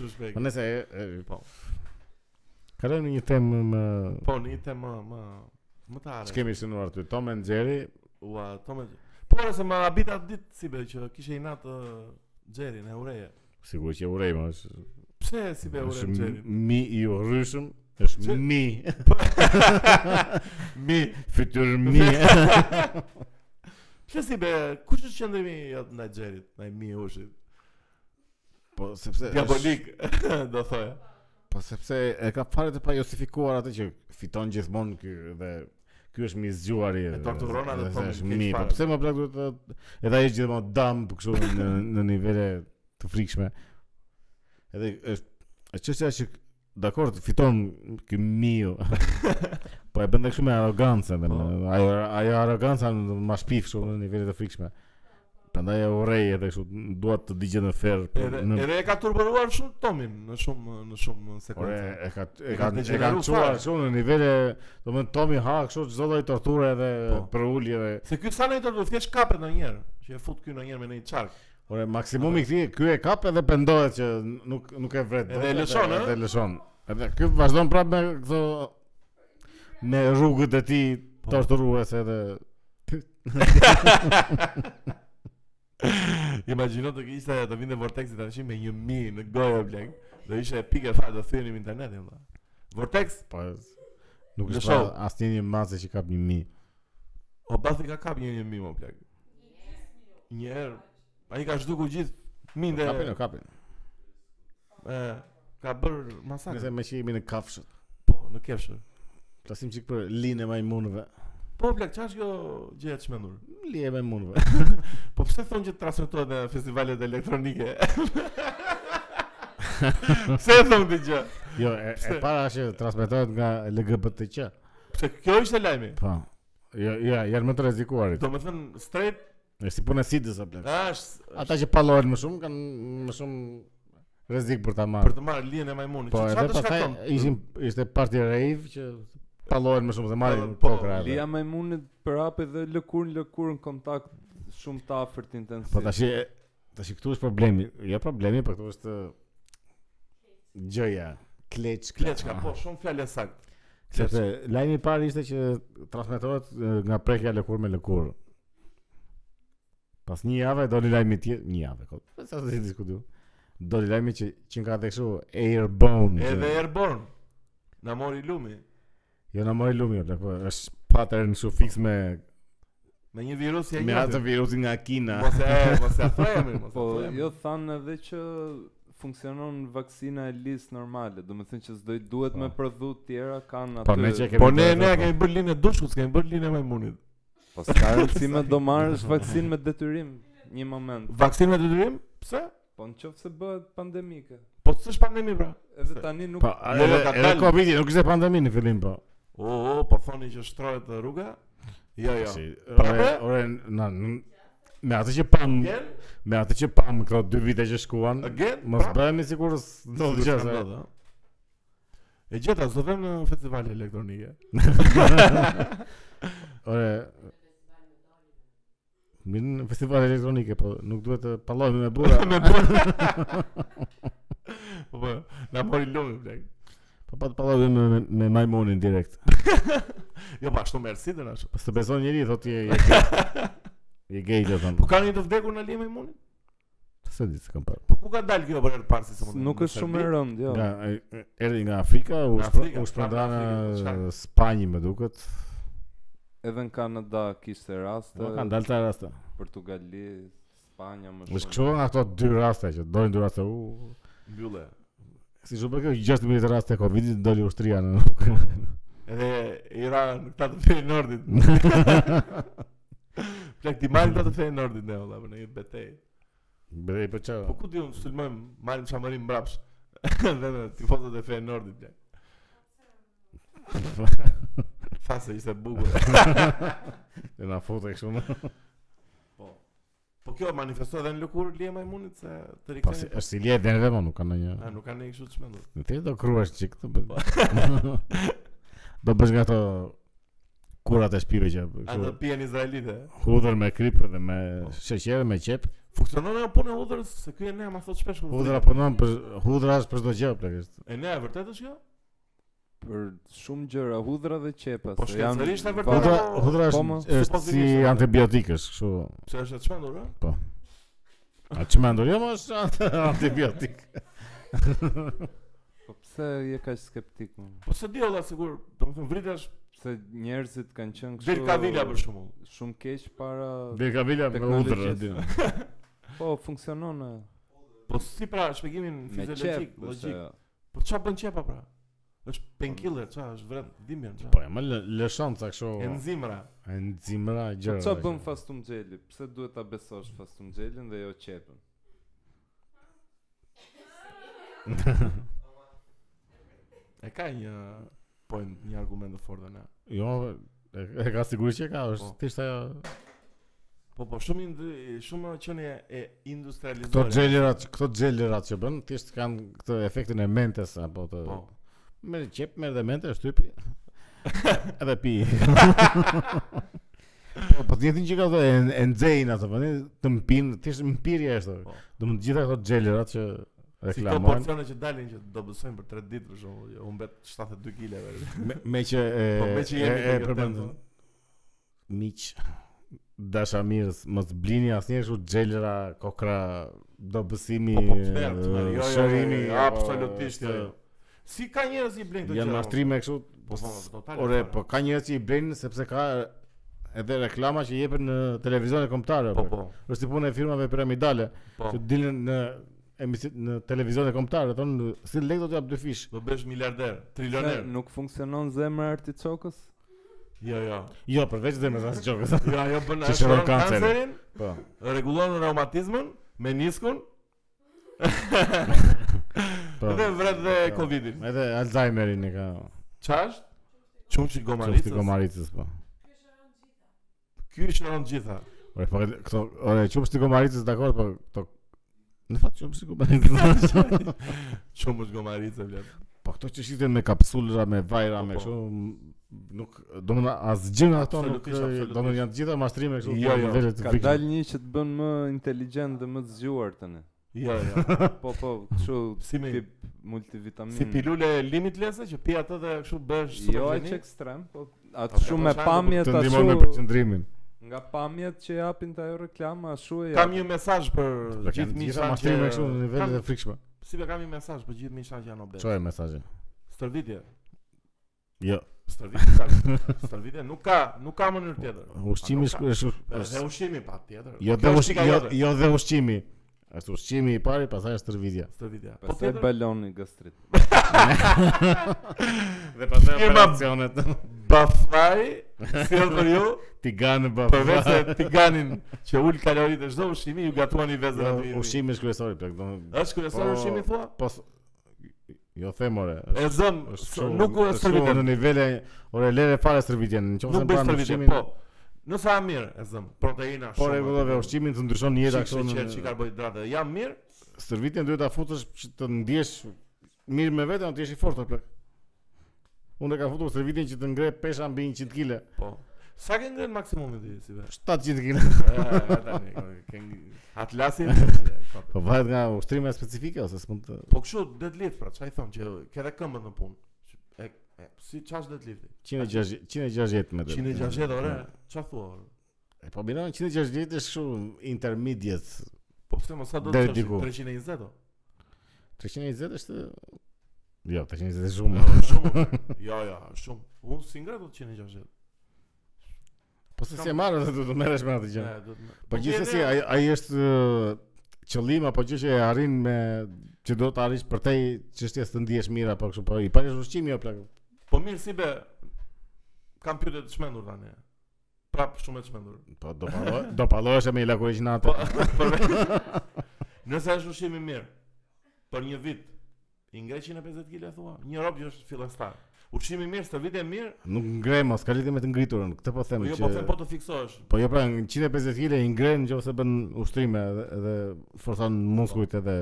Speaker 2: Shumë shpejt.
Speaker 1: Po nëse e- e-
Speaker 2: Po.
Speaker 1: kalojmë në një temë më
Speaker 2: Po, në një temë më më më të
Speaker 1: që
Speaker 2: arë.
Speaker 1: kemi sinuar ty Tom and Jerry,
Speaker 2: Ua, to më. Po, ora se më habita atë ditë si be që kishe i natë ë, Xherin e ureje.
Speaker 1: sigurisht që urej më është
Speaker 2: Pse si be
Speaker 1: është
Speaker 2: ureje Xherin?
Speaker 1: mi i urryshëm, është
Speaker 2: Që-
Speaker 1: mi.
Speaker 2: Mi.
Speaker 1: Fytyrë mi.
Speaker 2: Pse si be, kush është qëndrimi jot ndaj Xherit, ndaj mi ushit?
Speaker 1: Po sepse
Speaker 2: Diabolik, do thoja.
Speaker 1: Po sepse e ka fare të pajosifikuar atë që fiton gjithmonë ky dhe ky është mi zgjuari.
Speaker 2: E torturon atë Tomin,
Speaker 1: është
Speaker 2: keq
Speaker 1: mi. Po
Speaker 2: fare.
Speaker 1: pse më plak duhet të edhe ai është gjithmonë damp kështu në në nivele të frikshme. Edhe është është çështja që dakor fiton ky miu. po e bën dhe kështu me arrogancën, dhe me
Speaker 2: Po.
Speaker 1: ajo ajo arroganca më shpif kështu në nivele të frikshme. Prandaj e urrej edhe kështu dua të digjen në ferr po,
Speaker 2: Edhe
Speaker 1: në
Speaker 2: edhe e ka turburuar shumë Tomin në shumë në shumë
Speaker 1: Ore,
Speaker 2: sekuenca.
Speaker 1: e ka e ka
Speaker 2: E ka
Speaker 1: e ka
Speaker 2: degeneru
Speaker 1: çuar
Speaker 2: fare.
Speaker 1: kështu në nivele, domethënë Tomi ha kështu çdo lloj torture dhe
Speaker 2: Po.
Speaker 1: për ulje dhe
Speaker 2: Se ky sa nejtë do të thjesht kapet ndonjëherë, që e fut ky ndonjëherë me një çark.
Speaker 1: ore maksimumi i këtij ky e kap edhe pendohet që nuk nuk e vret. dot,
Speaker 2: Edhe e lëshon,
Speaker 1: edhe-
Speaker 2: ë?
Speaker 1: Edhe e lëshon. Edhe ky vazhdon prapë me këto me rrugët e tij
Speaker 2: Po.
Speaker 1: torturuese edhe
Speaker 2: Imagjino të ishte të vinte Vortexi tash me një mi në gojë blek. Do ishte pikë fare do thyenim internetin valla. Vortex,
Speaker 1: po nuk është
Speaker 2: Lëshon.
Speaker 1: pra asnjë një masë që kap një mi.
Speaker 2: o basi ka kap një një mi më blek. Një herë ai ka zhdukur gjithë minde.
Speaker 1: Kapin, o kapin.
Speaker 2: e, ka bër
Speaker 1: Nëse
Speaker 2: masakë.
Speaker 1: më shihemi në kafshë.
Speaker 2: Po, në kefshë.
Speaker 1: Plasim çik për linë e majmunëve.
Speaker 2: Po blek, çfarë është kjo gjë e çmendur?
Speaker 1: Lije e majmunëve.
Speaker 2: Po pse thonë që transmetohet në festivalet elektronike? pse e thonë këtë gjë?
Speaker 1: Jo, e, e
Speaker 2: Pse?
Speaker 1: para është që transmetohet nga LGBTQ.
Speaker 2: Pse kjo ishte lajmi?
Speaker 1: Po. Jo, jo, janë më të rrezikuarit.
Speaker 2: Do me thënë straight,
Speaker 1: Është si puna e sidës apo.
Speaker 2: a, është
Speaker 1: Ata që pallohen më shumë kanë më shumë rrezik për ta
Speaker 2: për
Speaker 1: marrë.
Speaker 2: të marrë linjën e majmunit.
Speaker 1: Po
Speaker 2: që
Speaker 1: edhe
Speaker 2: çfarë të
Speaker 1: pastaj
Speaker 2: shkakton?
Speaker 1: ishin ishte party rave që pallohen më shumë dhe marrin
Speaker 2: Po, po,
Speaker 1: kokra. edhe.
Speaker 3: Lia Majmunit për hapi dhe lëkurën lëkurën kontakt shumë të afërt intensiv.
Speaker 1: Po tash tash këtu është problemi, jo problemi, por këtu është gjëja, kleçka.
Speaker 2: Kleçka, po, shumë fjalë e saktë.
Speaker 1: Sepse lajmi i parë ishte që transmetohet e, nga prekja lëkur me lëkur. Pas një jave doli lajmi tjetër, një jave. ko- Sa të diskutu. Doli lajmi që që ka të kështu Airborne. që-
Speaker 2: Edhe Airborne. Na mori lumi
Speaker 1: Jo na mori lumi, apo po është pattern kështu fix me
Speaker 2: me një virus ja
Speaker 1: me atë
Speaker 2: njëjtë.
Speaker 1: virusin nga Kina.
Speaker 2: Mos e, mos e afrojemi, mos e
Speaker 3: Po
Speaker 2: afrojemi.
Speaker 3: jo thanë edhe që funksionon vaksina e lisë normale, do të thënë që s'do i duhet
Speaker 1: Po.
Speaker 3: me prodhu tjera kanë aty.
Speaker 1: Po ne që e kemi.
Speaker 2: Po ne
Speaker 1: bërë
Speaker 2: ne
Speaker 1: vetë,
Speaker 2: ja kemi bërë linjë dushkut, s'kemi bërë linjë e majmunit.
Speaker 3: Po s'ka rëndësi me do marrësh vaksinë me detyrim një moment.
Speaker 2: Vaksinë me detyrim? Pse?
Speaker 3: Po në qoftë se bëhet pandemike.
Speaker 2: Po s'është pandemi pra.
Speaker 3: Edhe tani nuk
Speaker 1: Po,
Speaker 2: Jo,
Speaker 1: edhe,
Speaker 2: ka
Speaker 1: edhe
Speaker 2: dalë.
Speaker 1: Covidi nuk ishte pandemi në fillim po.
Speaker 2: O, o, po thoni që shtrohet rruga? Jo, jo.
Speaker 1: Si,
Speaker 2: Pra,
Speaker 1: ore, ore, na, n- me atë që pam,
Speaker 2: Again?
Speaker 1: me atë që pam këto dy vite që shkuan,
Speaker 2: Again?
Speaker 1: mos
Speaker 2: Pra?
Speaker 1: bëhemi sikur s'ndodhi gjë.
Speaker 2: Sigurisht ka
Speaker 1: se-
Speaker 2: ndodhur, ha? E gjeta, s'do them në festivale elektronike.
Speaker 1: Ore, mirë në festival elektronike, po nuk duhet të pallohemi me burra.
Speaker 2: Me burra. Po, po, na mori lumi blek.
Speaker 1: Po pa të pallohemi me, me, me majmunin direkt.
Speaker 2: Jo, pa ashtu merr si dëna ashtu.
Speaker 1: Pas të beson njëri, thot je je gay. Je gay do thon.
Speaker 2: Po ka një të vdekur në Lima Imunin?
Speaker 1: S'e di se kam parë.
Speaker 2: Po ku ka dalë kjo për herë të parë si se mund?
Speaker 3: nuk është shumë e rëndë, jo.
Speaker 1: Nga e- erdhi nga Afrika, u
Speaker 2: Nga
Speaker 1: shpro-
Speaker 2: Afrika,
Speaker 1: u shpërnda
Speaker 2: prapë nga Afrika, po
Speaker 1: në
Speaker 2: çfarë?
Speaker 1: Spanjë, më duket.
Speaker 3: Edhe në Kanada kishte raste,
Speaker 1: Po kanë dalë ta raste.
Speaker 3: Portugali, Spanja më
Speaker 1: Është
Speaker 3: shumë.
Speaker 1: kështu nga ato dy raste që dolin dy raste. U,
Speaker 2: Mbyllë.
Speaker 1: si ju bëkë 16 raste e Covidit doli ushtria në
Speaker 2: Po
Speaker 1: Ukrainë.
Speaker 2: Edhe i ra në këta të fejë nordit. Plak ti marim këta të fejë nordit ne, ola, për në një betej.
Speaker 1: Bërej për
Speaker 2: Po
Speaker 1: çfarë?
Speaker 2: ku di unë sulmojmë, marim qamarim mbrapsh. Dhe në tifozët e fejë nordit, plak. Tha se ishte bukur.
Speaker 1: E na futë kështu më.
Speaker 2: Po. Po kjo manifestohet edhe në lëkurë Lija Majmunit se të
Speaker 1: Po si
Speaker 2: rikthehemi.
Speaker 1: është si lje denve më po nuk kanë
Speaker 2: A
Speaker 1: ndonjë.
Speaker 2: nuk kanë ne kështu të shmendur.
Speaker 1: Në ti do kruash çik këtë. bë- Do bësh nga ato kurat e shpive që
Speaker 2: A do
Speaker 1: kështu
Speaker 2: pijen izraelite?
Speaker 1: hudhër me kripë dhe me
Speaker 3: Po.
Speaker 1: sheqer me qep.
Speaker 2: Funksionon ajo puna e udhërës se ky e ne ma thot
Speaker 3: po,
Speaker 2: shpesh kur.
Speaker 1: Hudhra punon për hudhra është për çdo gjë plakisht.
Speaker 2: E ne e vërtet është kjo?
Speaker 3: Për shumë gjëra, hudhra dhe qepa.
Speaker 2: Po
Speaker 3: se janë
Speaker 2: shkencërisht e vërtetë-
Speaker 1: Hudhra
Speaker 3: varë-
Speaker 1: hudhra
Speaker 3: po, më-
Speaker 1: është është si
Speaker 2: supozitivisht, a?
Speaker 1: antibiotikësh, kështu.
Speaker 2: Se është e çmendur, ë?
Speaker 1: A çmendur jo më është antibiotik.
Speaker 3: Po pse je kaq skeptik më?
Speaker 2: Po se di olla sigur, domethënë vritesh
Speaker 3: Pse njerëzit kanë qenë kështu
Speaker 2: Del Kavila për shembull.
Speaker 3: shumë keq para
Speaker 1: Dhe ka vila me
Speaker 3: Teknologjisë.
Speaker 1: hudhër. e di.
Speaker 3: po funksionon e,
Speaker 2: Po si pra shpjegimin
Speaker 3: me qep,
Speaker 2: fiziologjik,
Speaker 3: ose
Speaker 2: logjik. Po çfarë bën qepa pra? Është painkiller, çfarë është vret dhimbjen,
Speaker 1: Po
Speaker 2: çfarë?
Speaker 1: e më lë- lëshon ca kështu.
Speaker 2: Enzimra.
Speaker 1: Enzimra
Speaker 3: Po
Speaker 1: gjëra.
Speaker 3: ç'a bën fastum xheli? Pse duhet ta besosh fastum xhelin dhe jo qepën?
Speaker 2: E ka një point, një argument të fortë na.
Speaker 1: Jo, e, e ka sigurisht që ka, është
Speaker 2: Po.
Speaker 1: thjesht ajo
Speaker 2: Po po shumë indri- shumë qenie e industrializuar.
Speaker 1: këto xhelerat, këto xhelerat që bën, thjesht kanë këtë efektin e mentes apo të
Speaker 2: Po.
Speaker 1: merr qep, merr dhe mente, shtyp. edhe pi. po po të njëjtin që ka ato e e nxejnë ato, vëni, të mpin, thjesht mpirje është.
Speaker 2: Po.
Speaker 1: Domthonë të gjitha këto xhelerat që
Speaker 2: Si këto
Speaker 1: reklamojnë,
Speaker 2: porcione që dalin që do besojnë për 3 ditë për shembull, jo, humbet 72 kg.
Speaker 1: me, me që e,
Speaker 2: Po me që
Speaker 1: e-
Speaker 2: jemi
Speaker 1: e
Speaker 2: në këtë
Speaker 1: përmendën.
Speaker 2: tempo.
Speaker 1: miq dashamirës, mos blini asnjëherë kështu xhelera, kokra, dobësimi,
Speaker 2: Po po tmerr, tmerr. Jo, jo, jo,
Speaker 1: shërimi,
Speaker 2: jo,
Speaker 1: apo
Speaker 2: absolutisht.
Speaker 1: këtë-
Speaker 2: jo, jo. Si ka njerëz që i blejnë këto gjëra?
Speaker 1: Janë mashtrime kështu.
Speaker 2: Po po, total.
Speaker 1: Ore, po ka njerëz që i blejnë sepse ka edhe reklama që jepen në televizionet kombëtare.
Speaker 2: Po
Speaker 1: bre.
Speaker 2: po.
Speaker 1: Është si puna e firmave piramidale
Speaker 2: Po.
Speaker 1: që dilin në emisi në televizionet kombëtare, thonë si lek do të jap dy fish.
Speaker 2: Do bësh miliarder,
Speaker 3: Pse
Speaker 2: trilioner.
Speaker 3: nuk funksionon zemra e artiçokës?
Speaker 2: Jo, jo.
Speaker 1: Jo, përveç zemrës as gjokës.
Speaker 2: Jo, ajo bën
Speaker 1: Që shëron
Speaker 2: shëron
Speaker 1: kancerin.
Speaker 2: kancerin,
Speaker 1: Po.
Speaker 2: rregullon reumatizmin, meniskun.
Speaker 1: Po.
Speaker 2: Dhe vret dhe
Speaker 1: Po.
Speaker 2: Covidin.
Speaker 1: Edhe Alzheimerin e ka.
Speaker 2: Çfarë është? Çumshi
Speaker 1: Çofti
Speaker 2: gomaricës.
Speaker 1: gomaricës po.
Speaker 2: Ky shëron gjitha.
Speaker 1: Ore, po këto, ore, çopsti gomaricës dakor, po këto Në fakt shumë sikur bëhen.
Speaker 2: Shumë është gomarice vlet.
Speaker 1: Po këto që shiten me kapsulra, me vajra,
Speaker 2: Po,
Speaker 1: me
Speaker 2: po.
Speaker 1: kështu nuk domethënë asgjë nga ato nuk e,
Speaker 2: Absolutisht, absolutisht.
Speaker 1: domethënë janë të gjitha mashtrime kështu
Speaker 2: Jo, jo,
Speaker 1: nivele të
Speaker 3: Ka
Speaker 1: fikshme.
Speaker 3: dalë një që të bën më inteligjent dhe më të zgjuar tani.
Speaker 2: Jo, jo.
Speaker 3: Po po, kështu
Speaker 2: Si me
Speaker 3: tip multivitamin.
Speaker 2: si pilule limitless që pi atë dhe kështu bësh
Speaker 3: mm. Jo
Speaker 2: supergjeni.
Speaker 3: aq ekstrem, po atë
Speaker 2: Atë
Speaker 3: shumë me
Speaker 2: po çfarë do
Speaker 1: Të
Speaker 3: pamje
Speaker 1: ndihmon me
Speaker 3: ashtu
Speaker 1: përqendrimin.
Speaker 3: nga pamjet që japin të ajo reklama ashtu e
Speaker 2: Kam
Speaker 3: japin.
Speaker 2: një mesazh për
Speaker 1: Po
Speaker 2: gjithë
Speaker 1: kanë gjitha
Speaker 2: miqtan që
Speaker 1: mashtrime kështu në nivele
Speaker 2: Kam-
Speaker 1: të frikshme.
Speaker 2: Si be kam një mesazh për gjithë miqtan që janë obez.
Speaker 1: Çfarë mesazhi?
Speaker 2: Stërvitje.
Speaker 1: Jo,
Speaker 2: Stërvitje. ka- Stërvitje nuk ka, nuk ka mënyrë tjetër.
Speaker 1: ushqimi
Speaker 2: A, nuk ka.
Speaker 1: shku- shku-
Speaker 2: Dhe ushqimi patjetër.
Speaker 1: jo
Speaker 2: Kjo
Speaker 1: dhe
Speaker 2: është
Speaker 1: ushqimi,
Speaker 2: pika
Speaker 1: jo,
Speaker 2: jote.
Speaker 1: jo dhe ushqimi. Është ushqimi i pari, pastaj është stërvitja.
Speaker 2: Stërvitja. Po
Speaker 3: Pastaj
Speaker 2: tjetër
Speaker 3: baloni gastrit.
Speaker 1: Po, Dhe pastaj
Speaker 2: Firma-
Speaker 1: operacionet.
Speaker 2: Bafaj, sjell për ju,
Speaker 1: Tigani bafë.
Speaker 2: përveç se tiganin që ul kaloritë e çdo ushqimi, ju gatuani vezën aty.
Speaker 1: Jo, ushqimi është kryesor, plak, domethënë
Speaker 2: Është
Speaker 1: Po-
Speaker 2: kryesor ushqimi thua?
Speaker 1: po s- jo themore.
Speaker 2: E zëm,
Speaker 1: Është
Speaker 2: s-
Speaker 1: kështu,
Speaker 2: nuk u
Speaker 1: është kështu
Speaker 2: stërvitën.
Speaker 1: në nivele ore lere fare stërvitjen. Nëse
Speaker 2: Nuk bëj stërvitje, po. Nëse jam mirë, e zëm, proteina
Speaker 1: Po
Speaker 2: shumë.
Speaker 1: rregullove ushqimin të ndryshon jeta
Speaker 2: Jeta
Speaker 1: kështu
Speaker 2: kështu që
Speaker 1: në
Speaker 2: karbohidrate. Jam mirë,
Speaker 1: stërvitjen duhet ta futesh që të ndihesh mirë me veten, të jesh i fortë plak. Unë e ka futur stërvitjen që të ngre pesha mbi 100 kg.
Speaker 2: po. Sa ke ngren maksimumin ti si vesh?
Speaker 1: 700 kg.
Speaker 2: tani. ke ngri- Atlasin.
Speaker 1: Po varet nga ushtrime specifike ose s'mund të
Speaker 2: Po kështu deadlift pra, çai thon që ke edhe këmbën në punë. Që E, e, si çash deadlifti?
Speaker 1: 160 160 metra.
Speaker 2: 160 ore, ç'a thua? ore?
Speaker 1: E, Po bino 160 është kështu intermediate.
Speaker 2: Po pse mos sa do
Speaker 1: Deri
Speaker 2: të
Speaker 1: diku.
Speaker 2: çosh 320? o?
Speaker 1: 320 është Jo, 320 është shumë.
Speaker 2: Jo, Shumë. ore. Jo, jo, shumë. Unë si ngre do të 160.
Speaker 1: Po se si e marrë do të merresh me atë gjë.
Speaker 2: E, do të-
Speaker 1: Po
Speaker 2: vjen
Speaker 1: gjithsesi
Speaker 2: e-
Speaker 1: ai ai është ë, qëllim apo gjë që e arrin me që do të arrish për te çështjes të ndihesh mirë apo kështu po i parish ushqimi jo plak.
Speaker 2: Po mirë si be kam pyetje të çmendur tani. Prap shumë e çmendur.
Speaker 1: Po do pallo, do pallohesh me
Speaker 2: Po
Speaker 1: ilakuriginatë.
Speaker 2: përve- Nëse është ushqim i mirë për një vit, i ngre 150 kg thua, një rob që është fillestar. Ushqim i mirë, stërvitje e mirë,
Speaker 1: Nuk ngre mos, ka lidhje me të ngriturën. Këtë po
Speaker 2: po
Speaker 1: them
Speaker 2: jo po
Speaker 1: që
Speaker 2: them po të fiksohesh.
Speaker 1: Po jo pra 150 kg i ngren nëse bën ushtrime edhe, edhe forcon muskujt edhe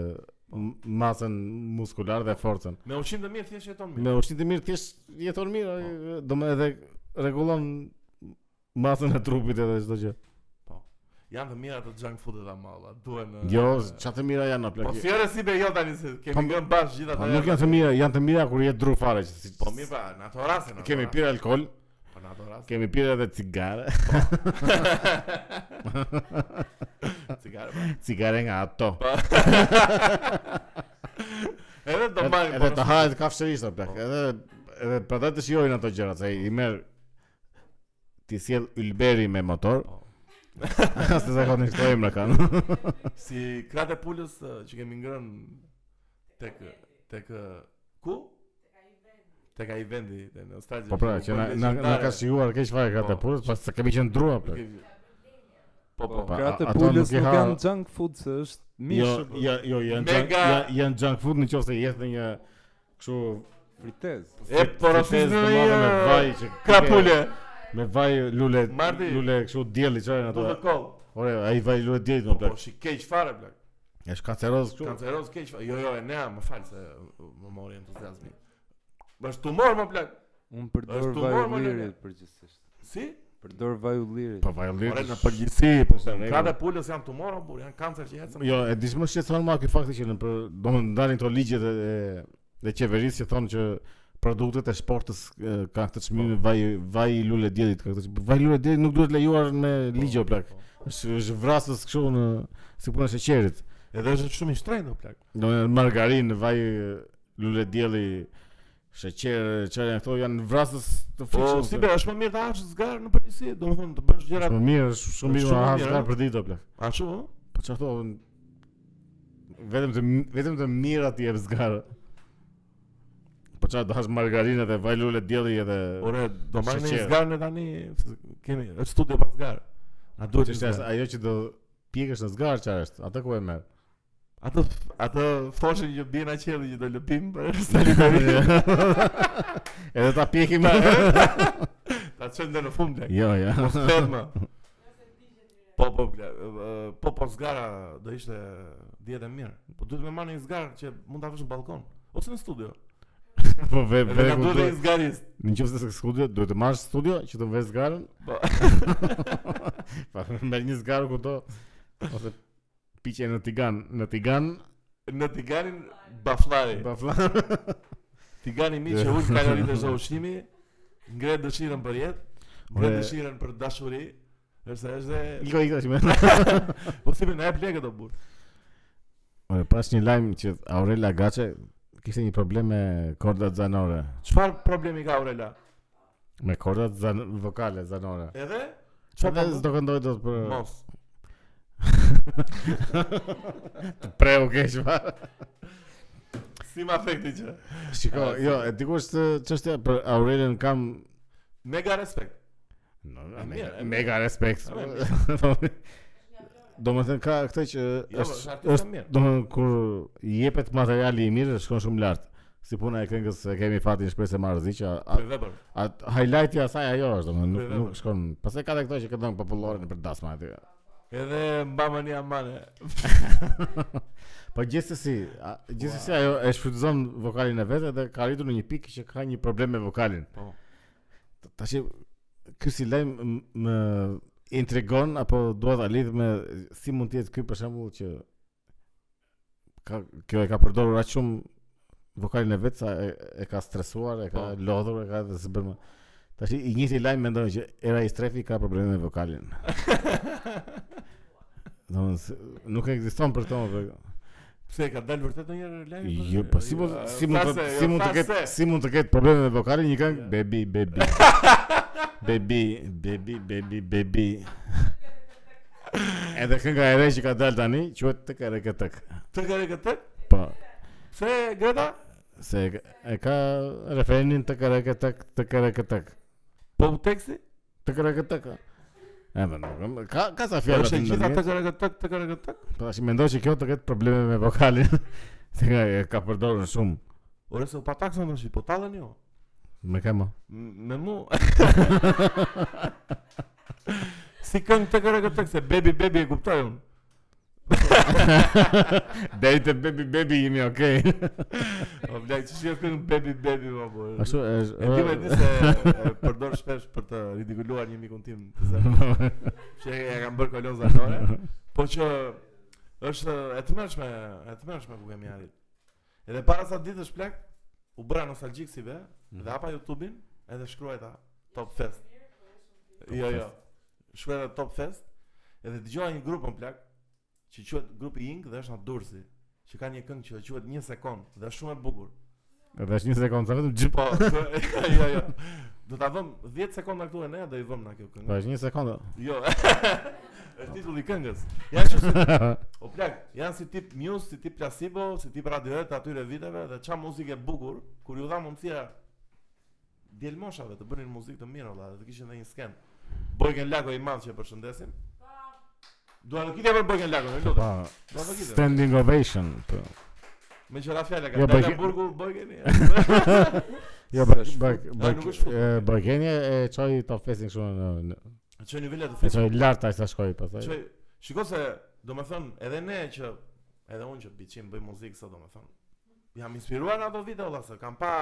Speaker 1: m- masën muskular dhe forcën.
Speaker 2: Me ushqim të mirë thjesht jeton mirë.
Speaker 1: Me ushqim të mirë thjesht jeton mirë, ai, do më edhe rregullon masën e trupit edhe çdo gjë.
Speaker 2: Janë të mira të junk foodet amalla, duhen. e,
Speaker 1: Jo, çfarë të mira janë apo
Speaker 2: Po fjerë si be jo tani se
Speaker 1: Po,
Speaker 2: kemi ngën bash gjithatë.
Speaker 1: Po nuk janë të mira, janë të mira kur je dru fare që si,
Speaker 2: Po mirë pra, në ato raste. në ato
Speaker 1: kemi
Speaker 2: raste,
Speaker 1: pirë alkool,
Speaker 2: Po në ato raste.
Speaker 1: kemi pirë edhe cigare,
Speaker 2: Cigare. pra.
Speaker 1: cigare nga ato.
Speaker 2: Edhe do
Speaker 1: Edhe-
Speaker 2: mbajmë.
Speaker 1: Edhe
Speaker 2: po,
Speaker 1: të hahet kafshërisht apo plak.
Speaker 2: Po.
Speaker 1: Edhe edhe prandaj të shijojnë ato gjëra, se i merr ti sjell Ylberi me motor,
Speaker 2: Po.
Speaker 1: se zakonisht këto emra kanë.
Speaker 2: Si kratë e pulës ë, që kemi ngrën tek tek ë, ku? Tek ai vendi te në Australi.
Speaker 1: Po pra, që na na, na ka shijuar keq fare gratë
Speaker 2: Po.
Speaker 1: pulës, pas se kemi qenë drua plak.
Speaker 2: Po po.
Speaker 3: Po,
Speaker 1: pa,
Speaker 3: kratë
Speaker 1: a-
Speaker 3: e
Speaker 1: ato
Speaker 3: pulës
Speaker 1: nuk i
Speaker 3: nuk
Speaker 1: ha-
Speaker 3: janë junk food se është
Speaker 1: Jo,
Speaker 3: mishë
Speaker 1: jo, jo, janë junk,
Speaker 2: Mega-
Speaker 1: janë- janë junk food në qoftë se jetë në një kështu
Speaker 3: frites.
Speaker 2: E po, porofis
Speaker 1: frites
Speaker 2: në
Speaker 1: të madhe me vaj
Speaker 2: një
Speaker 1: që
Speaker 2: krapule.
Speaker 1: Me vaj lule,
Speaker 2: Marti.
Speaker 1: lule kështu dielli çfarë
Speaker 2: Do
Speaker 1: ato. Jo,
Speaker 2: të koll.
Speaker 1: Ore, ai vaj lule dielli
Speaker 2: Po
Speaker 1: më
Speaker 2: po,
Speaker 1: plak.
Speaker 2: shi keq fare blaq.
Speaker 1: Është kanceroz kështu.
Speaker 2: Kanceroz keq fare. Jo jo, e nea, më fal se uh, më mori entuziazmi. Është tumor më plak.
Speaker 3: Unë
Speaker 2: Është
Speaker 3: përdor
Speaker 2: tumor,
Speaker 3: vaj
Speaker 2: mo,
Speaker 3: ullirit
Speaker 2: lele.
Speaker 3: përgjithsisht.
Speaker 2: Si?
Speaker 3: Përdor vaj ullirit.
Speaker 1: Po vaj lule.
Speaker 2: Ore
Speaker 1: është-
Speaker 2: në përgjithësi, po
Speaker 1: është në
Speaker 2: kratë
Speaker 1: rregull.
Speaker 2: e pulës janë tumor apo janë kancer që ecën.
Speaker 1: Jo, e di më shqetëson më ky fakti që në për, do më ndalin këto ligjet e e- e qeverisë që thonë që produktet e sportës e, ka këtë çmim
Speaker 2: Po.
Speaker 1: vaj vaj lule diellit, ka këtë çmim. vaj lule diellit nuk duhet lejuar me ligje o plak.
Speaker 2: Po, po.
Speaker 1: Është është vrasës kështu në si puna e sheqerit.
Speaker 2: Edhe është shumë i shtrenjtë o plak.
Speaker 1: Do në margarinë, vaj lule dielli, sheqer, çfarë janë këto janë vrasës të
Speaker 2: Po
Speaker 1: fikshme.
Speaker 2: si be, është më mirë të hash zgar në Parisi, domethënë të bësh gjëra
Speaker 1: Shumë mirë, është shumë mirë
Speaker 2: Shumë
Speaker 1: ha
Speaker 2: mirë, eh?
Speaker 1: zgar
Speaker 2: ëh.
Speaker 1: për ditë o plak.
Speaker 2: ashtu, ëh?
Speaker 1: Po çfarë thon? Vetëm të vetëm të mira ti jep zgar. Po çfarë do hash margarinat e vaj lule dielli edhe
Speaker 2: Ore, do marrë një
Speaker 1: Sheqer.
Speaker 2: zgar në tani, se kemi është studio pa zgar. Na duhet
Speaker 1: që
Speaker 2: një
Speaker 1: është as-
Speaker 2: zgar.
Speaker 1: ajo që do pjekësh në zgar çfarë është? Atë ku e merr.
Speaker 2: Atë atë thoshin që bien aqelli që do lëpim për solidaritet.
Speaker 1: edhe ta pjekim.
Speaker 2: Ta çojmë deri në fund. plak.
Speaker 1: jo, jo.
Speaker 2: Mos thermë. Po Po po bla- ë, po po zgara do ishte dietë e mirë. Po duhet me marrë një zgarë që mund ta vësh në balkon ose në studio.
Speaker 1: Po ve
Speaker 2: Edhe
Speaker 1: ve
Speaker 2: na
Speaker 1: ku
Speaker 2: duhet
Speaker 1: do.
Speaker 2: një zgarist.
Speaker 1: Në qoftë se ke studio, duhet të marrësh studio që të vësh zgarën.
Speaker 2: Po.
Speaker 1: Pa merr një zgarë kudo ose piqe në Tigan, në Tigan,
Speaker 2: Në tiganin bafllari.
Speaker 1: pa flan.
Speaker 2: Tigani mi që ul kaloritë e ushqimi, ngre dëshirën për jetë, ngre
Speaker 1: Ore-
Speaker 2: dëshirën për dashuri, është është dhe
Speaker 1: Iko iko më.
Speaker 2: po si na e ble këto burr.
Speaker 1: Ore, pas një lajm që Aurela Gaçe kishte një problem me kordat zanore,
Speaker 2: Çfarë problemi ka Aurela?
Speaker 1: me kordat zan vokale zanore.
Speaker 2: Edhe
Speaker 1: Çfarë
Speaker 2: po
Speaker 1: do këndoj dot për
Speaker 2: bën? Mos.
Speaker 1: të preu keq fare.
Speaker 2: Si ma afekti që.
Speaker 1: Shiko, jo, e dikush të çështja për Aurelën kam
Speaker 2: Mega respekt.
Speaker 1: no,
Speaker 2: E mirë, e mirë.
Speaker 1: mega respekt.
Speaker 2: E
Speaker 1: Do më thënë ka këtë që
Speaker 2: Jo, është
Speaker 1: është,
Speaker 2: artist
Speaker 1: është
Speaker 2: i mirë.
Speaker 1: do më thënë kur i jepet materiali i mirë shkon shumë lart. Si puna e këngës e kemi fatin shpresë e marrëzi që a-
Speaker 2: Për vepër.
Speaker 1: a- highlighti i asaj ajo është domethënë nuk
Speaker 2: Po, e,
Speaker 1: nuk shkon. Pastaj ka edhe këto që këndon popullore për dasma aty.
Speaker 2: Edhe mbama një amane.
Speaker 1: Po gjithsesi, a- gjithsesi ajo e shfrytëzon vokalin e vet dhe ka arritur në një pikë që ka një problem me vokalin.
Speaker 2: Po.
Speaker 1: T- Tashi ky si lajm m- më intrigon apo dua ta lidh me si mund të jetë ky për shembull që ka kjo e ka përdorur aq shumë vokalin e vet sa e, e ka stresuar, e ka
Speaker 2: Po.
Speaker 1: lodhur, e ka dhe s'bën më. Tashi i njëjti lajm mendon që era i strefi ka probleme me vokalin. Domethënë se- nuk ekziston për këtë. më, po-
Speaker 2: Pse ka dalë vërtet ndonjëherë live?
Speaker 1: Jo, po si mund
Speaker 2: Jo,
Speaker 1: si mund të
Speaker 2: thase,
Speaker 1: si
Speaker 2: jo,
Speaker 1: mund të ketë
Speaker 2: thase.
Speaker 1: si mund të ketë probleme me vokalin një këngë baby baby. Baby, baby, baby, baby. Edhe kënga e re që ka dalë tani quhet tek e re ke tek.
Speaker 2: të kare këtë?
Speaker 1: Po,
Speaker 2: Pse Greta?
Speaker 1: se e ka- e ka referenin tek e re ke tek, tek e re ke tek.
Speaker 2: Po teksti?
Speaker 1: Tek e re ke tek. a? E më nuk, ka, ka sa fjallë atë
Speaker 2: Është e
Speaker 1: në
Speaker 2: gjitha të
Speaker 1: nërmjet
Speaker 2: kare këtë, të kare këtë.
Speaker 1: Po tash mendoj që kjo të ketë probleme me vokalin Se nga e ka përdorën shumë
Speaker 2: Ore se u patakson tash, po tallën jo.
Speaker 1: Me kema
Speaker 2: M- Me mu. si këngë të kare këtë se baby baby e kuptoj unë.
Speaker 1: Deri te baby baby jemi okay
Speaker 2: O blaj, që shio këngë baby baby ma po.
Speaker 1: Ashtu është.
Speaker 2: E di me di se e përdor shpesh për të ridikuluar një mikun tim të zemër. që e kam bërë kolon zanore, po që është e tmerrshme, e tmerrshme ku kemi arrit. Edhe para sa ditësh plak, u bëra nostalgjik si be, dhe hapa YouTube-in, edhe shkruajta Top Fest. Jo, jo. Shkruajta Top Fest, edhe dëgjova një grupën plak, që quhet grupi Ink dhe është nga Durrësi, që ka një këngë që quhet 1 sekond dhe është shumë e bukur.
Speaker 1: Edhe është 20 sekonda vetëm gjip.
Speaker 2: Po, kë- jo, jo. Do ta vëm 10 sekonda këtu e ne do i vëm na kjo këngë.
Speaker 1: Po është 20 sekonda.
Speaker 2: Jo. është titulli i këngës. Janë që si, o plak, janë si tip Muse, si tip Placebo, si tip Radiohead atyre viteve dhe çfarë muzikë e bukur, kur ju dha mundësia djelmoshave të bënin muzikë të mirë valla, dhe të kishin edhe një skem. Bojken Lako i madh që e përshëndesim. Dua të kitë për Bojken Lako, e
Speaker 1: Po.
Speaker 2: lutem. Dua të kitë.
Speaker 1: Standing ovation. Po.
Speaker 2: Me qëra fjala
Speaker 1: Jo,
Speaker 2: ka dalë
Speaker 1: Boygen-
Speaker 2: burgu Bojkeni.
Speaker 1: Jo,
Speaker 3: Se
Speaker 1: bak
Speaker 3: është
Speaker 1: bak
Speaker 2: fut.
Speaker 1: bak
Speaker 2: A, nuk është fut.
Speaker 1: e, Bajkenia e çoi top festing shumë në- në-
Speaker 2: Çoj nivele të
Speaker 1: e
Speaker 2: fitës.
Speaker 1: çoi lart ai sa shkoi pastaj.
Speaker 2: Që, shiko se, do me thënë, edhe ne që, edhe unë që biçim bëj muzikë sot, do me thënë, jam inspiruar nga ato vite, ola, se kam pa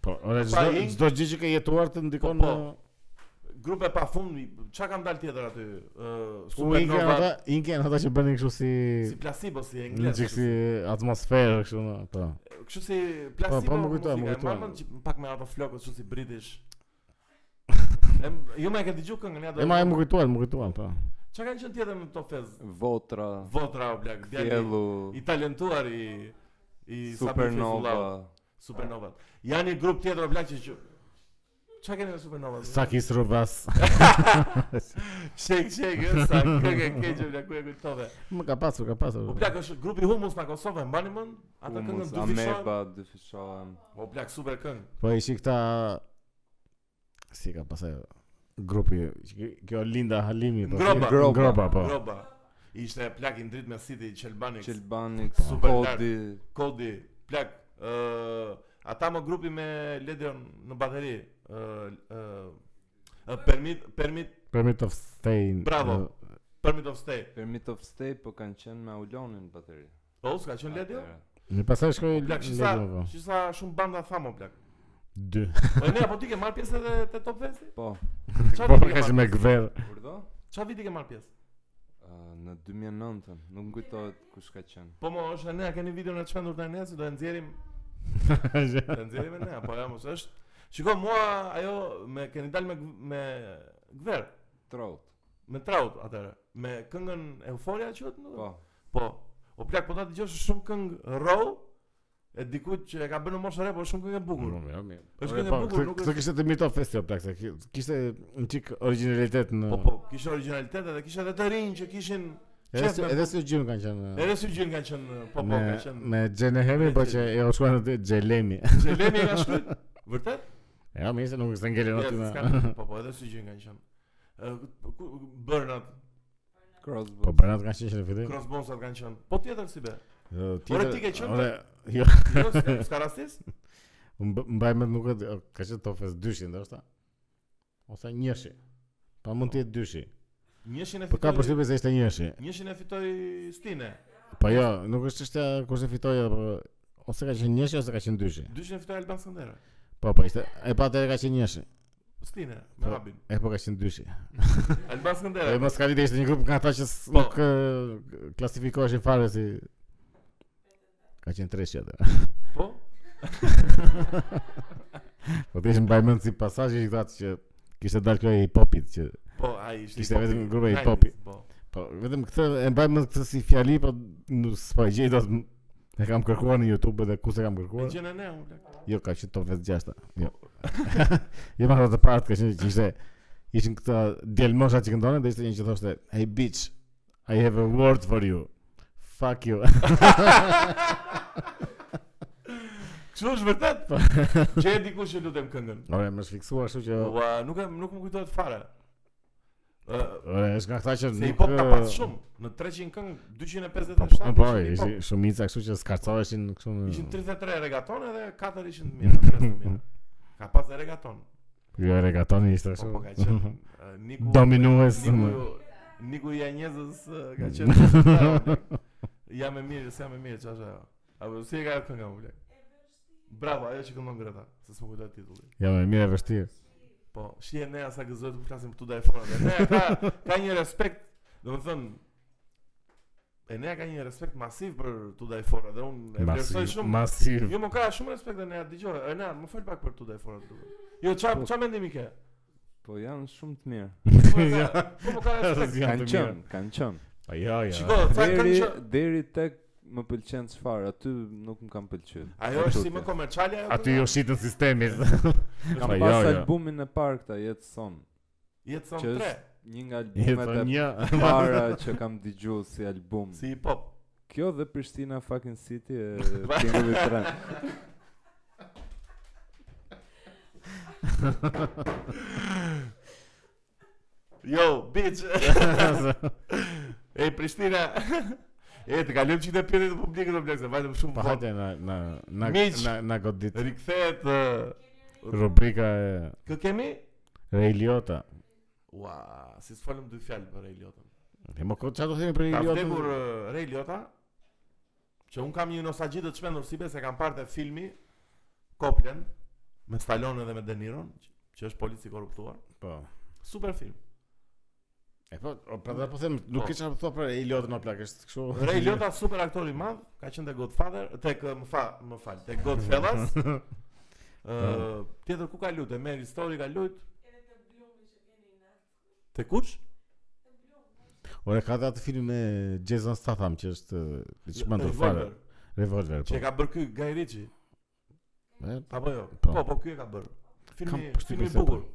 Speaker 1: Po, ora
Speaker 2: Pa,
Speaker 1: çdo
Speaker 2: i-
Speaker 1: çdo gjë që ke jetuar të ndikon
Speaker 2: pra, Po, po.
Speaker 1: në-
Speaker 2: grupe pa fund, qa kam dalë tjetër aty, uh,
Speaker 1: U inken
Speaker 2: Supernova,
Speaker 1: ata, inken ata që bënin kështu si
Speaker 2: si Placebo, si
Speaker 1: në
Speaker 2: Engles,
Speaker 1: çik si atmosferë kështu në, po.
Speaker 2: kështu si Placebo,
Speaker 1: Po, po, më kujtohet, më
Speaker 2: muzika, e
Speaker 1: kujtohet.
Speaker 2: marrën që pak me ato flokët, kështu si British, Em, ju më e ke dëgju këngën ja do.
Speaker 1: E ma e më kujtuan, më kujtuan, po.
Speaker 2: Çka kanë qenë tjetër në Top Fest?
Speaker 3: Votra,
Speaker 2: Votra o blak, djali
Speaker 3: Fjellu,
Speaker 2: i talentuar i i Sabri Fethullah.
Speaker 3: Supernova.
Speaker 2: Supernova. Janë një grup tjetër o blaq që që Qa keni me Supernova?
Speaker 1: Sakis Rubas.
Speaker 2: Shake, shake, e, sa këngë e keqe, bla, ku e kujtove.
Speaker 1: Më ka pasur, ka pasur.
Speaker 2: O blaq, është grupi Humus në Kosovë, e mbani mend? Ata këngën
Speaker 3: Humus,
Speaker 2: du fishon.
Speaker 3: Ameba, Dyfishohem.
Speaker 2: O blaq, super këngë.
Speaker 1: Po ishi këta si ka pasaj grupi që- kjo Linda Halimi po. si-
Speaker 2: Ngroba.
Speaker 1: Ngroba po.
Speaker 2: Groba. Ishte plak i ndrit me City, Qelbani,
Speaker 3: Qelbanik,
Speaker 1: Po,
Speaker 2: Super
Speaker 3: Kodi,
Speaker 2: Kodi, plak. ë, ata më grupi me Ledion në bateri. ë, ë, ë, permit, permit,
Speaker 1: Po Permit of stay.
Speaker 2: Bravo.
Speaker 1: ë,
Speaker 2: Permit of stay.
Speaker 3: Permit of stay po kanë qenë me Aulonin bateri.
Speaker 2: Po, s'ka qenë ledi?
Speaker 3: Atëherë.
Speaker 1: Në pasaj shkoj
Speaker 2: Plak,
Speaker 1: lagë
Speaker 2: shisa, shisa shumë banda thamo, plak.
Speaker 1: Dy.
Speaker 2: Po ne apo ti ke marr pjesë edhe te Top Festi?
Speaker 3: Po,
Speaker 2: Çfarë
Speaker 1: Po
Speaker 2: viti ke
Speaker 1: ka që
Speaker 2: marrë
Speaker 1: me gver.
Speaker 3: urdhë?
Speaker 2: pjesë? Çfarë viti ke marr pjesë?
Speaker 3: Uh, në 2009-ën, nuk më kujtohet kush ka qenë.
Speaker 2: Po mo, është ne a keni videon e çmendur tani ne, se do e nxjerrim, do e nxjerrim e ne, apo ja mos është. Shiko, mua ajo me keni dalë me gv- me gver,
Speaker 3: Trout.
Speaker 2: me traut atëherë, me këngën Euforia quhet, nuk?
Speaker 3: Po.
Speaker 2: Po. O plak, po ta dëgjosh është shumë këngë raw e dikujt që e ka bërë në moshë re, po është shumë këngë e bukur.
Speaker 1: Mm.
Speaker 2: Është këngë e bukur, nuk
Speaker 1: po, Këtë
Speaker 2: është.
Speaker 1: kishte të mirë të festi o plak, se ki- kishte një qik originalitet në...
Speaker 2: Po po, kishte originalitet edhe kishte edhe të rinj që kishin
Speaker 1: Edhe
Speaker 2: qef
Speaker 1: se-
Speaker 2: me-
Speaker 1: Edhe së gjimë kanë qenë...
Speaker 2: Edhe si gjën kanë qenë, po po,
Speaker 1: Me,
Speaker 2: kanë qenë.
Speaker 1: me Gjenehemi,
Speaker 2: Me
Speaker 1: po që
Speaker 2: Gjenehemi.
Speaker 1: e o shkuan aty Gjelemi.
Speaker 2: Xhelemi e ka shkruajt? Vërtet?
Speaker 1: Ja, mirë se nuk është ngelin
Speaker 2: Ja,
Speaker 1: aty me...
Speaker 2: s'ka- Po po, edhe si gjën kanë qenë. Ë, ku- Bernat,
Speaker 3: Crossbow.
Speaker 1: Po Bernat kanë qenë që në fillim.
Speaker 2: Crossbonesat kanë qenë. Po tjetër si be?
Speaker 1: Ë,
Speaker 2: ti ke qenë?
Speaker 1: Ore, jo,
Speaker 2: Jo, s'ka- s'ka rastis?
Speaker 1: mb- mbaj me nuk e di, o, ka qenë Top Fest 200 ndoshta. Ose njëshi. Pa mund të jetë dyshi.
Speaker 2: Njëshin e
Speaker 1: Po ka
Speaker 2: fitoi.
Speaker 1: përshtypjen se ishte njëshi.
Speaker 2: Njëshin e fitoi Stine.
Speaker 1: Po jo, nuk është çështja kush e fitoi apo ose ka qenë njëshi ose ka qenë dyshi.
Speaker 2: Dyshin e fitoi Alban Skëndera.
Speaker 1: Po po ishte e pa atëherë ka qenë njëshi.
Speaker 2: Stine, me
Speaker 1: Po.
Speaker 2: Rabin.
Speaker 1: E po ka qenë dyshi.
Speaker 2: Alban
Speaker 1: E
Speaker 2: Skëndera.
Speaker 1: mos ka vite ishte një grup nga ata që s-
Speaker 2: Po.
Speaker 1: nuk e, klasifikoheshin fare si ka qenë treshi atë.
Speaker 2: Po,
Speaker 1: Po të ishim mbajmend si pasazhi këta që kishte dalë kjo e hip hopit që
Speaker 2: po, ai ishte.
Speaker 1: Ishte
Speaker 2: hip-hopi.
Speaker 1: vetëm grupe
Speaker 2: Nineties,
Speaker 1: hip-hopi.
Speaker 2: Po.
Speaker 1: Po, vetëm këtë e mbaj mend këtë si fjali, po nuk s'po e gjej dot. E kam kërkuar në YouTube dhe ku se kam
Speaker 2: E
Speaker 1: kërkuar?
Speaker 2: gjën e ne, unë plak.
Speaker 1: Jo, ka qenë Top 56. Jo. jo më të parë ka qenë që ishte ishin këta djelmosha që këndonin dhe ishte një që thoshte, "Hey bitch, I have a word for you." Fuck you.
Speaker 2: Kështu është vërtet.
Speaker 1: Po.
Speaker 2: Që e dikush që lutem këngën.
Speaker 1: Ore, më shfiksuar kështu që
Speaker 2: Ua, nuk e nuk më kujtohet fare. Ë,
Speaker 1: Ore, është nga këta që
Speaker 2: Se i
Speaker 1: nuk,
Speaker 2: pop ka pas
Speaker 1: eh,
Speaker 2: shumë, në 300 këngë,
Speaker 1: Po,
Speaker 2: 257
Speaker 1: po,
Speaker 2: ishin
Speaker 1: ishi
Speaker 2: hip-hop.
Speaker 1: shumica kështu që skarcoheshin kështu. në-
Speaker 2: Ishin 33 regatone dhe 4 ishin të mira, tre të mira. Ka pas dhe regaton.
Speaker 1: Ky Jo, e regatoni ishte
Speaker 2: Po
Speaker 1: kështu.
Speaker 2: po ka qenë eh, Niku
Speaker 1: Dominues.
Speaker 2: Niku Niku i Anjezës eh, ka qenë. qytetar, blek. Jam e mirë, jam e mirë, çfarë është ajo? Apo si e ka ajo kënga, blek? Bravo, ajo që këndon Greta, se s'më kujtohet titulli.
Speaker 1: Ja, më mirë e vështirë.
Speaker 2: Po, shije ne sa gëzohet të flasim këtu telefonat. E Nea ka ka një respekt, domethënë E nea ka një respekt masiv për Tudaj Fora dhe unë e vlerësoj
Speaker 1: Masiv,
Speaker 2: shumë.
Speaker 1: masiv.
Speaker 2: Jo, më ka shumë respekt dhe nea, dëgjoj. E nea, më fol pak për Tudaj Fora duke. Jo, ç'a
Speaker 3: Po.
Speaker 2: ç'a mendimi ke?
Speaker 3: Po janë shumë të mirë.
Speaker 2: Po e ka- po më ka respekt.
Speaker 1: Janë
Speaker 3: Kanë
Speaker 1: të mirë.
Speaker 3: qenë, kanë qenë.
Speaker 1: Po jo, jo.
Speaker 2: Shiko, çfarë këngë
Speaker 3: Deri
Speaker 2: që
Speaker 3: deri tek më pëlqen çfarë, aty nuk më kanë pëlqyer.
Speaker 2: Ajo është si më komerciale ajo.
Speaker 1: Aty jo shitën sistemin.
Speaker 3: Kam
Speaker 1: Pa,
Speaker 3: pas
Speaker 1: jo, jo.
Speaker 3: albumin e parë këta Jetë Son.
Speaker 2: jetë son
Speaker 3: që
Speaker 2: 3,
Speaker 3: Një nga
Speaker 1: Je
Speaker 3: albumet
Speaker 1: thon
Speaker 3: e
Speaker 1: një.
Speaker 3: para që kam dëgju si album.
Speaker 2: si hip hop.
Speaker 3: Kjo dhe Prishtina fucking City e Tingulli Tren.
Speaker 2: Jo, bitch. e Prishtina. E të kalojmë çikë të pjetë të publikut do blek se vajtëm shumë
Speaker 1: Po
Speaker 2: vonë.
Speaker 1: hajde na na na
Speaker 2: Miq.
Speaker 1: na, na godit.
Speaker 2: Rikthehet ë,
Speaker 1: Rubrika e
Speaker 2: Kë kemi?
Speaker 1: Reiliota.
Speaker 2: Ua, si të folëm dy fjalë për Ray Liotan.
Speaker 1: E mo ko çfarë do themi për
Speaker 2: Ka vdekur uh,
Speaker 1: Reiliota?
Speaker 2: ë, Ray Liotta, që un kam një nostalgji të çmendur si besë kam parë te filmi Copland me Stallone dhe me De Niro, që është polic i korruptuar.
Speaker 1: Po.
Speaker 2: Super film.
Speaker 1: E po, o, pra da po them, nuk
Speaker 2: Po.
Speaker 1: kisha thua për Reiliota në plak, është kështu.
Speaker 2: Ray Liotta super aktor i madh, ka qenë te Godfather, tek ë, më fa, më fal, tek Godfellas. Ë, tjetër ku ka lutë? Mary Story ka lutë. Te kush?
Speaker 1: Ore ka dhe atë film me Jason Statham që është e, i çmendur fare.
Speaker 2: Revolver,
Speaker 1: Revolver.
Speaker 2: Që e
Speaker 1: Po.
Speaker 2: ka bërë ky Guy Ritchie.
Speaker 1: E,
Speaker 2: Apo jo?
Speaker 1: Po.
Speaker 2: Po, po, ky e ka bërë.
Speaker 1: Kam
Speaker 2: Filmi,
Speaker 1: përshtypjen
Speaker 2: filmi i
Speaker 1: se po.
Speaker 2: bukur.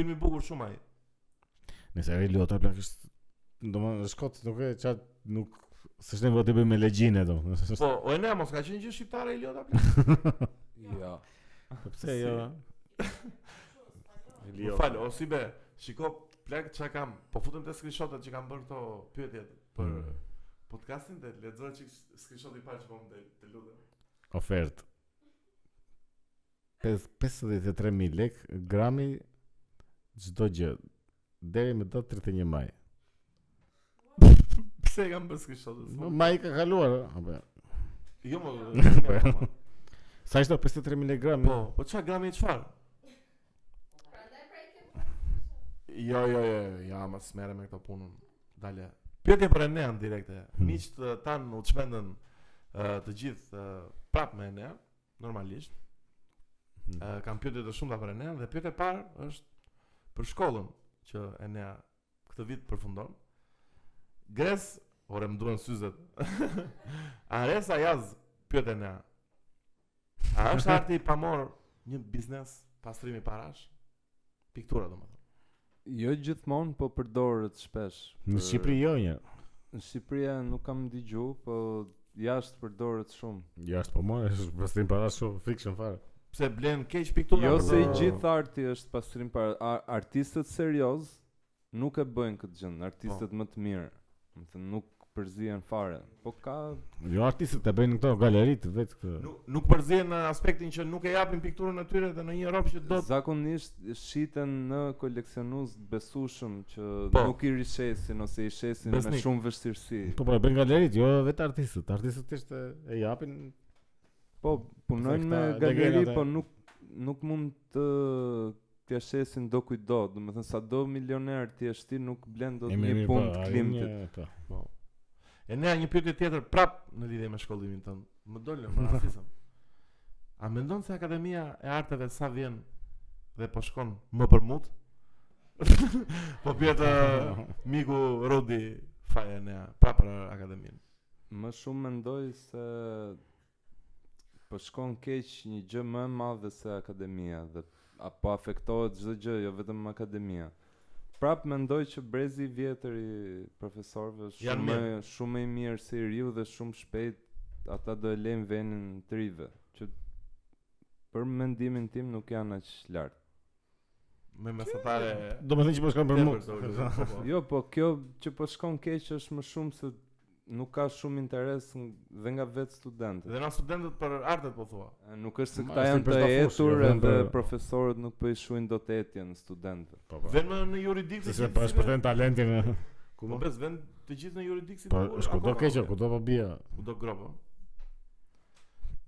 Speaker 2: Filmi i bukur shumë ai.
Speaker 1: Nëse Reiliota plak është domethënë shkot nuk e çat nuk s'është nevojë të bëjmë me legjinë domethënë.
Speaker 2: Po, o e ne mos ka qenë gjë shqiptare Eliota.
Speaker 3: Jo.
Speaker 1: Po pse jo?
Speaker 2: Jo. Fal, o si be. Shiko, plak çka kam. Po futem te screenshotat që kam bërë këto pyetje për
Speaker 1: Mm.
Speaker 2: podcastin dhe lexoj çik screenshot i parë që po më del, të lutem.
Speaker 1: Ofert 53000 lek grami çdo gjë deri më datë 31 maj.
Speaker 2: Pse e kam bërë screenshot?
Speaker 1: Ma ma i ka kaluar, apo.
Speaker 2: Jo më.
Speaker 1: Po, ja. Sa ishte 53 mg?
Speaker 2: Po, po çfarë grami e çfarë? Jo, jo, jo, ja, ma smere me këto punën. Dale. Pyetje për Enean direkte.
Speaker 1: Hmm.
Speaker 2: Miqët eh, tan u çmendën eh, të gjithë eh, prap me Enean, normalisht.
Speaker 1: Hmm.
Speaker 2: Ë, kam pyetje të shumta për Enean dhe pyetja e parë është për shkollën që Enea këtë vit përfundon. Gres, ore më duhen syzet. Ares Ajaz pyet Enea. A është arti i pamor një biznes pastrimi parash? Piktura domethënë.
Speaker 3: Jo gjithmonë, po përdoret shpesh.
Speaker 1: Në
Speaker 3: për-
Speaker 1: Shqipëri jo një.
Speaker 3: Në Shqipëri e nuk kam dëgju, po jashtë përdoret shumë.
Speaker 1: Jashtë po marrë, është pastim para shumë fiction fare.
Speaker 2: Pse blen keq piktura?
Speaker 3: Jo
Speaker 2: për-
Speaker 3: se i gjithë arti është pastrim para a- artistët serioz nuk e bëjnë këtë gjë, artistët më të mirë. Do të thënë, nuk përzihen fare. Po ka
Speaker 1: Jo artistët e bëjnë këto galeritë vetë këtë.
Speaker 2: Nuk, nuk përzihen në aspektin që nuk e japin pikturën atyre dhe në një rob që do të
Speaker 3: zakonisht shiten në koleksionues të besueshëm që
Speaker 2: Po.
Speaker 3: nuk i rishesin ose i shesin me
Speaker 2: Besnik.
Speaker 3: shumë vështirësi.
Speaker 1: Po po e bëjnë galeritë, jo vetë artistët. Artistët ishte e japin
Speaker 3: Po punojnë me
Speaker 1: këta
Speaker 3: galeri,
Speaker 1: degrena
Speaker 3: po
Speaker 1: të-
Speaker 3: nuk nuk mund të t'ja shesin do kujt do, do të thënë sado milioner ti je ti nuk blen do të
Speaker 1: Jemi
Speaker 3: një
Speaker 1: mirë,
Speaker 3: punë
Speaker 1: po,
Speaker 3: të
Speaker 1: a,
Speaker 3: klimtit.
Speaker 1: jemi, po.
Speaker 2: Po. E nea një pyetje tjetër prap në lidhje me shkollimin tënd. Më dolën më rastisëm. A mendon se Akademia e Arteve sa vjen dhe po shkon më përmut? po pyet ë, miku Rudi Faja nea, pra për Akademinë.
Speaker 3: Më shumë mendoj se po shkon keq një gjë më e madhe se akademia dhe apo afektohet çdo gjë, jo vetëm akademia. Prap mendoj që brezi i vjetër i profesorëve është
Speaker 2: Janë
Speaker 3: shumë e- shumë më i mirë se i riu dhe shumë shpejt ata do e lejnë venin të rive, që për mendimin tim nuk janë aq lart.
Speaker 2: Me mesatare
Speaker 1: Do më thënë që po shkon për
Speaker 2: tepër
Speaker 1: mund.
Speaker 2: se u lidhën, po, po.
Speaker 3: Jo, po kjo që po shkon keq është më shumë se nuk ka shumë interes ng- dhe nga vetë studentët.
Speaker 2: Dhe na studentët për artet po thua.
Speaker 3: E, Nuk është se
Speaker 1: Ma,
Speaker 3: këta
Speaker 1: është
Speaker 3: janë
Speaker 1: për
Speaker 3: të
Speaker 1: shtafushë, jo,
Speaker 3: etur
Speaker 1: janë
Speaker 3: edhe
Speaker 1: për-
Speaker 3: profesorët nuk po i shuin dot etjen studentëve.
Speaker 1: Po po.
Speaker 2: Vend në juridik
Speaker 1: Se se po shpërthen talentin. e.
Speaker 2: Ku më Po, bes vend të gjithë në juridik si
Speaker 1: Po
Speaker 2: kur,
Speaker 1: është kudo
Speaker 2: akoma,
Speaker 1: keq,
Speaker 2: po.
Speaker 1: kudo po bie.
Speaker 2: Kudo grobo.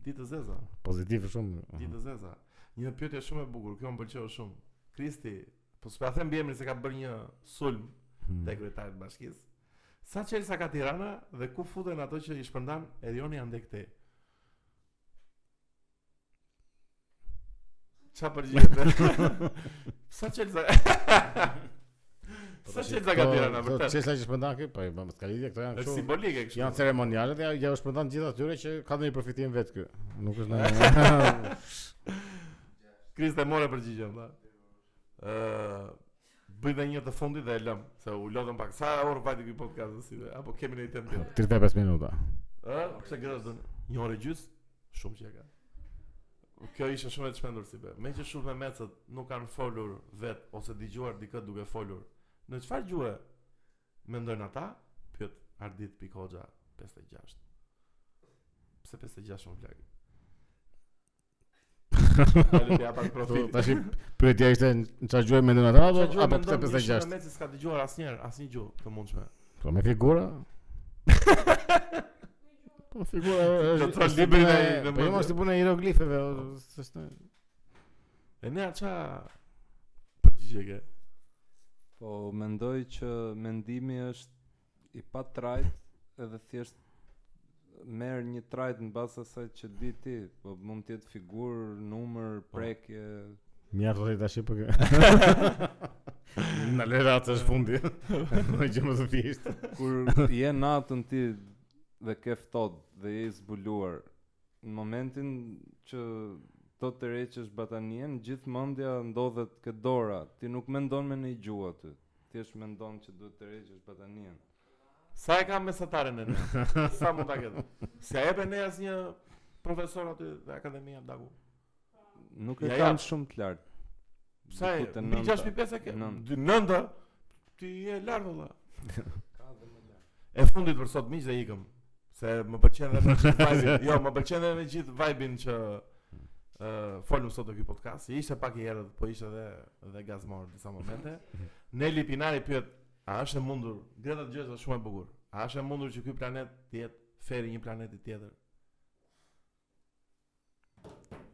Speaker 2: Ditë zeza,
Speaker 1: Pozitiv shumë. Mhm.
Speaker 2: ditë zeza. Një pyetje shumë e bukur, kjo më pëlqeu shumë. Kristi, po s'pa them mbi emrin se ka bërë një sulm
Speaker 1: Hmm.
Speaker 2: te kryetari i bashkisë. Sa Chelsea ka Tirana dhe ku futen ato që i shpërndan Erioni ande këtej? Qa përgjigjet? Sa Chelsea?
Speaker 1: Po
Speaker 2: Sa Chelsea ka Tirana vërtet?
Speaker 1: Çelsa që shpërndan këtu, po më ska lidhje këto janë
Speaker 2: Është
Speaker 1: kështu.
Speaker 2: simbolike kështu.
Speaker 1: Janë ceremoniale dhe ja- ja u shpërndan gjithë atyre që ka ndonjë përfitim vetë ky. Nuk është ndonjë.
Speaker 2: Kriste more përgjigjen valla. Ë bëj dhe një të fundit dhe e lëm, se u lodhëm pak. Sa orë vajti ky podcast si dhe, apo kemi në një temp tjetër?
Speaker 1: 35 minuta.
Speaker 2: Ë, pse gëzon? Një orë gjys, shumë që e ka. Kjo ishte shumë e çmendur si be. Me që shumë me mecët nuk kanë folur vet ose dëgjuar dikë duke folur. Në çfarë gjuhë mendojnë ata? Pyet Ardit Pikoxha 56. Pse 56 shumë plagë? Alë të japa
Speaker 1: Tu
Speaker 2: profil.
Speaker 1: tash pyetja ishte në çfarë gjuhë mendon ata apo
Speaker 2: Po, Çfarë gjuhë
Speaker 1: apo pse
Speaker 2: mendon një
Speaker 1: 56?
Speaker 2: shumë Me mecë s'ka dëgjuar asnjëherë, asnjë gjuhë të mundshme.
Speaker 1: Po me figura. Po figura
Speaker 2: Do
Speaker 1: është.
Speaker 2: të thosh
Speaker 1: është
Speaker 2: librin
Speaker 1: puna
Speaker 2: e-
Speaker 1: e-
Speaker 2: në
Speaker 1: Po jo
Speaker 2: mendje.
Speaker 1: është puna e hieroglifeve, o, s'është.
Speaker 2: E ne qa përgjigje ke?
Speaker 3: Po mendoj që mendimi është i pa trajt edhe thjesht merr një trajt në bazë asaj që di ti, po mund të jetë figurë, numër,
Speaker 1: Po.
Speaker 3: prekje.
Speaker 1: Mja të tash po. kë- Na lera atë është fundi. Në gjë më të thjeshtë.
Speaker 3: Kur je natën ti dhe ke ftohtë dhe je i zbuluar, në momentin që do të rreqesh batanien, gjithë mendja ndodhet ke dora, ti nuk mendon me një gjuhë aty. Thjesht mendon që duhet të rreqesh batanien.
Speaker 2: Sa e kam mesataren e ne? Sa mund ta ketë? Se e ne as një profesor aty dhe akademia daku.
Speaker 3: Nuk e
Speaker 2: Ja,
Speaker 3: kam
Speaker 2: ja.
Speaker 3: shumë të lartë.
Speaker 2: Sa e?
Speaker 3: Diku te
Speaker 2: Mbi
Speaker 3: nënta.
Speaker 2: 6.5 e ke?
Speaker 3: Nëntë.
Speaker 2: Dy nënda? Ti je lart valla. E fundit për sot miq dhe ikëm. Se më pëlqen dhe me gjithë vibe-in. Jo, më pëlqen dhe me gjithë vibe-in që ë folëm sot në ky podcast. Ishte pak i errët, po ishte edhe edhe gazmor në disa momente. Neli Pinari pyet, a është e mundur? Greta Gjëza shumë e bukur. A është e mundur që ky planet të jetë feri një planeti tjetër?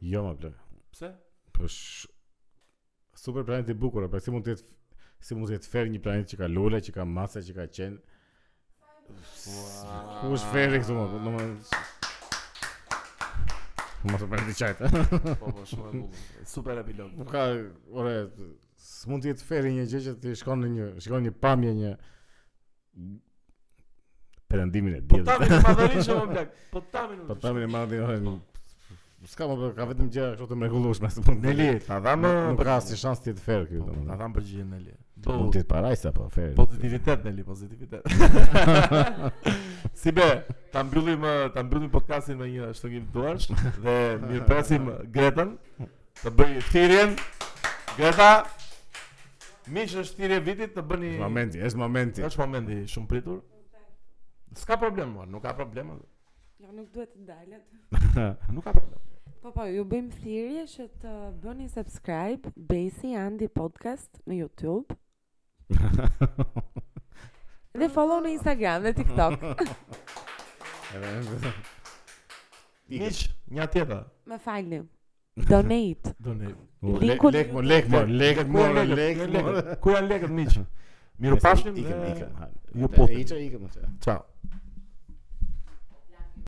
Speaker 1: Jo më plak.
Speaker 2: Pse?
Speaker 1: Po sh... super planet i bukur, pra si mund të jetë si mund të jetë ferri një planet që ka lule, që ka masa, që ka qen. Ku është ferri këtu më? Do më Mos e bëni çajt.
Speaker 2: Po, po, shumë e bukur. Super epilog.
Speaker 1: Nuk Po ka, ore, s'mund të jetë ferri një gjë që ti shkon në një, shkon një pamje një perëndimin e
Speaker 2: Po ta
Speaker 1: diellit.
Speaker 2: më madhërisht më plak. Po ta më.
Speaker 1: Po tamë në madhin ore. S'ka më bë- ka vetëm gjëra kështu të mrekullueshme se mund.
Speaker 2: Neli, ta dhamë
Speaker 1: nuk ka si shans të jetë ferri këtu
Speaker 2: Ta
Speaker 1: domethënë.
Speaker 2: dham përgjigjen Neli.
Speaker 1: Mund të jetë parajsa po ferri.
Speaker 2: Pozitivitet Neli, pozitivitet. si be, ta mbyllim eh, ta mbyllim podcastin me një shtëngim duarsh dhe mirëpresim Gretën të bëj thirrjen. Greta, miq është thirrje vitit të bëni
Speaker 1: Është momenti, është momenti.
Speaker 2: Është momenti shumë pritur. S'ka problem, mua, nuk ka problem.
Speaker 5: Jo, nuk duhet të dalet.
Speaker 2: Nuk ka problem.
Speaker 5: Po po, ju bëjmë thirrje që të bëni subscribe Besi Andi Podcast në YouTube dhe follow në Instagram dhe TikTok.
Speaker 2: Miq, një tjetër.
Speaker 5: Më falni. Donate.
Speaker 2: Doni.
Speaker 1: Lek,
Speaker 5: Linkun-
Speaker 1: lek, mo, lek, mo, lek, mo, lek, mo.
Speaker 2: Ku janë lekët miq? Miru pashim.
Speaker 1: Ikëm,
Speaker 2: dhe
Speaker 1: ikëm. hajde.
Speaker 2: ju putim.
Speaker 1: E iqa, ikëm. atë.
Speaker 2: Ciao.